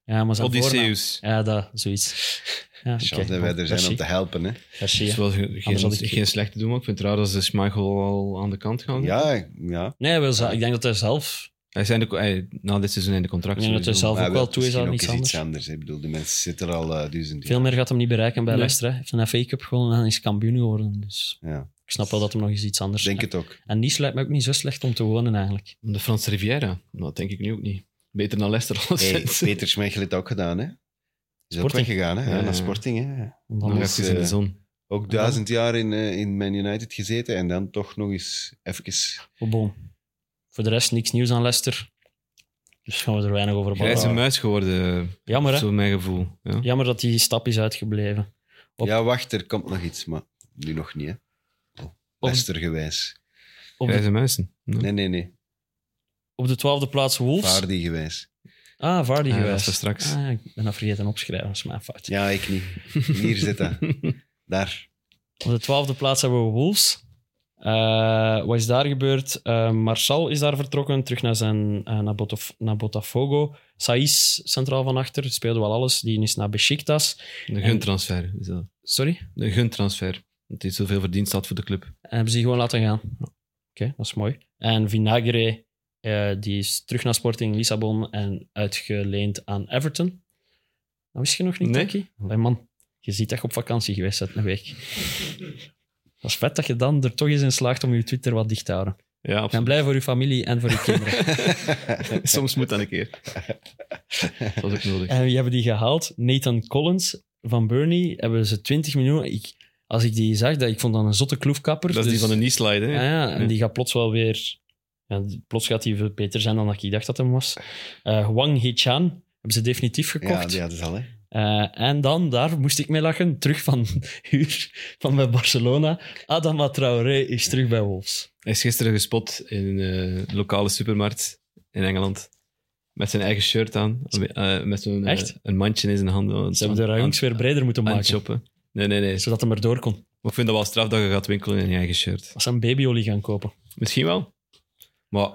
S3: Ja, maar zijn voornaam.
S4: Odysseus.
S3: Ja, dat, zoiets. Ja,
S2: Chance
S3: oké,
S2: dat wij er
S3: bon,
S2: zijn om
S3: merci.
S2: te helpen. Hè.
S3: Merci,
S4: Het
S3: ja.
S4: is wel ge-
S3: had
S4: geen,
S3: ik-
S4: geen slechte doen, maar ik vind het raar dat ze Schmeichel al aan de kant gaan.
S2: Ja, ja.
S3: Nee, hij wil ze- ik denk dat hij zelf,
S4: Hij is einde, hij, na dit seizoen in de
S3: ik
S4: contract.
S3: denk dat hij
S4: sowieso.
S3: zelf ook wel toe is aan
S2: misschien
S3: iets
S2: ook eens iets anders.
S3: anders.
S2: hè. Ik bedoel, die mensen zitten er al eh, duizend
S3: Veel
S2: jaar.
S3: meer gaat hem niet bereiken bij
S4: Nee.
S3: Leicester. hè. Hij heeft een FA Cup gewonnen en is kampioen geworden. Dus
S2: Ja,
S3: ik snap wel dat hem nog eens iets anders
S2: ik denk het ook.
S3: En Nice lijkt me ook niet zo slecht om te wonen eigenlijk.
S4: De Franse Riviera, Nou, dat denk ik nu ook niet. Beter dan Leicester
S2: Hey,
S4: alleszins.
S2: Peter Schmeichel heeft het ook gedaan, hè? Is ook
S3: Sporting.
S2: weggegaan, hè? Ja,
S4: Ja, ja.
S2: naar Sporting, hè?
S3: Want
S4: Nog
S3: dan
S2: Anders,
S4: even in de
S2: eh,
S4: zon.
S2: Ook duizend jaar in, eh, in Man United gezeten en dan toch nog eens even...
S3: Maar bon. Voor de rest niks nieuws aan Leicester. Dus gaan we er weinig over
S4: Grijze
S3: babbelen.
S4: muis geworden,
S3: Jammer, hè?
S4: zo mijn gevoel. Ja.
S3: Jammer dat die stap is uitgebleven. Op-
S2: Ja, wacht, er komt nog iets, maar nu nog niet, hè? Leicester gewijs.
S3: Op de,
S4: Grijze muizen. Ja.
S2: Nee, nee, nee.
S3: op de twaalfde plaats Wolves.
S2: Vaardig gewijs.
S3: Ah, Vardy
S4: Ah, ja,
S3: geweest.
S4: dat is straks.
S3: Ah, ik ben dat vergeten opschrijven, dat is mijn fout.
S2: Ja, ik niet. Hier zit dat. Daar.
S3: Op de twaalfde plaats hebben we Wolves. Eh, wat is daar gebeurd? Eh, Marçal is daar vertrokken, terug naar, zijn, eh, naar, Botof- naar Botafogo. Saiz, centraal van achter, speelde wel alles. Die is naar Besiktas.
S4: De guntransfer. is dat.
S3: Sorry?
S4: De guntransfer. Dat hij zoveel verdiend had voor de club.
S3: En hebben ze die gewoon laten gaan. Oké, dat is mooi. En Vinagre, eh, die is terug naar Sporting Lissabon en uitgeleend aan Everton. Dat wist je nog niet,
S4: Nee.
S3: Taki? Allee, man, je ziet dat je op vakantie geweest bent een week. Dat is vet dat je dan er toch eens in slaagt om je Twitter wat dicht te houden.
S4: Ja,
S3: Ik ben blij voor je familie en voor je kinderen.
S4: Soms moet dat een keer. dat was ook nodig.
S3: en wie hebben die gehaald? Nathan Collins van Burnley. Hebben ze 20 miljoen. Ik, als ik die zag, dat, ik vond dat een zotte kloefkapper.
S4: Dat is die
S3: dus-
S4: van de knee-slide, hè?
S3: Ja, ja, en
S4: Ah, Ja.
S3: die gaat plots wel weer... ja, die- plots gaat hij veel beter zijn dan dat ik dacht dat hem was. Eh Wang Hechan hebben ze definitief
S2: Ja,
S3: gekocht.
S2: ja, dat is al, hè?
S3: Eh, en dan, daar moest ik mee lachen, terug van huur van bij Barcelona. Adama Traoré is terug bij Wolves.
S4: Hij is gisteren gespot in eh, een lokale supermarkt in Engeland. Met zijn eigen shirt aan. eh, met zo'n eh,
S3: Echt?
S4: een mandje in zijn handen.
S3: Ze hebben de ranks weer breder moeten
S4: aan het
S3: maken,
S4: shoppen. Nee, nee, nee.
S3: zodat hem erdoor kon.
S4: Maar ik vind dat wel straf dat je gaat winkelen in je eigen shirt.
S3: Als ze een babyolie gaan kopen.
S4: Misschien wel. Maar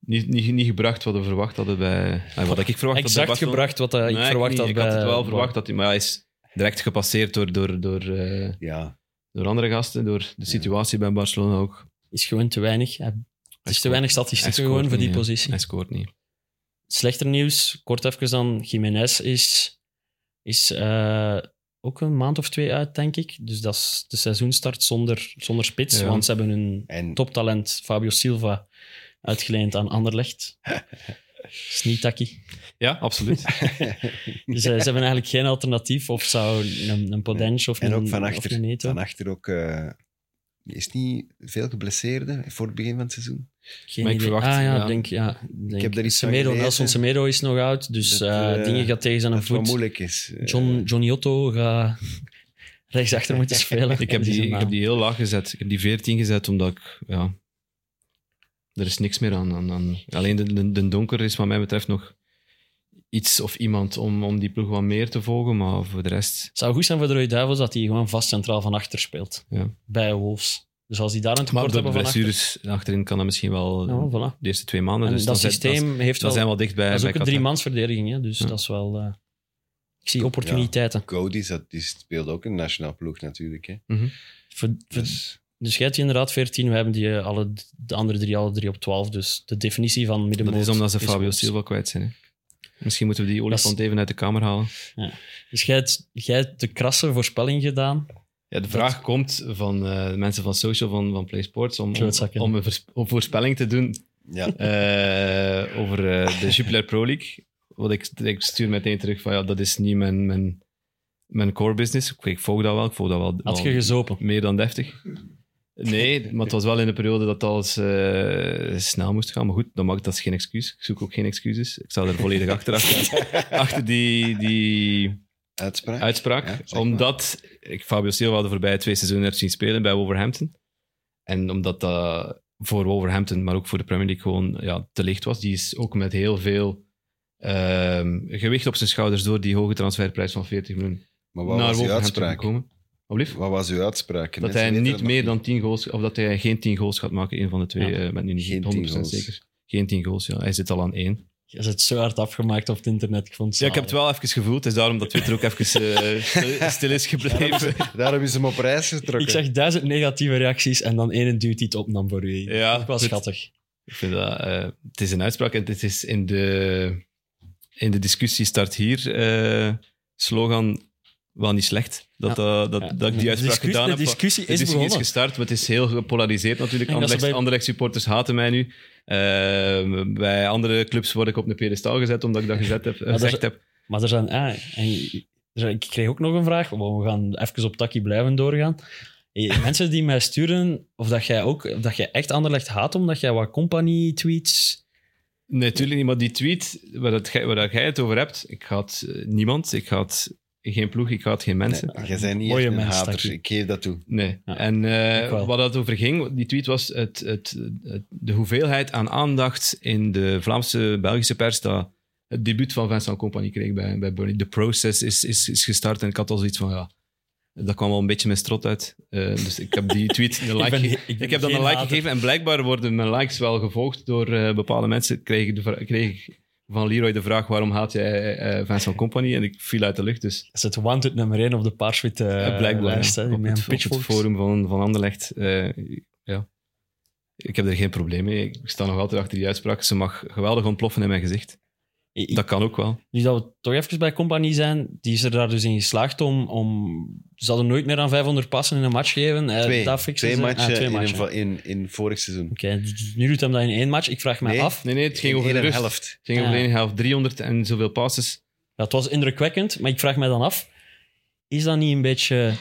S4: niet, niet, niet gebracht wat we verwacht hadden bij... eh, wat ik verwacht had bij
S3: Exact
S4: Barcelona.
S3: gebracht wat eh, ik
S4: Nee,
S3: verwacht
S4: niet.
S3: had
S4: Ik
S3: bij...
S4: had het wel verwacht, dat hij, maar hij is direct gepasseerd door, door, door, eh,
S2: Ja.
S4: door andere gasten, door de situatie bij Barcelona ook.
S3: Is gewoon te weinig. Hij- Het is te weinig
S4: Hij
S3: statistieken
S4: scoort
S3: gewoon voor die
S4: niet, hè.
S3: positie.
S4: Hij scoort niet.
S3: slechter nieuws, kort even dan, Jiménez is, is eh, ook een maand of twee uit, denk ik. Dus dat is de seizoenstart zonder, zonder spits,
S4: Ja.
S3: want ze hebben hun
S2: En
S3: toptalent Fabio Silva uitgeleend aan Anderlecht. is niet takkie.
S4: Ja, absoluut.
S3: Dus eh, ze hebben eigenlijk geen alternatief, of zou een, een Podence of
S2: En
S3: een,
S2: ook van
S3: of een
S2: achter,
S3: Neto.
S2: van achter ook. eh, is niet veel geblesseerde voor het begin van het seizoen.
S3: Geen
S4: Maar ik
S3: idee.
S4: verwacht,
S3: ah ja,
S4: ja.
S3: Denk, ja denk.
S2: heb daar iets van
S3: Semedo,
S2: gelezen.
S3: Nelson Semedo is nog uit, dus
S2: Dat,
S3: eh,
S2: eh,
S3: dingen gaat tegen zijn
S2: Dat het wel
S3: voet.
S2: moeilijk is. Eh,
S3: John, Johnny Otto gaat rechtsachter moeten spelen.
S4: ik, heb die, ik heb die heel laag gezet. Ik heb die 14 gezet, omdat ik... Ja, er is niks meer aan. aan, aan- alleen de, de, de donker is wat mij betreft nog iets of iemand om, om die ploeg wat meer te volgen, maar voor de rest...
S3: Het zou goed zijn voor de Rode Duivels dat hij gewoon vast centraal van achter speelt.
S4: Ja.
S3: Bij Wolves. Dus als die daar een
S4: Maar
S3: tekort
S4: door de
S3: hebben van achter...
S4: blessures achterin kan dat misschien wel
S3: Ja, voilà.
S4: de eerste twee maanden.
S3: En
S4: dus
S3: dat
S4: dan zet-
S3: systeem
S4: dan-
S3: heeft
S4: dan
S3: wel...
S4: zijn we al dicht bij
S3: dat is
S4: bij
S3: ook een
S4: Qatar.
S3: driemansverdediging, hè? dus
S4: Ja.
S3: dat is wel... eh, ik zie opportuniteiten.
S2: Cody zat, die speelde ook een nationaal ploeg natuurlijk. Hè.
S4: Mhm.
S3: Voor- voor-
S2: Dus,
S3: dus jij hebt inderdaad 14, we hebben die, eh, alle, de andere drie alle drie op 12. Dus de definitie van middenmoot
S4: Dat is omdat ze Fabio
S3: Wolves.
S4: Silva kwijt zijn. hè. Misschien moeten we die olifant
S3: Dat
S4: even uit de kamer halen.
S3: Dus jij hebt, jij hebt de krasse voorspelling gedaan.
S4: Ja, de vraag komt van eh, de mensen van social, van, van PlaySports, om, om,
S3: Klootzakken.
S4: om een vers- om voorspelling te doen
S2: ja.
S4: eh, over eh, de Jupiler Pro League. Wat ik, ik stuur meteen terug van, ja, dat is niet mijn, mijn, mijn core business. Ik, ik volg dat wel, ik volg dat wel.
S3: Had
S4: wel-
S3: je gezopen.
S4: Meer dan deftig. Nee, maar het was wel in de periode dat alles eh, snel moest gaan. Maar goed, dat, maakt, dat is geen excuus. Ik zoek ook geen excuses. Ik sta er volledig achter. Achter, achter die, die
S2: Uitspraak.
S4: uitspraak.
S2: Ja, zeg maar.
S4: omdat ik Fabio Silva de voorbije twee seizoenen heb zien spelen bij Wolverhampton. En omdat dat voor Wolverhampton, maar ook voor de Premier League gewoon ja, te licht was. Die is ook met heel veel ehm, gewicht op zijn schouders door die hoge transferprijs van 40 miljoen
S2: maar wat
S4: naar
S2: was uw
S4: Wolverhampton
S2: uitspraak?
S4: gekomen. Alblieft?
S2: Wat was uw uitspraak?
S4: Dat
S2: Mensen
S4: hij
S2: weten
S4: niet
S2: dat nog
S4: meer dan 10 goals, of dat hij geen 10 goals gaat maken, een van de twee,
S3: Ja.
S4: eh, ik ben nu niet
S2: Geen
S4: 100%
S2: 10 goals.
S4: zeker. Geen 10 goals, ja. Hij zit al aan één.
S3: Je bent zo hard afgemaakt op het internet. Ik vond het
S4: Ja, ik heb het
S3: zalig.
S4: wel even gevoeld. Het is daarom dat Twitter ook even eh, stil, stil is gebleven.
S2: Daarom is hem op reis
S3: Ik
S2: getrokken.
S3: zag duizend negatieve reacties en dan één dude die het opnam voor u.
S4: Ja,
S3: dat was
S4: goed.
S3: schattig.
S4: Ik vind dat, eh, het is een uitspraak en het is in de, in de discussie start hier eh, slogan wel niet slecht. Dat, dat, dat,
S3: Ja.
S4: dat ik
S3: De
S4: die uitspraak
S3: discussie-
S4: gedaan
S3: de
S4: heb.
S3: discussie
S4: De
S3: is
S4: discussie
S3: begonnen.
S4: gestart, maar het is heel gepolariseerd natuurlijk.
S3: Ik denk dat
S4: Anderlecht,
S3: ze bij-
S4: Anderlecht supporters haten mij nu. Eh, bij andere clubs word ik op een pedestal gezet omdat ik dat gezet heb,
S3: dat is-
S4: gezegd heb.
S3: Maar er zijn... Ah, en, er zijn- ik kreeg ook nog een vraag. want We gaan even op takkie blijven doorgaan. Eh, Mensen die mij sturen of dat jij, ook, of dat jij echt Anderlecht haat omdat jij wat company-tweets...
S4: Nee, natuurlijk niet. Maar die tweet waar, dat, gij- waar dat jij het over hebt, ik haat eh, niemand, ik haat geen ploeg, ik haat geen mensen.
S2: Jij bent niet
S3: Mooie
S2: echt een
S3: mens,
S2: hater,
S3: Taki.
S2: ik geef dat toe.
S4: Nee.
S3: Ja,
S4: en eh,
S3: ik wel.
S4: wat dat over ging, die tweet was het, het, het- de hoeveelheid aan aandacht in de Vlaamse, Belgische pers dat het debuut van Vincent Company kreeg bij, bij Burnley. De process is, is, is gestart en ik had al zoiets van, ja, dat kwam wel een beetje mijn strot uit. Eh, dus ik heb die tweet een like
S3: ben-
S4: ge-
S3: ik
S4: ik,
S3: ben
S4: heb dan een
S3: geen
S4: like
S3: hater.
S4: gegeven en blijkbaar worden mijn likes wel gevolgd door eh, bepaalde mensen. Kreeg ik, de vra- kreeg ik van Leroy de vraag, waarom haat jij eh Vincent Company? En ik viel uit de lucht, dus...
S3: Dat is het wanted nummer 1 op de paarswitte eh,
S4: Ja, blijkbaar.
S3: lijst. hè,
S4: ja.
S3: die
S4: op,
S3: met een
S4: het, op het
S3: pitchfork.
S4: forum van, van Anderlecht. eh, ja. Ik heb er geen probleem mee. Ik sta nog altijd achter die uitspraak. Ze mag geweldig ontploffen in mijn gezicht.
S3: Ik- ik-
S4: Dat kan ook wel.
S3: Nu dat we toch even bij Compagnie zijn, die is er daar dus in geslaagd om... om ze hadden nooit meer aan 500 passen in een match geven. Eh,
S2: Twee,
S3: dat fixen
S2: twee
S3: ze. Ah,
S2: matchen,
S3: twee
S2: in, een
S3: matchen.
S2: va- in, in vorig seizoen.
S3: Oké, dus nu doet hem dat in één match. Ik vraag me
S2: Nee.
S3: af.
S4: Nee, nee, het ging
S2: In
S4: over de
S2: één
S4: rust.
S2: helft.
S4: Het ging over de
S3: Ja.
S4: ene helft. 300 en zoveel passes.
S3: Dat was indrukwekkend, maar ik vraag me dan af: is dat niet een beetje.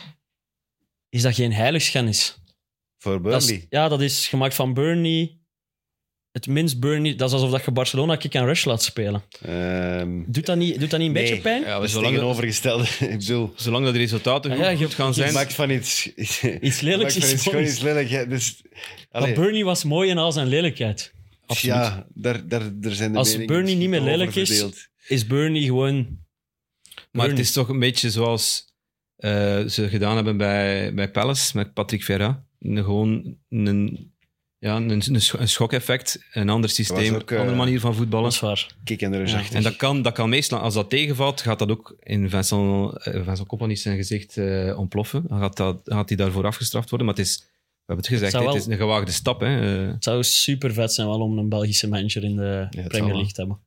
S3: Is dat geen heiligschennis?
S2: Voor
S3: Dat is-
S2: Burnley.
S3: ja, dat is gemaakt van Burnley. Het minst Burnley. Dat is alsof dat je Barcelona kick and rush laat spelen.
S2: Ehm,
S3: Doet dat niet, doet dat niet een
S2: Nee.
S3: beetje pijn?
S4: Ja,
S2: dat is het
S4: zolang, dat,
S2: tegenovergestelde. ik bedoel,
S4: zolang dat de resultaten
S3: Ja,
S4: goed,
S3: Ah ja, je-
S4: goed gaan
S3: je
S4: zijn...
S2: maak van iets...
S3: Iets lelijks
S2: maak van
S3: is
S2: iets,
S3: moois.
S2: gewoon iets lelijk. hè. Dus,
S3: Maar
S2: allee,
S3: Burnley was mooi in al zijn lelijkheid.
S4: Absoluut.
S2: ja, daar, daar, daar zijn de
S3: Als
S2: meningen
S3: Burnley niet meer
S2: over
S3: lelijk is-
S2: verdeeld.
S3: Is Burnley gewoon.
S4: Maar het
S3: Burnley.
S4: is toch een beetje zoals eh, ze gedaan hebben bij, bij Palace met Patrick Vera. Een- gewoon een, ja, een, een, scho- een schok-effect, een ander systeem,
S2: was ook, eh,
S4: andere manier van voetballen.
S3: Dat is waar.
S2: Kijk en er is
S3: Ja.
S2: achter.
S4: En dat kan, dat kan meestal, als dat tegenvalt, gaat dat ook in Vincent, eh, Vincent Kompany zijn gezicht eh, ontploffen. Dan gaat, dat, gaat hij daarvoor afgestraft worden. Maar het is, we hebben het gezegd,
S3: zou
S4: hè, het
S3: wel-
S4: is een gewaagde stap. Hè. Eh,
S3: Het zou super vet zijn wel om een Belgische manager in de
S4: zal
S3: Premier
S4: wel.
S3: League te hebben.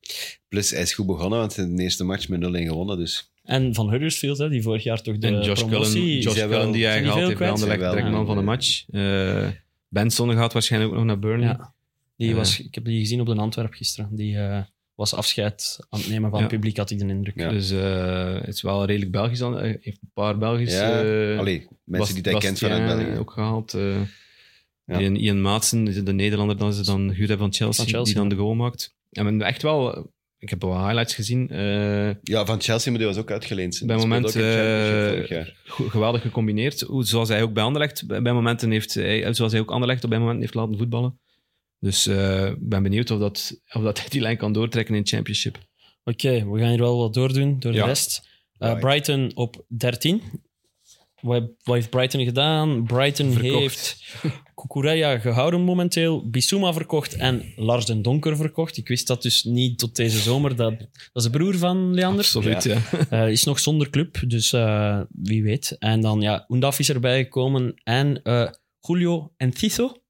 S2: Plus, hij is goed begonnen, want hij heeft de eerste match met 0-1 gewonnen. Dus
S3: En van Huddersfield, hè, die vorig jaar toch de
S4: en Josh Cullen,
S3: promotie.
S4: Josh
S2: zijn wel-
S4: Cullen die hij
S3: zijn die
S4: gehaald
S3: veel
S4: heeft bij
S2: Zijn
S4: Anderlecht,
S3: kwijt?
S2: wel,
S4: direct man van de
S2: ja.
S4: match. Eh, Benson gaat waarschijnlijk ook nog naar Burnley.
S3: Ja. Die
S4: Ja.
S3: was, ik heb die gezien op de Antwerp gisteren. Die eh, was afscheid aan het nemen van het
S4: Ja.
S3: publiek, had ik de indruk.
S2: Ja.
S4: Dus eh, het is wel redelijk Belgisch. aan- Hij heeft een paar Belgische...
S2: Ja,
S4: eh,
S2: allee, mensen die hij
S4: Bast-
S2: kent vanuit
S4: Bastien
S2: België.
S4: ook gehaald. eh
S2: Ja.
S4: die een Ian Maatsen, die de Nederlander dan ze dan huur hebben van Chelsea,
S3: Van Chelsea,
S4: die dan
S3: ja.
S4: de goal maakt. En men echt wel... Ik heb wel highlights gezien. eh,
S2: Ja, van Chelsea, maar die was ook uitgeleend.
S4: Bij
S2: Die speelde
S4: moment,
S2: ook in de
S4: eh,
S2: Championship vorig jaar.
S4: go- geweldig gecombineerd. Hoe- Zoals hij ook bij Anderlecht bij bij momenten heeft... hij- Zoals hij ook Anderlecht bij momenten heeft laten voetballen. Dus eh, ik ben benieuwd of dat, of dat hij die lijn kan doortrekken in de championship.
S3: Oké, we gaan hier wel wat doordoen door
S4: Ja.
S3: de rest. Eh,
S2: Right.
S3: Brighton op 13. Wat, wat heeft Brighton gedaan? Brighton
S4: Verkocht.
S3: heeft Kukureya gehouden momenteel, Bissouma verkocht en Lars den Donker verkocht. Ik wist dat dus niet tot deze zomer. Dat, dat is de broer van Leander.
S4: Absoluut, ja.
S3: Eh, is nog zonder club, dus eh, wie weet. En dan, ja, Undaf is erbij gekomen en eh, Julio en Tizo.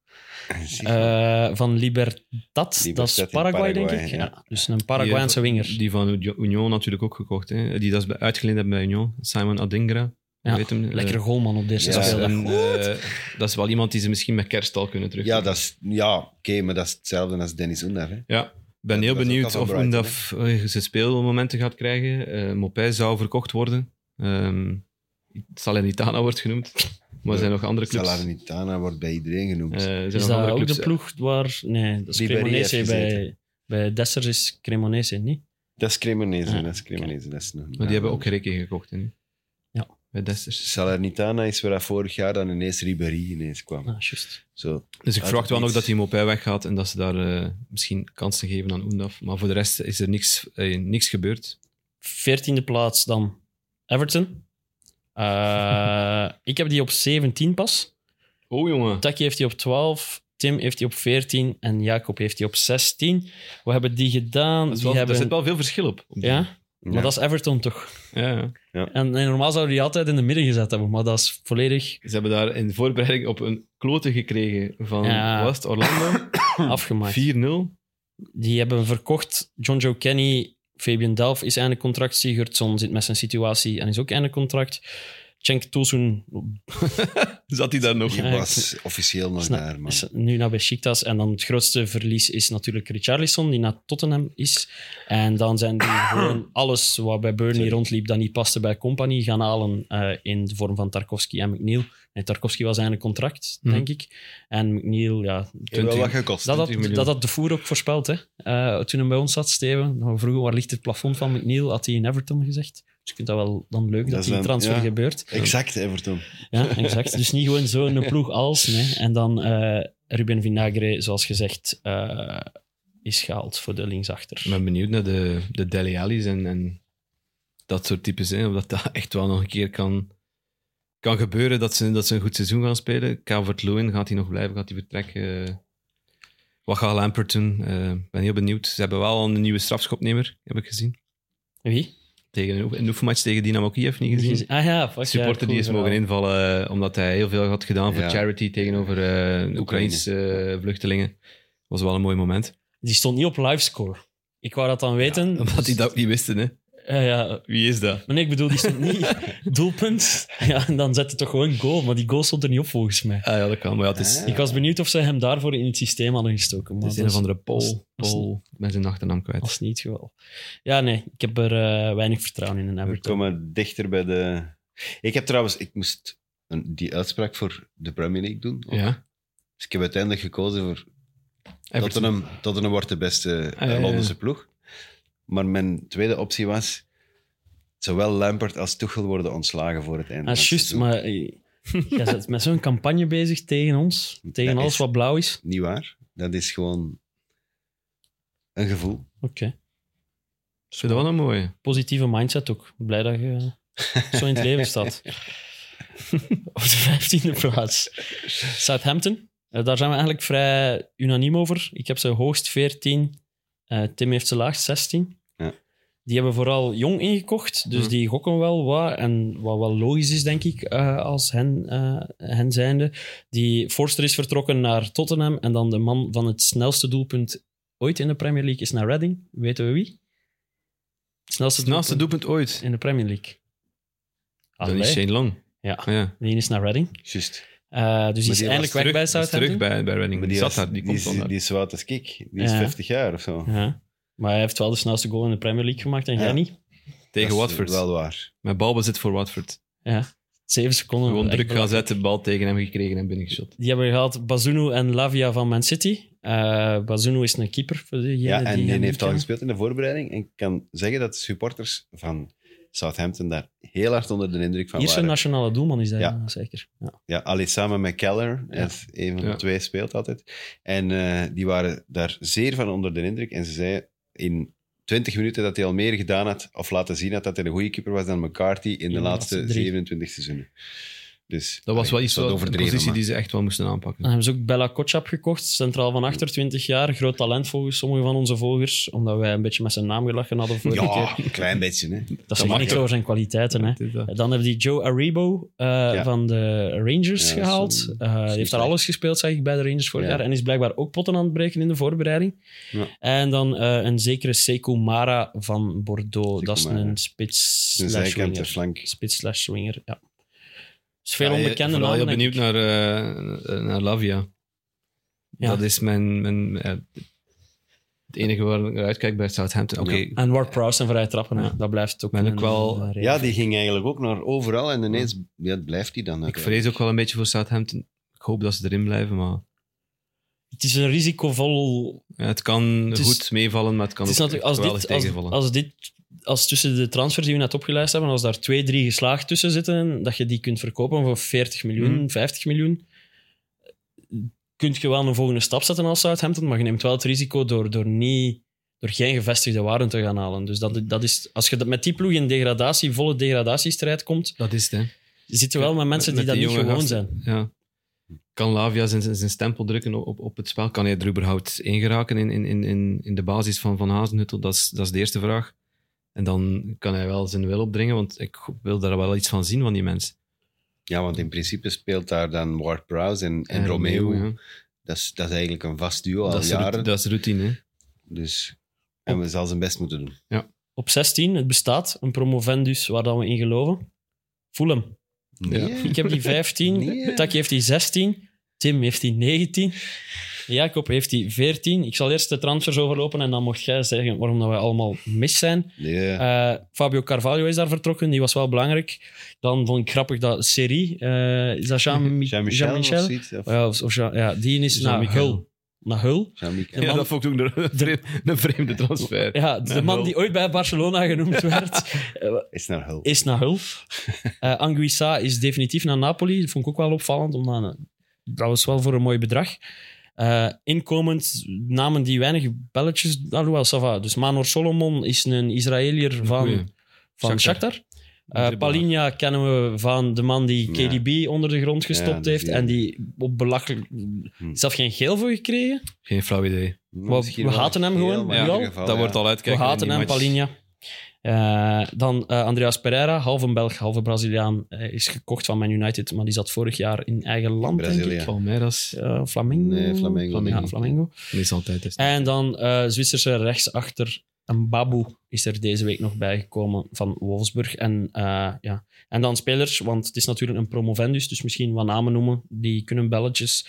S3: Eh, van Libertad,
S2: Libertad
S3: dat is
S2: in
S3: Paraguay,
S2: Paraguay,
S3: denk ik.
S2: ja.
S3: Ja. Dus een Paraguayaanse
S4: Die-
S3: winger.
S4: Die van Uni- Union natuurlijk ook gekocht. Hè. Die dat ze bij- uitgeleend hebben bij Union. Simon Adingra.
S3: Ja,
S4: Weet hem, eh,
S3: Lekkere goalman op de eerste
S2: Ja,
S4: dat, is
S3: speeldag.
S4: een, eh, dat is wel iemand die ze misschien met kerst al kunnen terug.
S2: Eh, Ja, dat is- ja oké, maar dat is hetzelfde als Dennis Oendaf. hè.
S4: Ja, ik ben
S2: Dat-
S4: heel
S2: dat is ook
S4: benieuwd
S2: al
S4: of
S2: van Brighton,
S4: Undaf eh, zijn speelmomenten gaat krijgen. Eh Mopé zou verkocht worden. Ehm Salernitana wordt genoemd. Maar er zijn nog andere clubs.
S2: Salernitana wordt bij iedereen genoemd.
S4: Eh, er zijn nog
S3: Is dat
S4: andere
S3: ook
S4: clubs.
S3: de ploeg waar... Nee, dat is
S2: Die bij
S3: Cremonese.
S2: Ries
S3: Bij,
S2: gezeten.
S3: bij Dessers is Cremonese, niet?
S2: dat is Cremonese,
S3: Ah,
S2: dat is Cremonese. Dat is nog,
S4: Maar die hebben ook Rikke gekocht. Hè, nu.
S3: Ja.
S4: Bij Desters.
S2: Salernitana is waar dat vorig jaar dan ineens Ribéry ineens kwam.
S3: Ah, juist.
S2: Zo.
S4: Dus ik
S2: Uit
S4: verwacht
S2: het
S4: wel nog
S2: niets.
S4: dat hij Mopé weggaat en dat ze daar eh, misschien kansen geven aan Oendaf. Maar voor de rest is er niks, eh, niks gebeurd.
S3: Veertiende plaats dan Everton. Eh, ik heb die op 17 pas.
S4: Oh jongen.
S3: Taki heeft die op 12. Tim heeft die op 14 en Jacob heeft die op 16. Wat hebben die gedaan?
S4: Dat is
S3: die
S4: wel,
S3: hebben...
S4: Er zit wel veel verschil op. op die-
S3: Ja?
S2: Ja.
S3: Maar dat is Everton toch?
S4: Ja, ja.
S3: En, en normaal zouden die altijd in de midden gezet hebben, maar dat is volledig
S4: Ze hebben daar in voorbereiding op een klote gekregen van
S3: Ja. Oh
S4: West Orlando.
S3: afgemaakt.
S4: 4-0.
S3: Die hebben verkocht John Joe Kenny. Fabian Delft is einde contract. Sigurdsson zit met zijn situatie en is ook einde contract. Cenk Tosun
S4: Zat hij daar nog?
S2: Die
S3: Ja, ik-
S2: was officieel nog
S3: Snap-
S2: daar, man.
S3: is nu naar Besiktas. En dan het grootste verlies is natuurlijk Richarlison, die naar Tottenham is. En dan zijn die gewoon alles wat bij Burnley rondliep dat niet paste bij Company gaan halen eh, in de vorm van Tarkovsky en McNeil. En Tarkovsky was einde contract,
S4: Hmm.
S3: denk ik. En McNeil, ja,
S2: Heeft wel wat gekost.
S3: dat had,
S4: 20 miljoen.
S3: dat had de voer ook voorspeld, hè? Eh, toen hij bij ons zat, Steven. Nou, we vroegen waar ligt het plafond van McNeil, had hij in Everton gezegd. Dus ik vind dat wel dan leuk dat,
S2: Dat is
S3: die
S2: dan-
S3: transfer
S2: ja.
S3: gebeurt.
S2: Exact, Everton.
S3: Ja, exact. Dus niet gewoon zo'n ploeg als. Nee. En dan eh, Ruben Vinagre, zoals gezegd, eh, is gehaald voor de linksachter.
S4: Ik ben benieuwd naar de, de Dele Alli's en, en dat soort types. Hè. Of dat, dat echt wel nog een keer kan, kan gebeuren dat ze, dat ze een goed seizoen gaan spelen. Calvert-Lewin, gaat hij nog blijven? Gaat hij vertrekken? Wat gaat Lampert doen? Eh, Ik ben heel benieuwd. Ze hebben wel een nieuwe strafschopnemer, heb ik gezien.
S3: Wie?
S4: Tegen, een oef- een oefenmatch tegen Dynamo Kiev, niet gezien.
S3: Ah ja, fuck, ja,
S4: supporter
S3: goed
S4: die is mogen
S3: verhaal.
S4: invallen eh, omdat hij heel veel had gedaan voor
S2: Ja.
S4: charity tegenover eh Oekraïnse eh, vluchtelingen. was wel een mooi moment.
S3: Die stond niet op livescore. Ik wou dat dan weten.
S4: Omdat die dat ook niet wisten, hè.
S3: Ja, ja.
S4: Wie is dat?
S3: Maar nee, ik bedoel, die stond niet doelpunt. Ja, en dan zette toch gewoon goal. Maar die goal stond er niet op, volgens mij.
S4: Ah ja, dat kan. Maar ja, het is,
S2: Ah,
S3: Ik was benieuwd of ze hem daarvoor in het systeem hadden gestoken. Maar
S4: het is
S3: dat
S4: een of andere
S3: dat is-
S4: Paul.
S3: dat is-
S4: Paul. Ik ben zijn achternaam
S3: dat
S4: kwijt.
S3: is niet het geval. Ja, nee, ik heb er eh, weinig vertrouwen in in
S2: We
S3: Everton.
S2: komen dichter bij de... Ik heb trouwens... Ik moest een- die uitspraak voor de Premier League doen. ook.
S4: Ja.
S2: Dus ik heb uiteindelijk gekozen voor
S4: Everton. Ah,
S2: Tottenham, Tottenham wordt de beste eh,
S4: ja, ja.
S2: Londense ploeg. Maar mijn tweede optie was... Zowel Lampert als Tuchel worden ontslagen voor het einde
S3: Ah,
S2: van het
S3: juist,
S2: seizoen.
S3: maar eh, jij bent met zo'n campagne bezig tegen ons, tegen
S2: Dat
S3: alles
S2: is-
S3: wat blauw is.
S2: Niet waar. Dat is gewoon een gevoel.
S3: Oké,
S4: Ik vind dat wel een mooie.
S3: positieve mindset ook. Blij dat je zo in het leven staat. Op de vijftiende plaats. Southampton, Eh, daar zijn we eigenlijk vrij unaniem over. Ik heb ze hoogst 14, eh, Tim heeft ze laagst 16.
S2: Ja.
S3: Die hebben vooral jong ingekocht, dus
S4: Hm.
S3: die gokken wel wat. En wat wel logisch is, denk ik, eh, als hen, eh, hen zijnde. Die Forster is vertrokken naar Tottenham. En dan de man van het snelste doelpunt ooit in de Premier League is naar Reading. Weten we wie? Het snelste,
S4: Het laatste
S3: doelpunt
S4: doelpunt ooit.
S3: in de Premier League.
S4: Dat is
S3: Allee.
S4: Shane Long.
S3: Ja.
S4: ja.
S3: Die is naar Reading.
S2: Juist.
S3: Eh, dus die is
S2: die was
S3: eindelijk weg
S4: Terug-
S3: bij
S4: is Terug
S3: Southampton.
S4: bij, bij Reading. Die, zat
S2: is-
S4: daar, die,
S2: die,
S4: komt
S2: is,
S4: van daar.
S2: die is zout als ik. Die is
S3: Ja.
S2: 50 jaar of zo.
S3: Ja. Maar hij heeft wel de snelste goal in de Premier League gemaakt en jij
S2: Ja.
S3: niet.
S4: Tegen
S2: Dat is
S4: Watford.
S2: Wel waar.
S4: Mijn balbezit voor Watford.
S3: Zeven seconden.
S4: Gewoon
S3: Oh, Echt
S4: druk gaan
S3: belangrijk.
S4: zetten, bal tegen hem gekregen en binnengeschot.
S3: Die hebben gehaald Bazunu en Lavia van Man City. Eh Bazunu is een keeper. Voor
S2: Ja, en die heeft al
S3: al
S2: gespeeld in de voorbereiding. En ik kan zeggen dat de supporters van Southampton daar heel hard onder de indruk van
S3: Hier zijn
S2: waren.
S3: nationale doelman is dat,
S2: Ja.
S3: ja, zeker. Ja.
S2: Ja, allee, samen met Keller. Hij is een van de
S4: Ja.
S2: twee speelt altijd. En eh, die waren daar zeer van onder de indruk. En ze zeiden in 20 minuten dat hij al meer gedaan had, of laten zien had dat hij een goede keeper was dan McCarthy in de,
S3: de
S2: laatste,
S3: laatste drie.
S2: 27 seizoenen. Dus,
S4: Dat Ah. was wel iets
S2: wat
S4: wat een positie
S2: maar-
S4: die ze echt wel moesten aanpakken.
S3: Dan hebben ze ook Bella Kotschap gekocht, centraal van achter, 20 jaar. Groot talent volgens sommige van onze volgers, omdat wij een beetje met zijn naam gelachen hadden vorige
S2: Ja,
S3: keer.
S2: een klein beetje. Hè.
S3: Dat zegt
S2: mag
S3: niks
S2: ook.
S3: over zijn kwaliteiten. Hè.
S4: Het is dat.
S3: Dan hebben die Joe Aribo eh, van de Rangers
S2: Ja, dat is
S3: gehaald.
S2: een-
S3: Eh, die heeft daar
S2: slecht.
S3: alles gespeeld, zag ik, bij de Rangers vorig
S2: Ja.
S3: jaar. En is blijkbaar ook potten aan het breken in de voorbereiding.
S2: Ja.
S3: En dan eh, een zekere Sekou Mara van Bordeaux.
S2: Sekou
S3: dat is
S2: Mara.
S3: een spits
S2: Een
S3: slash
S2: zijkant, de
S3: winger.
S2: flank.
S3: Spits slash winger, ja. Dus veel
S4: Ja, je-
S3: onbekende
S4: vooral
S3: namen.
S4: heel
S3: denk
S4: benieuwd
S3: ik.
S4: naar, eh, naar Lavia.
S3: Ja.
S4: Dat is mijn... mijn eh, het enige waar ik naar uitkijk bij Southampton. Oké,
S2: Ja.
S3: En Ward Prowse en vrije trappen, hè. dat blijft ook
S4: Ben ook
S3: een,
S4: wel-
S3: eh, reden.
S2: Ja, die ging eigenlijk ook naar overal en ineens ja, het blijft die dan.
S4: ik vrees ook wel een beetje voor Southampton. Ik hoop dat ze erin blijven, maar
S3: Het is een risicovol
S4: ja, het kan
S3: is-
S4: goed meevallen, maar het kan
S3: Het is
S4: ook
S3: natuurlijk, als
S4: echt geweldig
S3: dit, als,
S4: tegenvallen.
S3: als dit, als tussen de transfers die we net opgelijst hebben, als daar twee, drie geslaagd tussen zitten, dat je die kunt verkopen voor 40 miljoen,
S4: Mhm.
S3: 50 miljoen, kun je wel een volgende stap zetten als Southampton, maar je neemt wel het risico door, door, niet, door geen gevestigde waarden te gaan halen. Dus dat, dat is, als je dat, met die ploeg in degradatie, volle degradatiestrijd komt,
S4: Dat is het, hè.
S3: zitten we wel met mensen
S4: Met-
S3: die
S4: met
S3: dat
S4: die
S3: niet
S4: jonge
S3: gewoon
S4: gasten.
S3: zijn.
S4: Ja. kan Lavia zijn, zijn zijn stempel drukken op- op, op het spel? Kan hij er überhaupt in geraken in, in- in, in, in de basis van Van Hazenhuttel? Dat is, dat is de eerste vraag. En dan kan hij wel zijn wil opdringen, want ik wil daar wel iets van zien van die mensen.
S2: Ja, want in principe speelt daar dan Ward-Prowse en, en Romeo.
S4: ja.
S2: dat, is, dat is eigenlijk een vast duo al
S4: dat, is
S2: jaren.
S4: routine, dat is routine. hè.
S2: Dus, en we zal zijn best moeten doen.
S3: Op 16, het bestaat, een promovendus waar dan we in geloven. Fulham.
S2: Nee.
S3: Ik heb die 15,
S2: Nee.
S3: Taki heeft die 16, Tim heeft die 19, Jacob heeft die 14. Ik zal eerst de transfers overlopen en dan mocht jij zeggen waarom dat wij allemaal mis zijn.
S2: Ja.
S3: Eh, Fabio Carvalho is daar vertrokken, die was wel belangrijk. Dan vond ik grappig dat Serie, eh, is dat Jean-
S2: Jean-Michel of
S3: Jean-Michel?
S2: zoiets, of
S3: ja, of, of Jean- ja, die is naar
S4: Jean-Michel.
S3: Hul. Naar Hul.
S2: Jean-Michel.
S3: De man-
S4: Ja, dat vond ik ook een, vreemde, een vreemde transfer.
S3: Ja, de
S4: Naar
S3: man
S4: Hull.
S3: die ooit bij Barcelona genoemd werd,
S2: Is naar Hull.
S3: is naar Hul. Eh Anguissa is definitief naar Napoli. Dat vond ik ook wel opvallend, omdat eh, dat was wel voor een mooi bedrag. Eh, inkomend namen die weinig belletjes, alhoewel, ça va. Dus Manor Solomon is een Israëliër
S4: Goeie.
S3: van van
S4: Shakhtar.
S3: Shakhtar. Eh Palinja kennen we van de man die
S2: Ja.
S3: KDB onder de grond
S2: Ja,
S3: gestopt
S2: dat
S3: heeft
S2: zie je.
S3: en die op belachelijk zelf geen geel voor gekregen.
S4: Geen flauw idee.
S2: Nou, Misschien
S3: we
S2: wel
S3: haten hem
S2: geel,
S3: gewoon,
S2: maar in
S3: nu
S2: ieder
S3: al.
S2: geval,
S4: dat
S2: ja.
S4: wordt al uitkijken.
S3: we haten
S4: in die
S3: hem,
S4: match.
S3: Palinja. Eh, dan eh, Andreas Pereira, halve Belg, halve Braziliaan, eh, is gekocht van Man United, maar die zat vorig jaar in eigen land, denk
S2: Brazilië.
S3: ik.
S4: Palmeiras.
S3: Eh, Flamengo.
S2: Nee, Flamengo, denk
S3: Ja,
S2: ik.
S3: Flamengo.
S4: Dat is altijd. Dus.
S3: En dan eh, Zwitserse rechtsachter Mbabu is er deze week nog bijgekomen van Wolfsburg. En, eh, ja. en dan spelers, want het is natuurlijk een promovendus, dus misschien wat namen noemen. Die kunnen belletjes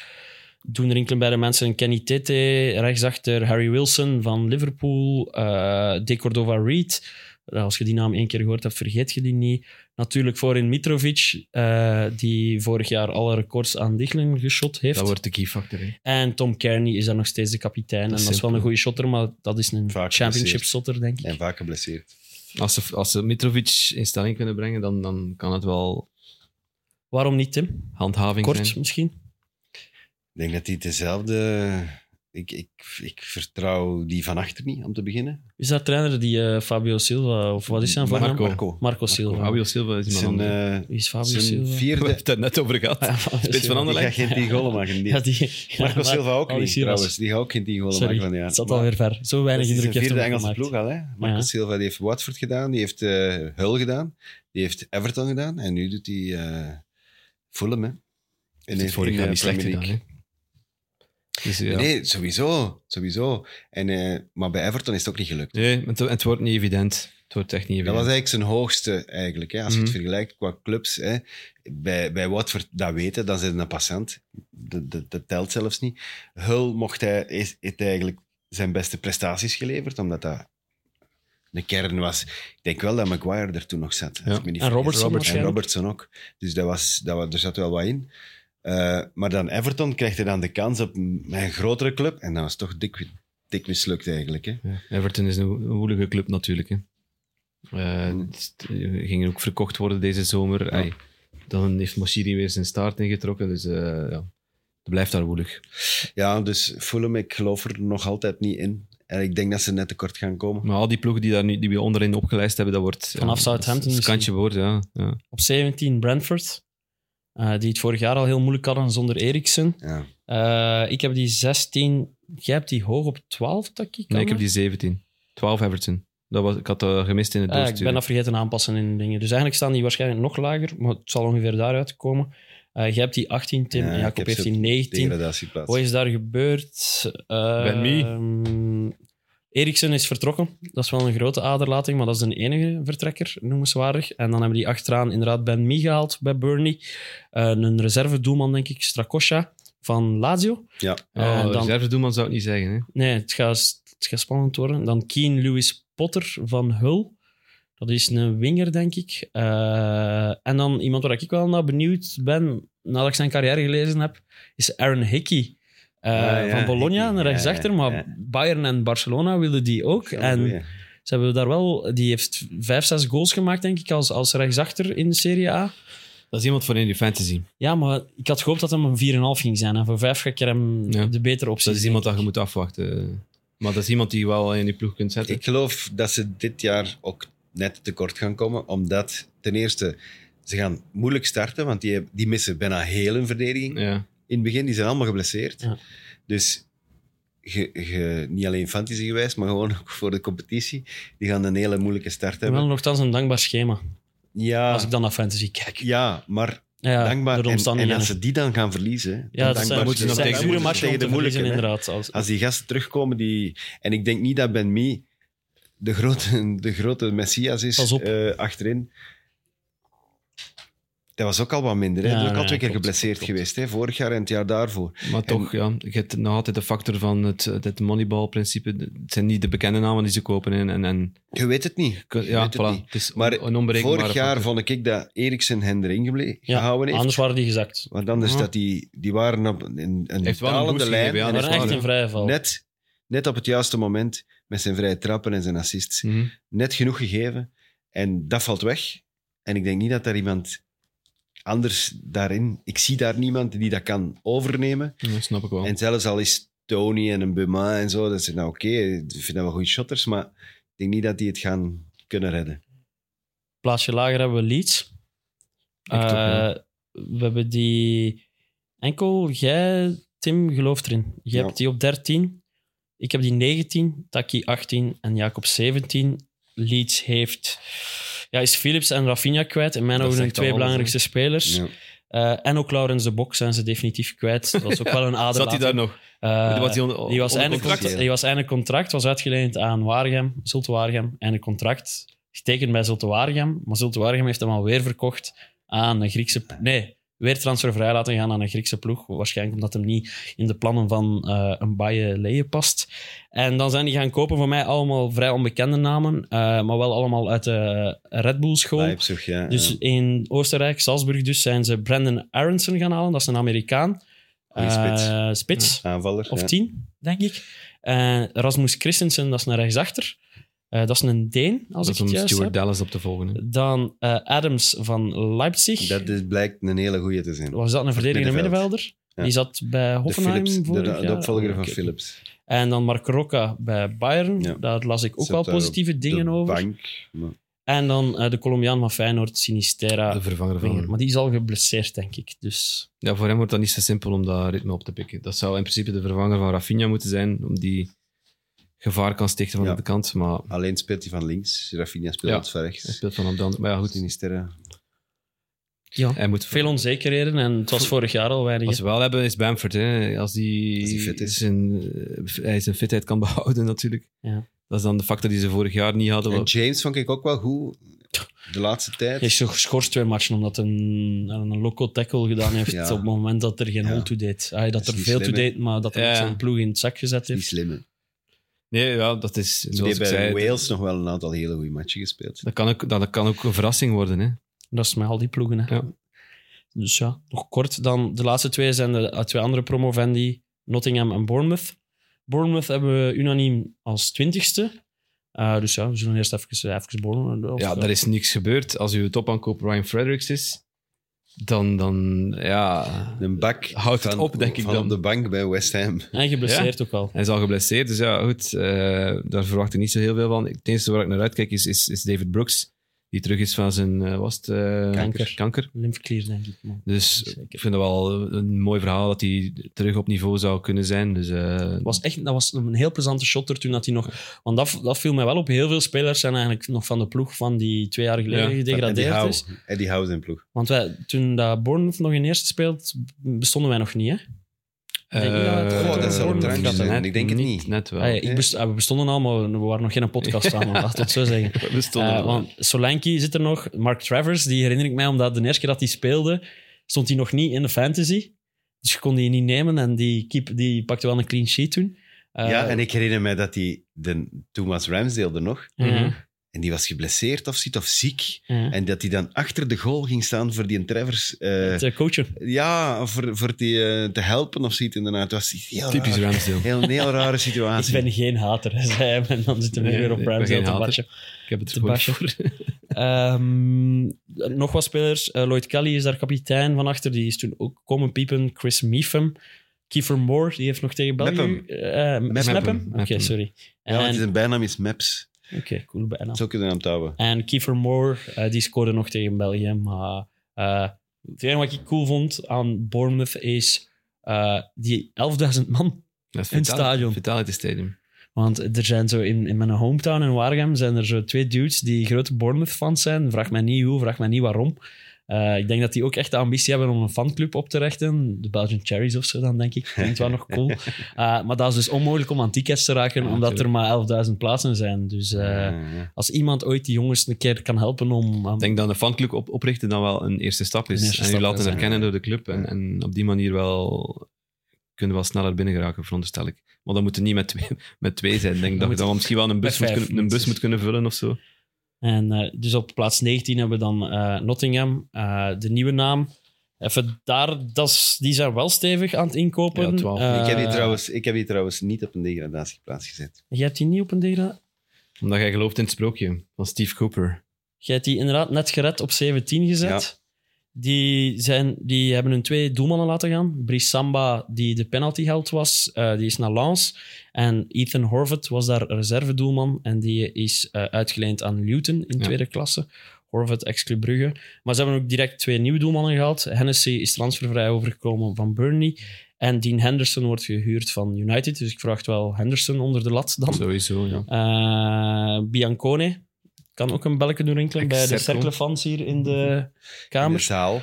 S3: doen rinkelen bij de mensen. Kenny Tete, rechtsachter Harry Wilson van Liverpool, eh De Cordova Reed. Eh, Als je die naam één keer gehoord hebt, vergeet je die niet. Natuurlijk voorin Mitrovic, eh, die vorig jaar alle records aan Dichling geschot heeft.
S4: dat wordt de key factor. hè.
S3: En Tom Kearney is daar nog steeds de kapitein.
S4: Dat is
S3: en dat is wel
S4: simpel.
S3: een goede shotter, maar dat is een
S2: Vaak
S3: championship
S2: geblesseerd.
S3: shotter, denk ik.
S2: En vaak geblesseerd.
S4: Als ze, als ze Mitrovic in stelling kunnen brengen, dan, dan kan het wel
S3: Waarom niet, Tim?
S4: handhaving
S3: Kort
S4: zijn.
S3: misschien?
S2: Ik denk dat hij dezelfde... Ik, ik, ik vertrouw die van achter niet, om te beginnen.
S3: Is dat trainer die eh, Fabio Silva, of wat is zijn voornaam?
S4: Marco.
S3: Marco Silva.
S4: Fabio Silva is iemand
S2: Zijn,
S4: anders.
S2: eh,
S3: Wie is Fabio
S2: zijn
S3: Silva?
S4: We hebben
S2: vierde...
S4: het daar net over gehad.
S3: Ah, Fabio
S4: Spits van
S3: Silva.
S2: Die gaat
S4: Anderlecht.
S2: geen tien golen maken. Die.
S3: Ja, die...
S2: Marco Silva ook
S3: Fabio
S2: niet,
S3: Silva.
S2: trouwens. Die gaat ook geen tien golen
S3: Sorry,
S2: maken van ja.
S3: het zat alweer ver. Zo weinig
S2: dat is
S3: indruk
S2: de
S3: heeft
S2: vierde
S3: hij
S2: Engelse
S3: gemaakt.
S2: ploeg al. Hè? Marco
S3: Ja.
S2: Silva die heeft Watford gedaan, die heeft eh Hull gedaan, die heeft Everton gedaan en nu doet hij eh Fulham. Hè?
S4: Heeft het vorig
S2: in,
S4: jaar
S2: eh,
S4: niet slecht
S2: Premier
S4: gedaan.
S2: League.
S4: hè. Dus, ja.
S2: Nee, sowieso. sowieso. En, eh, maar bij Everton is het ook niet gelukt.
S4: Nee, het, het wordt niet evident. Het wordt echt niet
S2: Dat was
S4: evident.
S2: eigenlijk zijn hoogste, eigenlijk, hè? als je
S4: Mhm.
S2: het vergelijkt qua clubs. Hè? Bij, bij Watford, dat weten, dan zijn ze een passant. Dat, dat, dat telt zelfs niet. Hull mocht hij, is, heeft eigenlijk zijn beste prestaties geleverd, omdat dat de kern was. Ik denk wel dat Maguire er toen nog zat. als
S4: Ja.
S2: ik me niet
S3: En
S2: vergis.
S3: Robertson
S2: En
S3: waarschijnlijk.
S2: Robertson ook. Dus dat was, dat, wa- er zat wel wat in. Eh, maar dan Everton krijgt hij dan de kans op een, een grotere club. En dat was toch dik, dik mislukt eigenlijk. Hè?
S4: Ja, Everton is een wo- een woelige club natuurlijk. Hè. Eh,
S2: Mm.
S4: het eh, ging ook verkocht worden deze zomer. Ai, dan heeft Moshiri weer zijn staart ingetrokken. Dus eh, ja, het blijft daar woelig.
S2: Ja, dus Fulham, ik geloof er nog altijd niet in. En ik denk dat ze net tekort gaan komen.
S4: Maar al die ploegen die, daar nu, die we onderin opgelijst hebben, dat wordt...
S3: Vanaf Southampton
S4: Een kantje woord, ja. ja.
S3: Op 17 Brentford, eh, die het vorig jaar al heel moeilijk hadden zonder Eriksen.
S2: Ja.
S3: Eh, ik heb die 16... Jij hebt die hoog op 12, Taki? kan
S4: Nee, ik heb
S3: dat?
S4: die 17. 12 Everton. Dat was, ik had dat gemist in het
S3: Ah, ik
S4: doorsturen.
S3: ben dat vergeten aanpassen in dingen. Dus eigenlijk staan die waarschijnlijk nog lager, maar het zal ongeveer daaruit komen. Eh jij hebt die 18, Tim.
S2: Ja,
S3: en
S2: ik
S3: Jacob
S2: heb
S3: heeft
S2: ze
S3: die 19.
S2: Degradatieplaats.
S3: Wat is daar gebeurd? Eh,
S4: Ben wie?
S3: ehm, Eriksen is vertrokken. Dat is wel een grote aderlating, maar dat is de enige vertrekker, noemenswaardig. En dan hebben die achteraan inderdaad Ben Mee gehaald bij Burnley. Eh, een reserve-doelman, denk ik, Strakosha van Lazio.
S2: Ja.
S3: Eh,
S4: Oh,
S3: dan-
S4: reservedoelman zou ik niet zeggen. Hè.
S3: Nee, het gaat, het gaat spannend worden. Dan Keen Lewis Potter van Hull. Dat is een winger, denk ik. Eh, en dan iemand waar ik wel naar benieuwd ben, nadat ik zijn carrière gelezen heb, is Aaron Hickey. eh,
S2: Ah, Ja, ja,
S3: van Bologna,
S2: Hickey.
S3: een rechtsachter,
S2: Ja, ja,
S3: maar
S2: ja.
S3: Bayern en Barcelona wilden die ook.
S2: Ja,
S3: en
S2: goeie.
S3: ze hebben daar wel, die heeft vijf, zes goals gemaakt, denk ik, als, als rechtsachter in de Serie A.
S4: Dat is iemand voor in die fantasy.
S3: Ja, maar ik had gehoopt dat hem een 4,5 ging zijn. En voor vijf ga ik er hem
S4: Ja.
S3: de betere optie
S4: Dat is iemand dat je moet afwachten. Maar dat is iemand die je wel in die ploeg kunt zetten.
S2: Ik geloof dat ze dit jaar ook net tekort gaan komen, omdat ten eerste ze gaan moeilijk starten, want die, die missen bijna heel hun verdediging.
S4: Ja.
S2: In het begin, die zijn allemaal geblesseerd.
S3: Ja.
S2: Dus ge, ge- niet alleen fantasy gewijs, maar gewoon ook voor de competitie. Die gaan een hele moeilijke start hebben.
S3: Wel nogthans een dankbaar schema, als
S2: ja,
S3: ik dan naar fantasy kijk.
S2: ja, maar
S3: Ja,
S2: dankbaar.
S3: Ah, de
S2: En, en
S3: omstandigheden.
S2: als ze die dan gaan verliezen,
S3: ja,
S2: dan
S3: dat
S2: dankbaar
S3: zijn,
S2: moeten ze
S3: dat
S2: nog
S3: zijn
S2: tegen- moeten
S3: zure
S2: ze
S3: matchen om
S2: tegen
S3: te
S2: de moeilijke.
S3: verliezen,
S2: hè.
S3: inderdaad. Als,
S2: Als die gasten terugkomen, die... en ik denk niet dat Ben Mee de grote, de grote messias is
S3: Pas op.
S2: eh, achterin. Dat was ook al wat minder. Hè?
S3: Ja,
S2: dat is ook al
S3: ja,
S2: twee keer
S3: klopt,
S2: geblesseerd
S3: klopt.
S2: geweest. Hè? Vorig jaar en het jaar daarvoor.
S4: Maar toch, ja, je hebt nog altijd de factor van het, het moneyball-principe. Het zijn niet de bekende namen die ze kopen. En, en, en,
S2: Je weet het niet. Je
S4: ja,
S2: weet het
S4: voilà.
S2: niet.
S4: Het is
S2: Maar
S4: een onberekenbare
S2: Vorig jaar
S4: factor.
S2: vond ik dat Eriksen hen erin geble-
S3: ja,
S2: gehouden heeft.
S3: anders waren die gezakt.
S2: Want anders
S4: Ja.
S2: dat die, die waren op een, een
S4: Heeft wel een
S2: dalende
S4: boost
S2: lijn.
S4: gegeven, ja,
S2: en
S3: Maar
S4: dat is
S2: heeft
S3: echt
S4: waar,
S3: in vrije val.
S2: net, net op het juiste moment met zijn vrije trappen en zijn assists.
S4: Mhm.
S2: net genoeg gegeven. En dat valt weg. En ik denk niet dat daar iemand anders daarin... Ik zie daar niemand die dat kan overnemen.
S4: Ja, snap ik wel.
S2: En zelfs al is Tony en een Buma en zo, dat zijn nou oké, ik vind dat wel goede shotters, maar ik denk niet dat die het gaan kunnen redden.
S3: plaatsje lager hebben we Leeds.
S4: toch, ja.
S3: Eh, We hebben die... Enkel jij, Tim, gelooft erin. Jij
S2: Ja.
S3: hebt die op 13. Ik heb die 19, Taki 18 en Jacob 17. Leeds heeft... Ja, is Philips en Rafinha kwijt. In mijn
S4: Dat
S3: ogen de
S4: zegt al
S3: twee
S4: alles,
S3: belangrijkste spelers.
S2: Ja.
S3: Eh, en ook Laurens de Bok zijn ze definitief kwijt. Dat was ook wel een aderlating.
S4: Zat hij daar nog?
S3: Eh,
S4: was Oh, die onder-
S3: die was
S4: onder
S3: einde
S4: contract?
S3: contract, die was einde contract, was uitgeleend aan Waregem, Zulte Waregem. Einde contract, getekend bij Zulte Waregem. Maar Zulte Waregem heeft hem alweer verkocht aan een Griekse... Nee, weer transfervrij laten gaan aan een Griekse ploeg. Waarschijnlijk omdat hem niet in de plannen van eh, een Baye Leeuwen past. En dan zijn die gaan kopen voor mij allemaal vrij onbekende namen. eh, maar wel allemaal uit de Red Bull-school.
S2: Leipzig, ja.
S3: Dus
S2: ja.
S3: in Oostenrijk, Salzburg dus, zijn ze Brandon Aronson gaan halen. Dat is een Amerikaan.
S2: Goeie spits.
S3: Eh, spits
S2: Aanvaller.
S3: of
S2: ja.
S3: tien, denk ik. En Rasmus Christensen, dat is een rechtsachter. Eh, dat is een Deen, als
S4: Dat is
S3: ik
S4: om
S3: het juist
S4: Stuart
S3: heb.
S4: Dallas op te volgen. hè.
S3: Dan eh, Adams van Leipzig.
S2: Dat is, blijkt een hele goeie te zijn.
S3: was dat een verdedigende
S2: middenveld.
S3: middenvelder?
S2: Ja.
S3: Die zat bij
S2: De,
S3: Hoffenheim
S2: Philips, de,
S3: vorig
S2: de- de
S3: jaar. oh,
S2: opvolger van
S3: Oké.
S2: Philips.
S3: En dan Mark Rocca bij Bayern.
S2: Ja.
S3: Daar las ik ook
S2: Zat
S3: wel
S2: daar
S3: positieve
S2: op
S3: dingen
S2: de
S3: over.
S2: Bank, maar
S3: En dan eh, de Colombiaan van Feyenoord, Sinisterra.
S4: De vervanger
S3: Winger.
S4: van.
S3: Maar die is al geblesseerd, denk ik. Dus
S4: Ja, voor hem wordt dat niet zo simpel om dat ritme op te pikken. Dat zou in principe de vervanger van Rafinha moeten zijn, om die gevaar kan stichten van
S2: Ja.
S4: de kant. Maar
S2: alleen speelt hij van links. Rafinha speelt
S4: Ja.
S2: van
S4: hij
S2: rechts.
S4: speelt van op de andere. Maar ja, goed.
S2: Sinisterra.
S3: ja,
S4: Hij moet
S3: Eh, veel onzekerheden. En het was vorig jaar al weinig.
S4: Wat ze wel hebben is Bamford. Hè. Als, die
S2: Als die fit is.
S4: Zijn, eh, hij zijn fitheid kan behouden, natuurlijk.
S3: Ja.
S4: Dat is dan de factor die ze vorig jaar niet hadden.
S2: En
S4: wat-
S2: James vond ik ook wel goed de laatste tijd.
S3: Hij is toch geschorst twee matchen omdat hij een, een loco tackle gedaan heeft
S2: Ja.
S3: op het moment dat er geen
S2: Ja.
S3: hol toe deed. Ah, dat
S2: is
S3: er
S2: niet
S3: veel
S2: slim,
S3: toe
S2: hè?
S3: deed, maar dat hij
S4: Ja.
S3: zijn ploeg in het zak gezet
S2: Die
S3: heeft.
S2: slimme.
S4: Nee, ja, dat is
S2: Die
S4: zoals
S2: heeft
S4: ik
S2: bij
S4: zei.
S2: Wales nog wel een aantal hele goede matchen gespeeld.
S4: Dat kan, ook, dat kan ook een verrassing worden. Hè.
S3: Dat is met al die ploegen. Hè.
S4: Ja.
S3: Dus ja, nog kort. Dan de laatste twee zijn de eh, twee andere promovendi, Nottingham en Bournemouth. Bournemouth hebben we unaniem als twintigste. Eh, dus ja, we zullen eerst even, even Bournemouth... of- eh,
S4: Ja, daar is niks gebeurd. Als uw topaankoop Ryan Fredericks is, dan, dan ja...
S2: Een bak
S4: Houdt het
S2: van-
S4: op, denk ik
S2: van
S4: dan.
S2: op de bank bij West Ham.
S3: En geblesseerd ook al.
S4: Hij is al geblesseerd, dus ja, goed. eh, daar verwacht ik niet zo heel veel van. Het enige waar ik naar uitkijk is, is, is David Brooks, die terug is van zijn eh, was het, eh,
S3: Kanker.
S4: kanker.
S3: Lympheklier, denk ik. maar-
S4: Dus
S3: Zeker.
S4: ik vind dat wel een mooi verhaal dat hij terug op niveau zou kunnen zijn. Dus, eh,
S3: Het was echt, dat was een heel plezante shotter toen dat hij nog... Want dat, dat viel mij wel op. Heel veel spelers zijn eigenlijk nog van de ploeg van die twee jaar geleden
S4: Ja,
S2: Eddie
S3: gedegradeerd
S2: Howe.
S4: dus.
S3: is.
S2: Eddie Howe zijn ploeg.
S3: Want wij, toen dat Bournemouth nog in eerste speelt, bestonden wij nog niet. Hè?
S4: eh,
S3: denk je dat het-
S4: eh,
S3: Goh, dat zal een drankje
S4: net
S2: zijn. Ik denk het niet.
S4: Net wel.
S3: Ah, ja, ik best- ah, we bestonden al, maar we waren nog geen podcast samen, laat het zo zeggen.
S4: We stonden
S3: Eh,
S4: er wel.
S3: want Solanke zit er nog. Mark Travers, die herinner ik mij, omdat de eerste keer dat hij speelde, stond hij nog niet in de fantasy. Dus je kon die niet nemen en die, keep, die pakte wel een clean sheet toen. Eh,
S2: ja, en ik herinner mij dat hij de, toen was Ramsdale er nog.
S3: mhm,
S2: En die was geblesseerd of ziet of ziek.
S3: mhm.
S2: En dat hij dan achter de goal ging staan voor die Travers. eh,
S3: Het, eh, coachen.
S2: ja, voor, voor die eh, te helpen of zoiets inderdaad. Het was iets heel
S4: Typisch
S2: raar.
S4: Ramsdale.
S2: Heel, een heel rare
S3: Ik
S2: situatie.
S3: ben geen hater, zei hem. En dan zitten we
S4: Nee,
S3: weer op
S4: nee, ik ben
S3: Ramsdale
S4: geen
S3: te
S4: hater.
S3: batchen.
S4: Ik heb het
S3: Te
S4: goed
S3: bashen.
S4: voor.
S3: Ehm, nog wat spelers. Eh, Lloyd Kelly is daar kapitein van achter. Die is toen ook komen piepen. Chris Meepham. Kiefer Moore, die heeft nog tegen België...
S2: Mepham.
S3: eh
S2: Mepham.
S3: Mepham? Oké,
S4: Mepham.
S3: sorry.
S2: Ja, want
S3: En-
S2: zijn bijnaam is Maps.
S3: Oké, cool bijna.
S2: Zo kunnen we hem touwen.
S3: En Kiefer Moore, eh, die scoorde nog tegen België. Maar eh, het enige wat ik cool vond aan Bournemouth is... eh, eh, die 11.000 man.
S4: Dat is
S3: In
S4: Vitali-
S3: het stadion.
S4: Vitality Stadium.
S3: Want er zijn zo in, in mijn hometown in Waregem zijn er zo twee dudes die grote Bournemouth-fans zijn. Vraag mij niet hoe, vraag mij niet waarom. Eh, ik denk dat die ook echt de ambitie hebben om een fanclub op te richten. De Belgian Cherries of zo dan, denk ik. Klinkt wel nog cool. Eh, maar dat is dus onmogelijk om aan tickets te raken,
S4: Ja,
S3: omdat er maar 11.000 plaatsen zijn. Dus eh,
S2: Ja, ja.
S3: als iemand ooit die jongens een keer kan helpen om... om-
S4: Ik denk dat een fanclub op, oprichten dan wel een eerste stap is.
S3: Een eerste
S4: en je
S3: stap
S4: laten
S3: is, ja.
S4: herkennen door de club. En, en op die manier wel kunnen we wel sneller binnen geraken, veronderstel ik. Maar dan moeten niet met twee, met twee zijn. Ik denk dat je
S3: moet-
S4: dan misschien wel een bus,
S3: met
S4: moet
S3: vijf
S4: kunnen, een bus
S3: minstens.
S4: moet kunnen vullen of zo.
S3: En eh, dus op plaats 19 hebben we dan eh, Nottingham, eh, de nieuwe naam. Even daar, dat is- die zijn wel stevig aan het inkopen.
S4: Ja, 12.
S3: Eh,
S2: ik, heb die trouwens, ik heb die trouwens niet op een degradatieplaats gezet.
S3: Jij hebt die niet op een degra.
S4: Omdat jij gelooft in het sprookje van Steve Cooper.
S3: Jij hebt die inderdaad net gered op 17 gezet. Die, zijn, die hebben hun twee doelmannen laten gaan. Brice Samba, die de penaltyheld was, eh, die is naar Lens. En Ethan Horvath was daar reservedoelman. En die is eh, uitgeleend aan Luton in
S4: Ja.
S3: tweede klasse. Horvath, ex-Club Brugge. Maar ze hebben ook direct twee nieuwe doelmannen gehaald. Hennessy is transfervrij overgekomen van Burnley. En Dean Henderson wordt gehuurd van United. Dus ik verwacht wel Henderson onder de lat dan.
S4: Sowieso, ja.
S2: Oh.
S3: Eh, Biancone. Kan ook een belletje doen rinkelen bij de
S4: Ex-Cercle.
S3: cerkelfans hier in de
S2: In de
S3: kamer.
S2: zaal.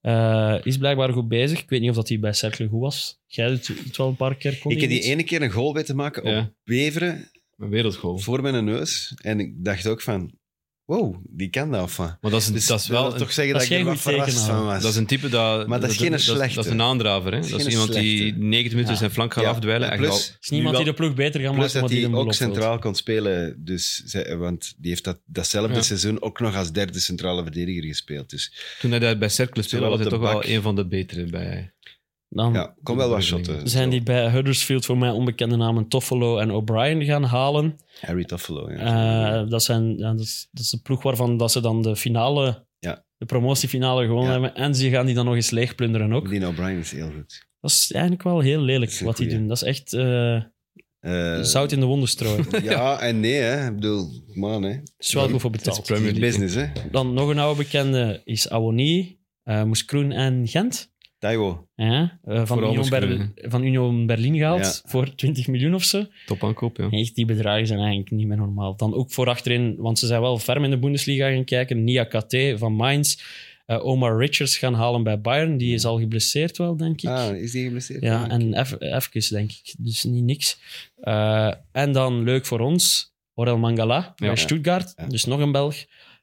S3: Eh, is blijkbaar goed bezig. Ik weet niet of dat hij bij Cercle goed was. Jij doet het wel een paar keer. Connie,
S2: Ik heb die
S3: niet?
S2: ene keer een goal weten maken op
S4: Ja.
S2: Beveren,
S4: Een wereldgoal.
S2: voor mijn neus. En ik dacht ook van, wow, die kan dat of wat.
S4: Maar dat is, een-
S2: Dus
S4: dat is
S2: wil
S4: wel een,
S2: toch zeggen dat,
S3: dat is
S2: ik er
S3: geen
S2: wat
S3: goed teken,
S2: verrast
S3: hoor.
S2: van was.
S4: dat is een type dat...
S2: Maar dat is geen
S4: dat,
S2: slechte.
S4: Dat is een aandraver. Hè? Dat is,
S2: geen
S4: iemand die
S2: slechte.
S4: 90 minuten
S3: Ja.
S4: zijn flank gaat
S2: Ja.
S4: afdweilen.
S2: En
S4: En
S2: plus-
S4: gaat-
S3: is niemand
S4: nu
S3: die
S4: wel-
S3: de ploeg beter gaat
S2: Plus
S3: maken, maar
S2: dat
S3: die
S2: hij
S3: hem
S2: ook
S3: belooft.
S2: centraal kon spelen. Dus, zij- want die heeft dat, datzelfde
S4: Ja.
S2: seizoen ook nog als derde centrale verdediger gespeeld. Dus
S4: Toen hij daar bij Cercle speelde,
S2: Zowel
S4: was
S2: op
S4: hij
S2: de
S4: toch
S2: bak.
S4: wel een van de betere bij.
S3: Dan
S2: ja, kom wel wat shotten.
S3: zijn die bij Huddersfield voor mij onbekende namen Toffolo en O'Brien gaan halen.
S2: Harry Toffolo, ja.
S3: Eh, dat, zijn, ja, dat, is, dat is de ploeg waarvan dat ze dan de finale,
S2: Ja.
S3: de promotiefinale gewonnen
S2: Ja.
S3: hebben. En ze gaan die dan nog eens leegplunderen ook.
S2: Dean O'Brien is heel goed.
S3: Dat is eigenlijk wel heel lelijk
S2: Dat is een
S3: wat die
S2: goeie.
S3: doen. Dat is echt eh,
S2: Eh,
S3: zout in de wonden strooien.
S2: Ja en nee, hè. Ik bedoel, man, hè.
S3: Dat is wel goed voor betaald.
S4: Premier
S2: Die
S4: League.
S2: business, hè.
S3: Dan nog een oude bekende is Awoni, eh Moeskroen en Gent.
S2: Taiwo.
S3: Ja, eh, van,
S4: Vooral
S3: Union
S4: Moeskroen,
S3: Ber- van Union Berlin gehaald voor 20 miljoen of zo.
S4: Top aankoop, ja.
S3: Echt, die bedragen zijn eigenlijk niet meer normaal. Dan ook voor achterin, want ze zijn wel ferm in de Bundesliga gaan kijken. Nia Katé van Mainz. eh, Omar Richards gaan halen bij Bayern. Die is al geblesseerd wel, denk ik.
S2: Ah, is die geblesseerd?
S3: Ja, en eff- even, denk ik. Dus niet niks. Eh, en dan leuk voor ons, Orel Mangala bij
S4: ja.
S3: Stuttgart.
S2: Ja.
S3: Dus nog een Belg.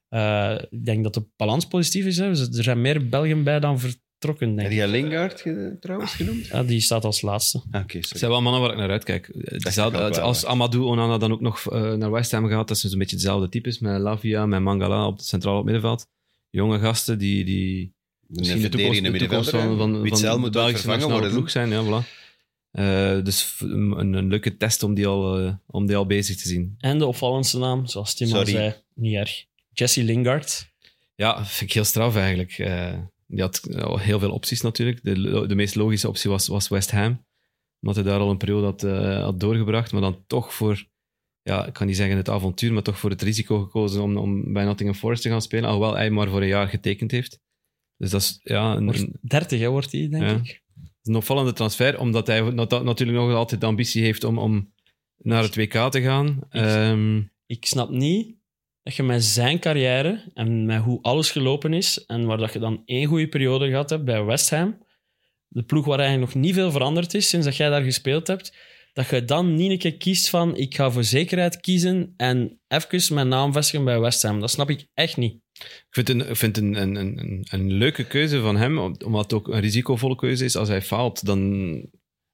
S3: Eh, ik denk dat de balans positief is. Hè. Dus Er zijn meer Belgen bij dan vertrokken, denk
S2: Heb
S3: ik.
S2: jij Lingard ge- trouwens genoemd?
S3: Ah, die staat als laatste.
S2: Ah, Oké,
S4: Het
S2: sorry.
S4: zijn wel mannen waar ik naar uitkijk. Eh, Dezelfde-
S2: ik ook wel,
S4: als
S2: hè.
S4: Amadou Onana dan ook nog eh, naar West Ham gaat, dat zijn zo'n beetje hetzelfde types. Met Lavia, met Mangala op het centraal op het middenveld. Jonge gasten die, die misschien de toekomst, de toekomst van, van,
S2: Witzel
S4: van de
S2: moet ook
S4: Belgische
S2: vervangen
S4: nationale
S2: worden.
S4: ploeg zijn. Ja, voilà. Eh, dus v- een, een leuke test om die, al, eh, om die al bezig te zien.
S3: En de opvallendste naam, zoals Tim al
S2: Sorry.
S3: zei, niet erg. Jesse Lingard.
S4: Ja, vind ik heel straf eigenlijk. Eh, die had eh, heel veel opties natuurlijk. De, lo- de meest logische optie was, was West Ham. Omdat hij daar al een periode had, eh, had doorgebracht. Maar dan toch voor, ja, ik kan niet zeggen het avontuur, maar toch voor het risico gekozen om, om bij Nottingham Forest te gaan spelen. Alhoewel hij maar voor een jaar getekend heeft. Dus dat is ja, een,
S3: Wordt
S4: een,
S3: 30, hè, wordt hij, denk
S4: Ja.
S3: ik.
S4: een opvallende transfer. Omdat hij nat- natuurlijk nog altijd de ambitie heeft om, om naar het WK te gaan. Ehm,
S3: Ik snap niet dat je met zijn carrière en met hoe alles gelopen is en waar dat je dan één goede periode gehad hebt bij West Ham, de ploeg waar eigenlijk nog niet veel veranderd is sinds dat jij daar gespeeld hebt, dat je dan niet een keer kiest van ik ga voor zekerheid kiezen en even mijn naam vestigen bij West Ham. Dat snap ik echt niet.
S4: Ik vind het een, ik vind het een, een, een- een, een leuke keuze van hem, om- omdat het ook een risicovolle keuze is. Als hij faalt, dan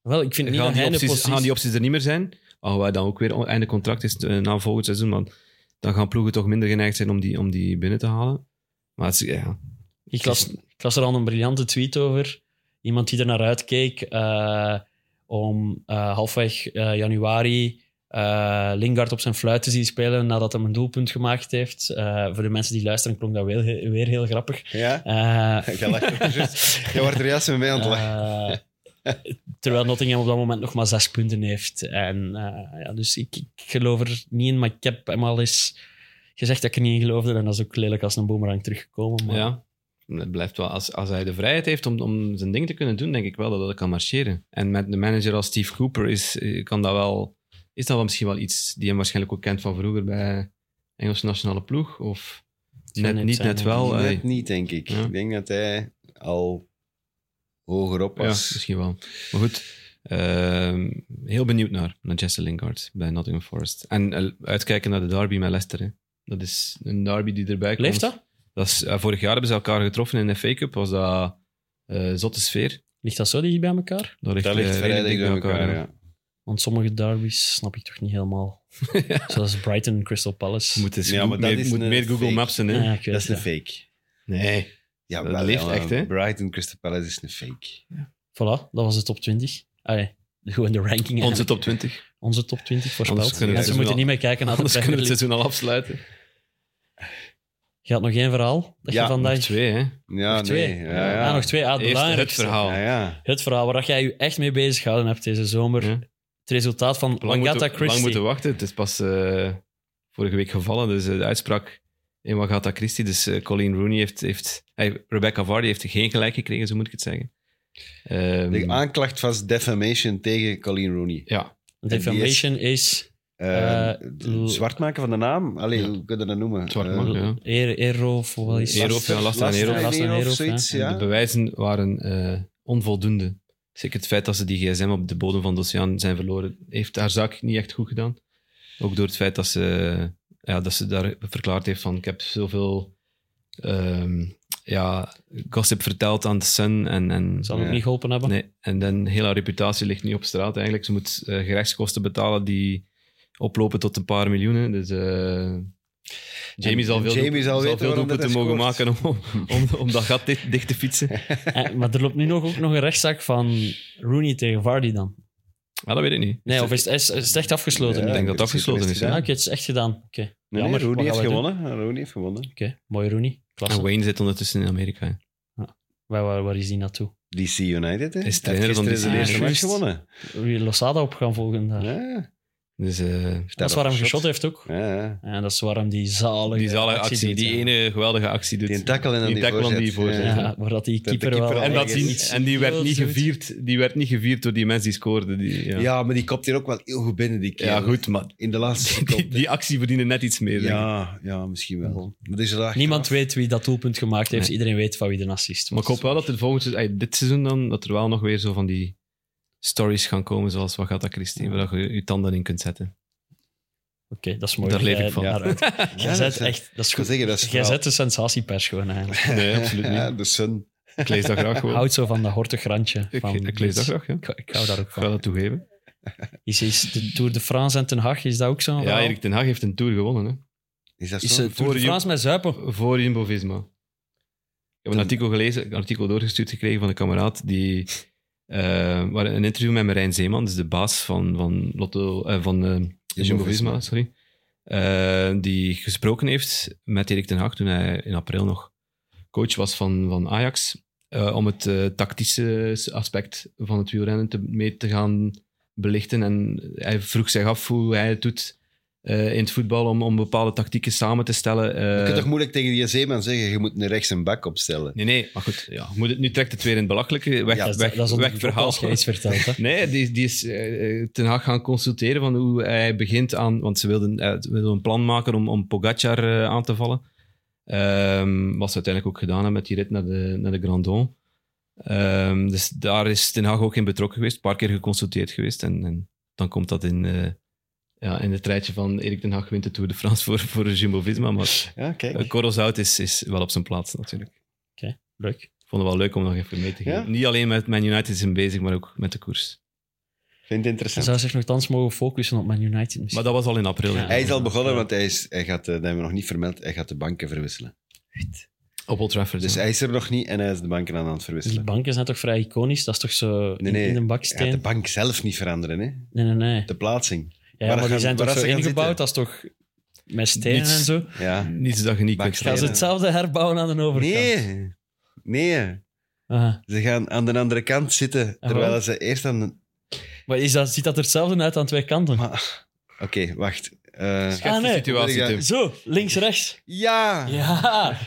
S3: Wel, ik vind niet
S4: gaan
S3: dat
S4: die,
S3: hij
S4: opties,
S3: positie...
S4: gaan die opties er niet meer zijn. Alhoewel dan ook weer einde contract is eh, na volgend seizoen, want dan gaan ploegen toch minder geneigd zijn om die, om die binnen te halen. Maar het is, ja,
S3: Ik las, ik las er al een briljante tweet over. Iemand die er naar uitkeek eh, om eh, halfweg eh, januari eh, Lingard op zijn fluit te zien spelen nadat hij een doelpunt gemaakt heeft. Eh, voor de mensen die luisteren klonk dat wel he- weer heel grappig.
S2: Ja?
S3: Eh,
S2: Jij lacht ook juist. Jij wordt er juist met mij aan het lachen.
S3: eh, terwijl Nottingham op dat moment nog maar zes punten heeft. En, eh, ja, dus ik, ik geloof er niet in, maar ik heb hem al eens gezegd dat ik er niet in geloofde. En dat is ook lelijk als een boemerang teruggekomen. Maar...
S4: ja. Het blijft wel, als, als hij de vrijheid heeft om, om zijn ding te kunnen doen, denk ik wel dat dat kan marcheren. En met een manager als Steve Cooper is, eh, kan dat wel, is dat wel misschien wel iets die hem waarschijnlijk ook kent van vroeger bij Engelse nationale ploeg. Of
S3: zou
S4: net
S3: net
S4: niet,
S3: zijn,
S4: net
S3: denk
S4: wel. eh,
S2: Net niet, denk ik.
S4: Ja.
S2: Ik denk dat hij al hoger op
S4: ja,
S2: was.
S4: misschien wel. Maar goed, ehm, heel benieuwd naar, naar Jesse Lingard bij Nottingham Forest. En eh, uitkijken naar de derby met Leicester. hè. Dat is een derby die erbij komt.
S3: Leeft dat?
S4: Dat is, eh, vorig jaar hebben ze elkaar getroffen in de FA Cup. Was dat eh, zotte sfeer.
S3: Ligt dat zo dicht bij elkaar?
S4: Dat ligt,
S2: dat ligt
S4: eh,
S2: vrij
S4: redelijk
S2: dicht bij elkaar,
S4: hè.
S2: ja.
S3: Want sommige derbies snap ik toch niet helemaal. Zoals Brighton en Crystal Palace.
S4: Je Moet, eens,
S2: Ja,
S4: goed-
S2: maar dat
S4: meer-
S2: is
S4: moet
S2: een
S4: meer Google
S2: fake.
S4: Maps in. hè.
S3: Ja, ik weet
S2: Dat is een
S3: het, ja.
S2: fake.
S4: Nee.
S2: Ja,
S4: Dat
S2: wel,
S4: leeft
S2: ja,
S4: echt, hè?
S2: Brighton Crystal Palace is een fake.
S3: Voilà, dat was de top 20. Allee, gewoon de ranking.
S4: Onze
S3: eigenlijk.
S4: top 20.
S3: Onze top 20
S4: Anders
S3: voorspeld.
S4: kunnen we
S3: Mensen
S4: het
S3: moeten
S4: wel-
S3: niet meer kijken naar de
S4: Anders kunnen we
S3: Premier
S4: het
S3: League.
S4: seizoen al afsluiten.
S3: Je had nog één verhaal dat je
S2: Ja,
S3: vandaag...
S4: Nog twee, hè.
S2: Ja,
S3: Nog twee.
S2: nee. Ja, ja.
S3: Ah, nog twee. Ah, het
S4: Eerst het
S3: belangrijkste.
S4: verhaal.
S2: Ja, ja.
S3: Het verhaal waar jij je echt mee bezig gehouden hebt deze zomer.
S4: Ja.
S3: Het resultaat van
S4: lang
S3: Agatha
S4: moeten, lang
S3: Christie.
S4: moeten wachten. Het is pas eh, vorige week gevallen, dus eh, de uitspraak in Agatha Christie. Dus eh, Colleen Rooney heeft... heeft hey, Rebecca Vardy heeft geen gelijk gekregen, zo moet ik het zeggen. Ehm,
S2: De aanklacht was defamation tegen Colleen Rooney.
S4: ja,
S3: Defamation is
S2: Eh,
S3: Eh,
S2: d-
S3: l-
S2: zwart maken van de naam? Allee,
S4: Ja.
S2: hoe kun je dat noemen?
S4: zwart
S2: Eh,
S4: maken, ja.
S3: eer, eero of wat is
S4: Eero, ja, laster en eero.
S3: Laster en
S2: of
S3: eero,
S2: zoiets,
S4: En De
S2: ja.
S4: bewijzen waren eh, onvoldoende. Zeker het feit dat ze die gsm op de bodem van de oceaan zijn verloren, heeft haar zaak niet echt goed gedaan. Ook door het feit dat ze, eh, ja, dat ze daar verklaard heeft van ik heb zoveel ehm, ja, gossip verteld aan de Sun en, en
S3: Zal ook
S2: Ja.
S3: niet geholpen hebben.
S4: Nee, en dan heel haar reputatie ligt nu op straat eigenlijk. Ze moet eh, gerechtskosten betalen die oplopen tot een paar miljoenen. Dus eh, Jamie zal
S2: en
S4: veel,
S2: Jamie zal weten
S4: veel
S2: waarom dat
S4: doelpunten
S2: hij
S4: mogen maken
S2: scoort.
S4: om, om, om dat gat dicht, dicht te fietsen.
S3: Eh, maar er loopt nu nog, ook nog een rechtszaak van Rooney tegen Vardy dan.
S4: Ah, dat weet ik niet.
S3: Nee, of is, is, is het echt afgesloten
S2: Ja,
S3: nu?
S4: ik denk dat dat
S2: het is-
S4: afgesloten is,
S3: Ah,
S2: gedaan.
S3: Oké, het is echt gedaan. Oké,
S2: Nee,
S3: Jammer,
S2: Rooney
S3: wat
S2: heeft
S3: gaan we doen?
S2: gewonnen. Rooney heeft gewonnen.
S3: oké. mooi Rooney. Klasse.
S4: En Wayne zit ondertussen in Amerika. hè.
S3: Waar, waar, waar is die naartoe?
S2: DC United, hè?
S4: Is trainer
S2: Heeft
S4: van
S2: gisteren
S3: DC.
S2: zijn eerste
S3: Ah,
S2: match
S3: juist.
S2: gewonnen.
S3: Wil je Losada op gaan volgen daar?
S2: Ja.
S4: Dus eh,
S3: Dat is waar hem geschot heeft ook.
S2: Ja, ja.
S3: En dat is waar hem die zalige
S4: die zalige
S3: actie
S4: actie,
S3: doet,
S4: die
S3: ja.
S4: ene geweldige actie doet.
S2: Die tackle en dan
S4: Die
S2: die
S4: tackle en
S2: voorzet.
S4: die voorzet.
S2: Ja.
S3: Ja, waar dat die
S2: Dat de
S3: keeper,
S2: keeper
S3: wel...
S2: al
S4: en, dat
S2: ergens
S4: die,
S3: iets-
S4: en die werd,
S3: heel
S4: niet
S3: zoet.
S4: gevierd, die werd niet gevierd door die mensen die scoorden. Die, ja.
S2: Ja. maar die kopt hier ook wel heel goed binnen, die keer.
S4: Ja, goed, maar
S2: In de laatste
S4: die,
S2: seconde.
S4: die actie verdiende net iets meer. denk ik.
S2: Ja, ja, misschien wel. Maar deze dag
S3: Niemand weet wie dat doelpunt gemaakt heeft. Iedereen weet van wie de assist was.
S4: Maar ik hoop wel dat er volgend seizoen, ey, dit seizoen dan, dat er wel nog weer zo van die stories gaan komen, zoals wat gaat dat Christine, waar dat je je tanden in kunt zetten.
S3: Oké, dat is mooi.
S4: Daar leef ik van.
S3: Jij
S2: dat
S3: zet
S2: is-
S3: echt... Dat is
S2: Ik wil
S3: goed.
S2: zeggen, dat is
S3: Jij
S2: wel-
S3: zet de sensatiepers gewoon eigenlijk.
S4: Nee, absoluut
S2: Ja,
S4: niet.
S2: de Sun.
S4: Ik lees dat graag gewoon.
S3: Houd zo van dat hortig randje.
S4: Ik,
S3: van
S4: ik lees dat graag, ja.
S3: Ik, ik hou daar ook
S4: Ik ga
S3: van.
S4: dat toegeven.
S3: Is, is de Tour de France en Ten Hag, is dat ook zo'n
S4: Ja,
S3: verhaal?
S4: Erik ten Hag heeft een Tour gewonnen, hè.
S2: Is dat
S3: Is
S2: zo?
S3: de Tour de
S4: Voor
S3: France met zuipen?
S4: Voor Jumbo-Visma. Ik heb een artikel gelezen, een artikel doorgestuurd gekregen van een kameraad die... eh, waar een interview met Marijn Zeeman, dus de baas van, van, Lotto, eh, van eh,
S2: Jumbo-Visma.
S4: Jumbo-Visma, sorry. Eh, die gesproken heeft met Erik ten Hag toen hij in april nog coach was van, van Ajax. eh, om het eh, tactische aspect van het wielrennen te, mee te gaan belichten. En hij vroeg zich af hoe hij het doet eh, in het voetbal om, om bepaalde tactieken samen te stellen.
S2: Je
S4: eh,
S2: kunt toch moeilijk tegen die Zeeman zeggen, je moet een rechts een bak opstellen.
S4: Nee, nee, maar goed. Ja, moet het, nu trekt het weer in het belachelijke. Weg,
S2: Ja,
S3: Dat is-
S4: weg,
S3: dat is
S4: weg verhaal.
S3: als je iets vertelt. Hè.
S4: Nee, die, die is eh, eh, Ten Haag gaan consulteren van hoe hij begint aan... Want ze wilden, eh, ze wilden een plan maken om, om Pogacar eh, aan te vallen. Ehm, wat ze uiteindelijk ook gedaan hebben met die rit naar de, naar de Grandon. Ehm, dus daar is Ten Haag ook in betrokken geweest. Een paar keer geconsulteerd geweest. En, en dan komt dat in, eh, ja, in het rijtje van Erik Ten Haag wint de Tour de France voor, voor Jumbo-Visma. Maar
S2: Ja, kijk.
S4: eh, korrelzout is, is wel op zijn plaats natuurlijk.
S3: Leuk.
S4: Ik vond het wel leuk om nog even mee te geven.
S2: Ja?
S4: Niet alleen met Man United zijn bezig, maar ook met de koers.
S2: Vind het
S3: Ze
S2: interessant.
S3: zou zich nogthans mogen focussen op Man United misschien.
S4: Maar dat was al in april.
S3: Ja.
S4: hè.
S2: Dus- Hij is al begonnen, want hij, is, hij gaat, eh, dat hebben we nog niet vermeld, hij gaat de banken verwisselen.
S4: Op Old Trafford.
S2: Dus
S4: ja.
S2: hij is er nog niet en hij is de banken aan het
S3: Die
S2: verwisselen.
S3: banken zijn toch vrij iconisch? Dat is toch zo in,
S2: Nee, nee.
S3: in de
S2: Hij gaat
S3: baksteen?
S2: de bank zelf niet veranderen, hè?
S3: Nee, nee, nee.
S2: De plaatsing.
S3: Ja,
S2: waar
S3: maar die
S2: gaan-
S3: zijn
S2: waar
S3: toch zo
S2: ze gaan
S3: ingebouwd?
S2: zitten?
S3: Dat is toch met stenen
S4: Niets.
S3: en zo?
S2: Ja.
S4: Niets dat je niet kunt
S2: Baksteen.
S3: Gaan ze
S2: Ja.
S4: veranderen.
S3: hetzelfde herbouwen aan de overkant?
S2: Nee. Nee.
S3: Ah.
S2: Ze gaan aan de andere kant zitten, terwijl
S3: waarom?
S2: ze eerst aan de...
S3: Maar is dat, ziet dat er hetzelfde uit aan twee kanten?
S2: Maar- Oké, wacht. Eh,
S4: Schets
S3: Ah,
S4: de
S3: nee.
S4: situatie,
S2: Ja.
S4: Tim.
S3: Zo, links-rechts.
S2: ja!
S3: Ja,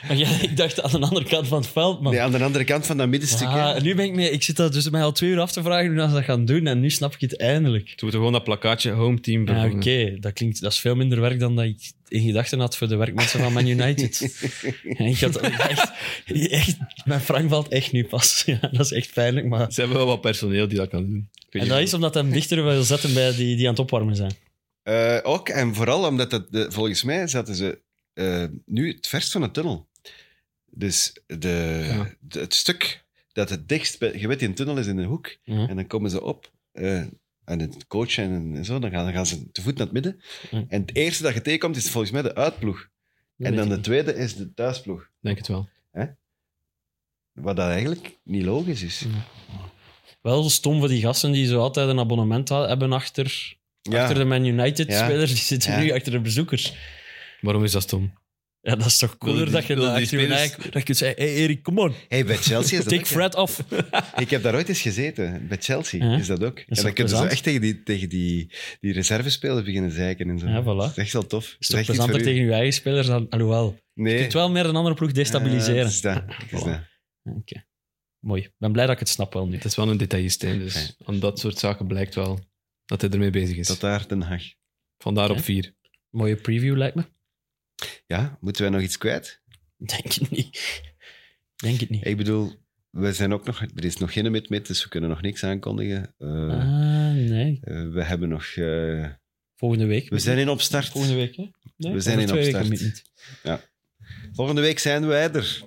S3: maar jij, ik dacht aan de andere kant van het veld, man.
S2: Nee, aan de andere kant van dat middenstuk.
S3: Ah,
S2: hè.
S3: en nu ben ik mee, ik zit dat dus mij al twee uur af te vragen hoe ze dat gaan doen en nu snap ik het eindelijk.
S4: Toen moeten we gewoon dat plakkaatje home team
S3: Ja, Ah, oké,
S4: bevonden.
S3: dat klinkt, dat is veel minder werk dan dat ik in gedachten had voor de werkmensen van Man United. En ik had echt, echt, mijn Frank valt echt nu pas. Ja, dat is echt pijnlijk, maar...
S4: Ze hebben wel wat personeel die dat kan doen. Ik weet
S3: En
S4: niet
S3: dat
S4: of-
S3: is omdat hij hem dichter wil zetten bij die, die aan het opwarmen zijn.
S2: Eh, ook en vooral omdat dat de- volgens mij zaten ze eh, nu het verst van de tunnel. Dus de,
S4: Ja.
S2: de- het stuk dat het dichtst bij, je weet, die tunnel is in de hoek.
S3: Ja.
S2: En dan komen ze op. eh, en het coach en, en zo, dan gaan, dan gaan ze te voet naar het midden.
S3: Ja.
S2: En het eerste dat je tegenkomt is volgens mij de uitploeg.
S3: Mhm. Dat
S2: en
S3: weet
S2: dan
S3: ik
S2: de
S3: niet.
S2: tweede is de thuisploeg.
S4: Denk het wel.
S2: Wat dat eigenlijk niet logisch is.
S3: Wel stom voor die gasten die zo altijd een abonnement ha- hebben achter, achter de Man United-speler. Die zitten
S2: Ja.
S3: nu achter de bezoekers.
S4: Waarom is dat stom?
S3: Ja, dat is toch cooler
S4: die-
S3: dat je
S4: wil
S3: dat
S4: die
S3: achter je
S4: spelers-
S3: eigen- dat je kunt zeggen, hey Erik, come on,
S2: Hey, bij Chelsea is dat
S3: take
S2: ook, hè.
S3: Fred off.
S2: Ik heb daar ooit eens gezeten. Bij Chelsea
S3: Ja.
S2: is dat ook. en
S3: toch
S2: dan kunnen ze
S3: plezant?
S2: echt tegen die, tegen die, die reservespelers beginnen zeiken en zo.
S3: Ja, voilà.
S2: Dat is echt wel tof.
S3: Is
S2: Dat
S3: toch
S2: echt iets voor
S3: plezanter
S2: u.
S3: tegen je eigen spelers dan... Alhoewel, je
S2: Nee.
S3: kunt wel meer een andere ploeg
S2: Ja,
S3: destabiliseren.
S2: het is dat. Het is
S3: Voilà.
S2: dat.
S3: Oké. Mooi. Ik ben blij dat ik het snap wel nu.
S4: Het is wel een detailist, hè, dus aan dat soort zaken blijkt wel dat hij ermee bezig is.
S2: Tot daar, Den Haag.
S4: Vandaar op
S3: Oké.
S4: vier.
S3: Mooie preview, lijkt me.
S2: Ja, moeten wij nog iets kwijt?
S3: Denk het niet. Denk het niet.
S2: Ik bedoel, we zijn ook nog, er is nog geen mid mid, dus we kunnen nog niks aankondigen. Eh,
S3: Ah, nee.
S2: eh, we hebben nog... eh,
S3: Volgende week.
S2: we zijn in opstart.
S3: Volgende week, hè? Nee,
S2: We zijn
S3: over
S2: in
S3: twee weken
S2: opstart.
S3: niet.
S2: Volgende week zijn wij er.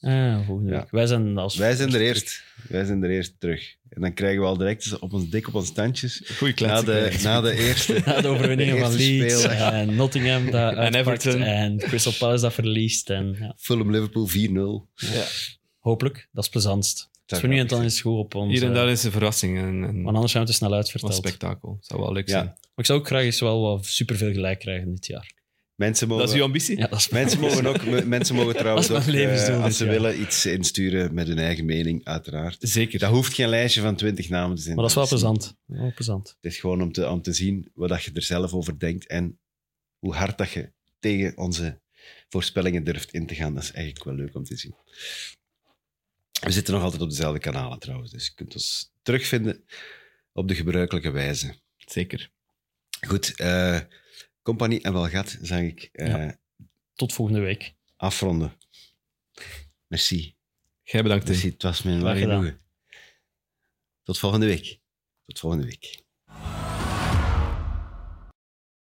S3: Ah, volgende
S2: Ja.
S3: week. Wij zijn als...
S2: Wij zijn er eerst. Wij zijn er eerst terug. En dan krijgen we al direct eens op ons dik op ons tandjes.
S4: Goeie
S2: Na
S4: klets.
S2: de, na de eerste.
S3: Na de overwinningen
S2: De
S3: van
S2: eerste
S3: Leeds
S2: speler.
S3: en Nottingham dat
S4: En
S3: uitpakt
S4: Everton.
S3: en Crystal Palace dat verliest. En, ja.
S2: Fulham Liverpool 4-0.
S3: Hopelijk, dat is plezantst. Dus voor nu en dan is het goed op ons.
S4: Hier en
S3: eh,
S4: daar is een verrassing en, en
S3: Want anders zijn we te snel
S4: wat
S3: uitverteld. Maar
S4: spektakel. Zou wel leuk
S2: Ja.
S4: zijn.
S3: ik zou ook graag eens wel wat superveel gelijk krijgen dit jaar.
S2: Mensen mogen,
S4: Dat is uw ambitie?
S3: Ja, dat is
S2: mensen mogen ook, me- mensen mogen trouwens
S3: Dat
S2: ook,
S3: is mijn levensdoel
S2: eh, als
S3: dit
S2: ze
S3: jaar.
S2: willen, iets insturen met hun eigen mening, uiteraard.
S4: Zeker.
S2: Dat hoeft geen lijstje van 20 namen te zijn.
S3: Maar dat is wel plezant. Wel plezant.
S2: Het is gewoon om te, om te zien wat dat je er zelf over denkt en hoe hard dat je tegen onze voorspellingen durft in te gaan. Dat is eigenlijk wel leuk om te zien. We zitten nog altijd op dezelfde kanalen trouwens, dus je kunt ons terugvinden op de gebruikelijke wijze.
S4: Zeker.
S2: Goed, eh Compagnie en Welgat zag ik eh,
S3: Ja. Tot volgende week.
S2: afronden. Merci.
S4: Jij bedankt, Tim.
S2: Merci, het was mijn
S3: Graag
S2: waar
S3: gedaan.
S2: genoegen. Tot volgende week. Tot volgende week.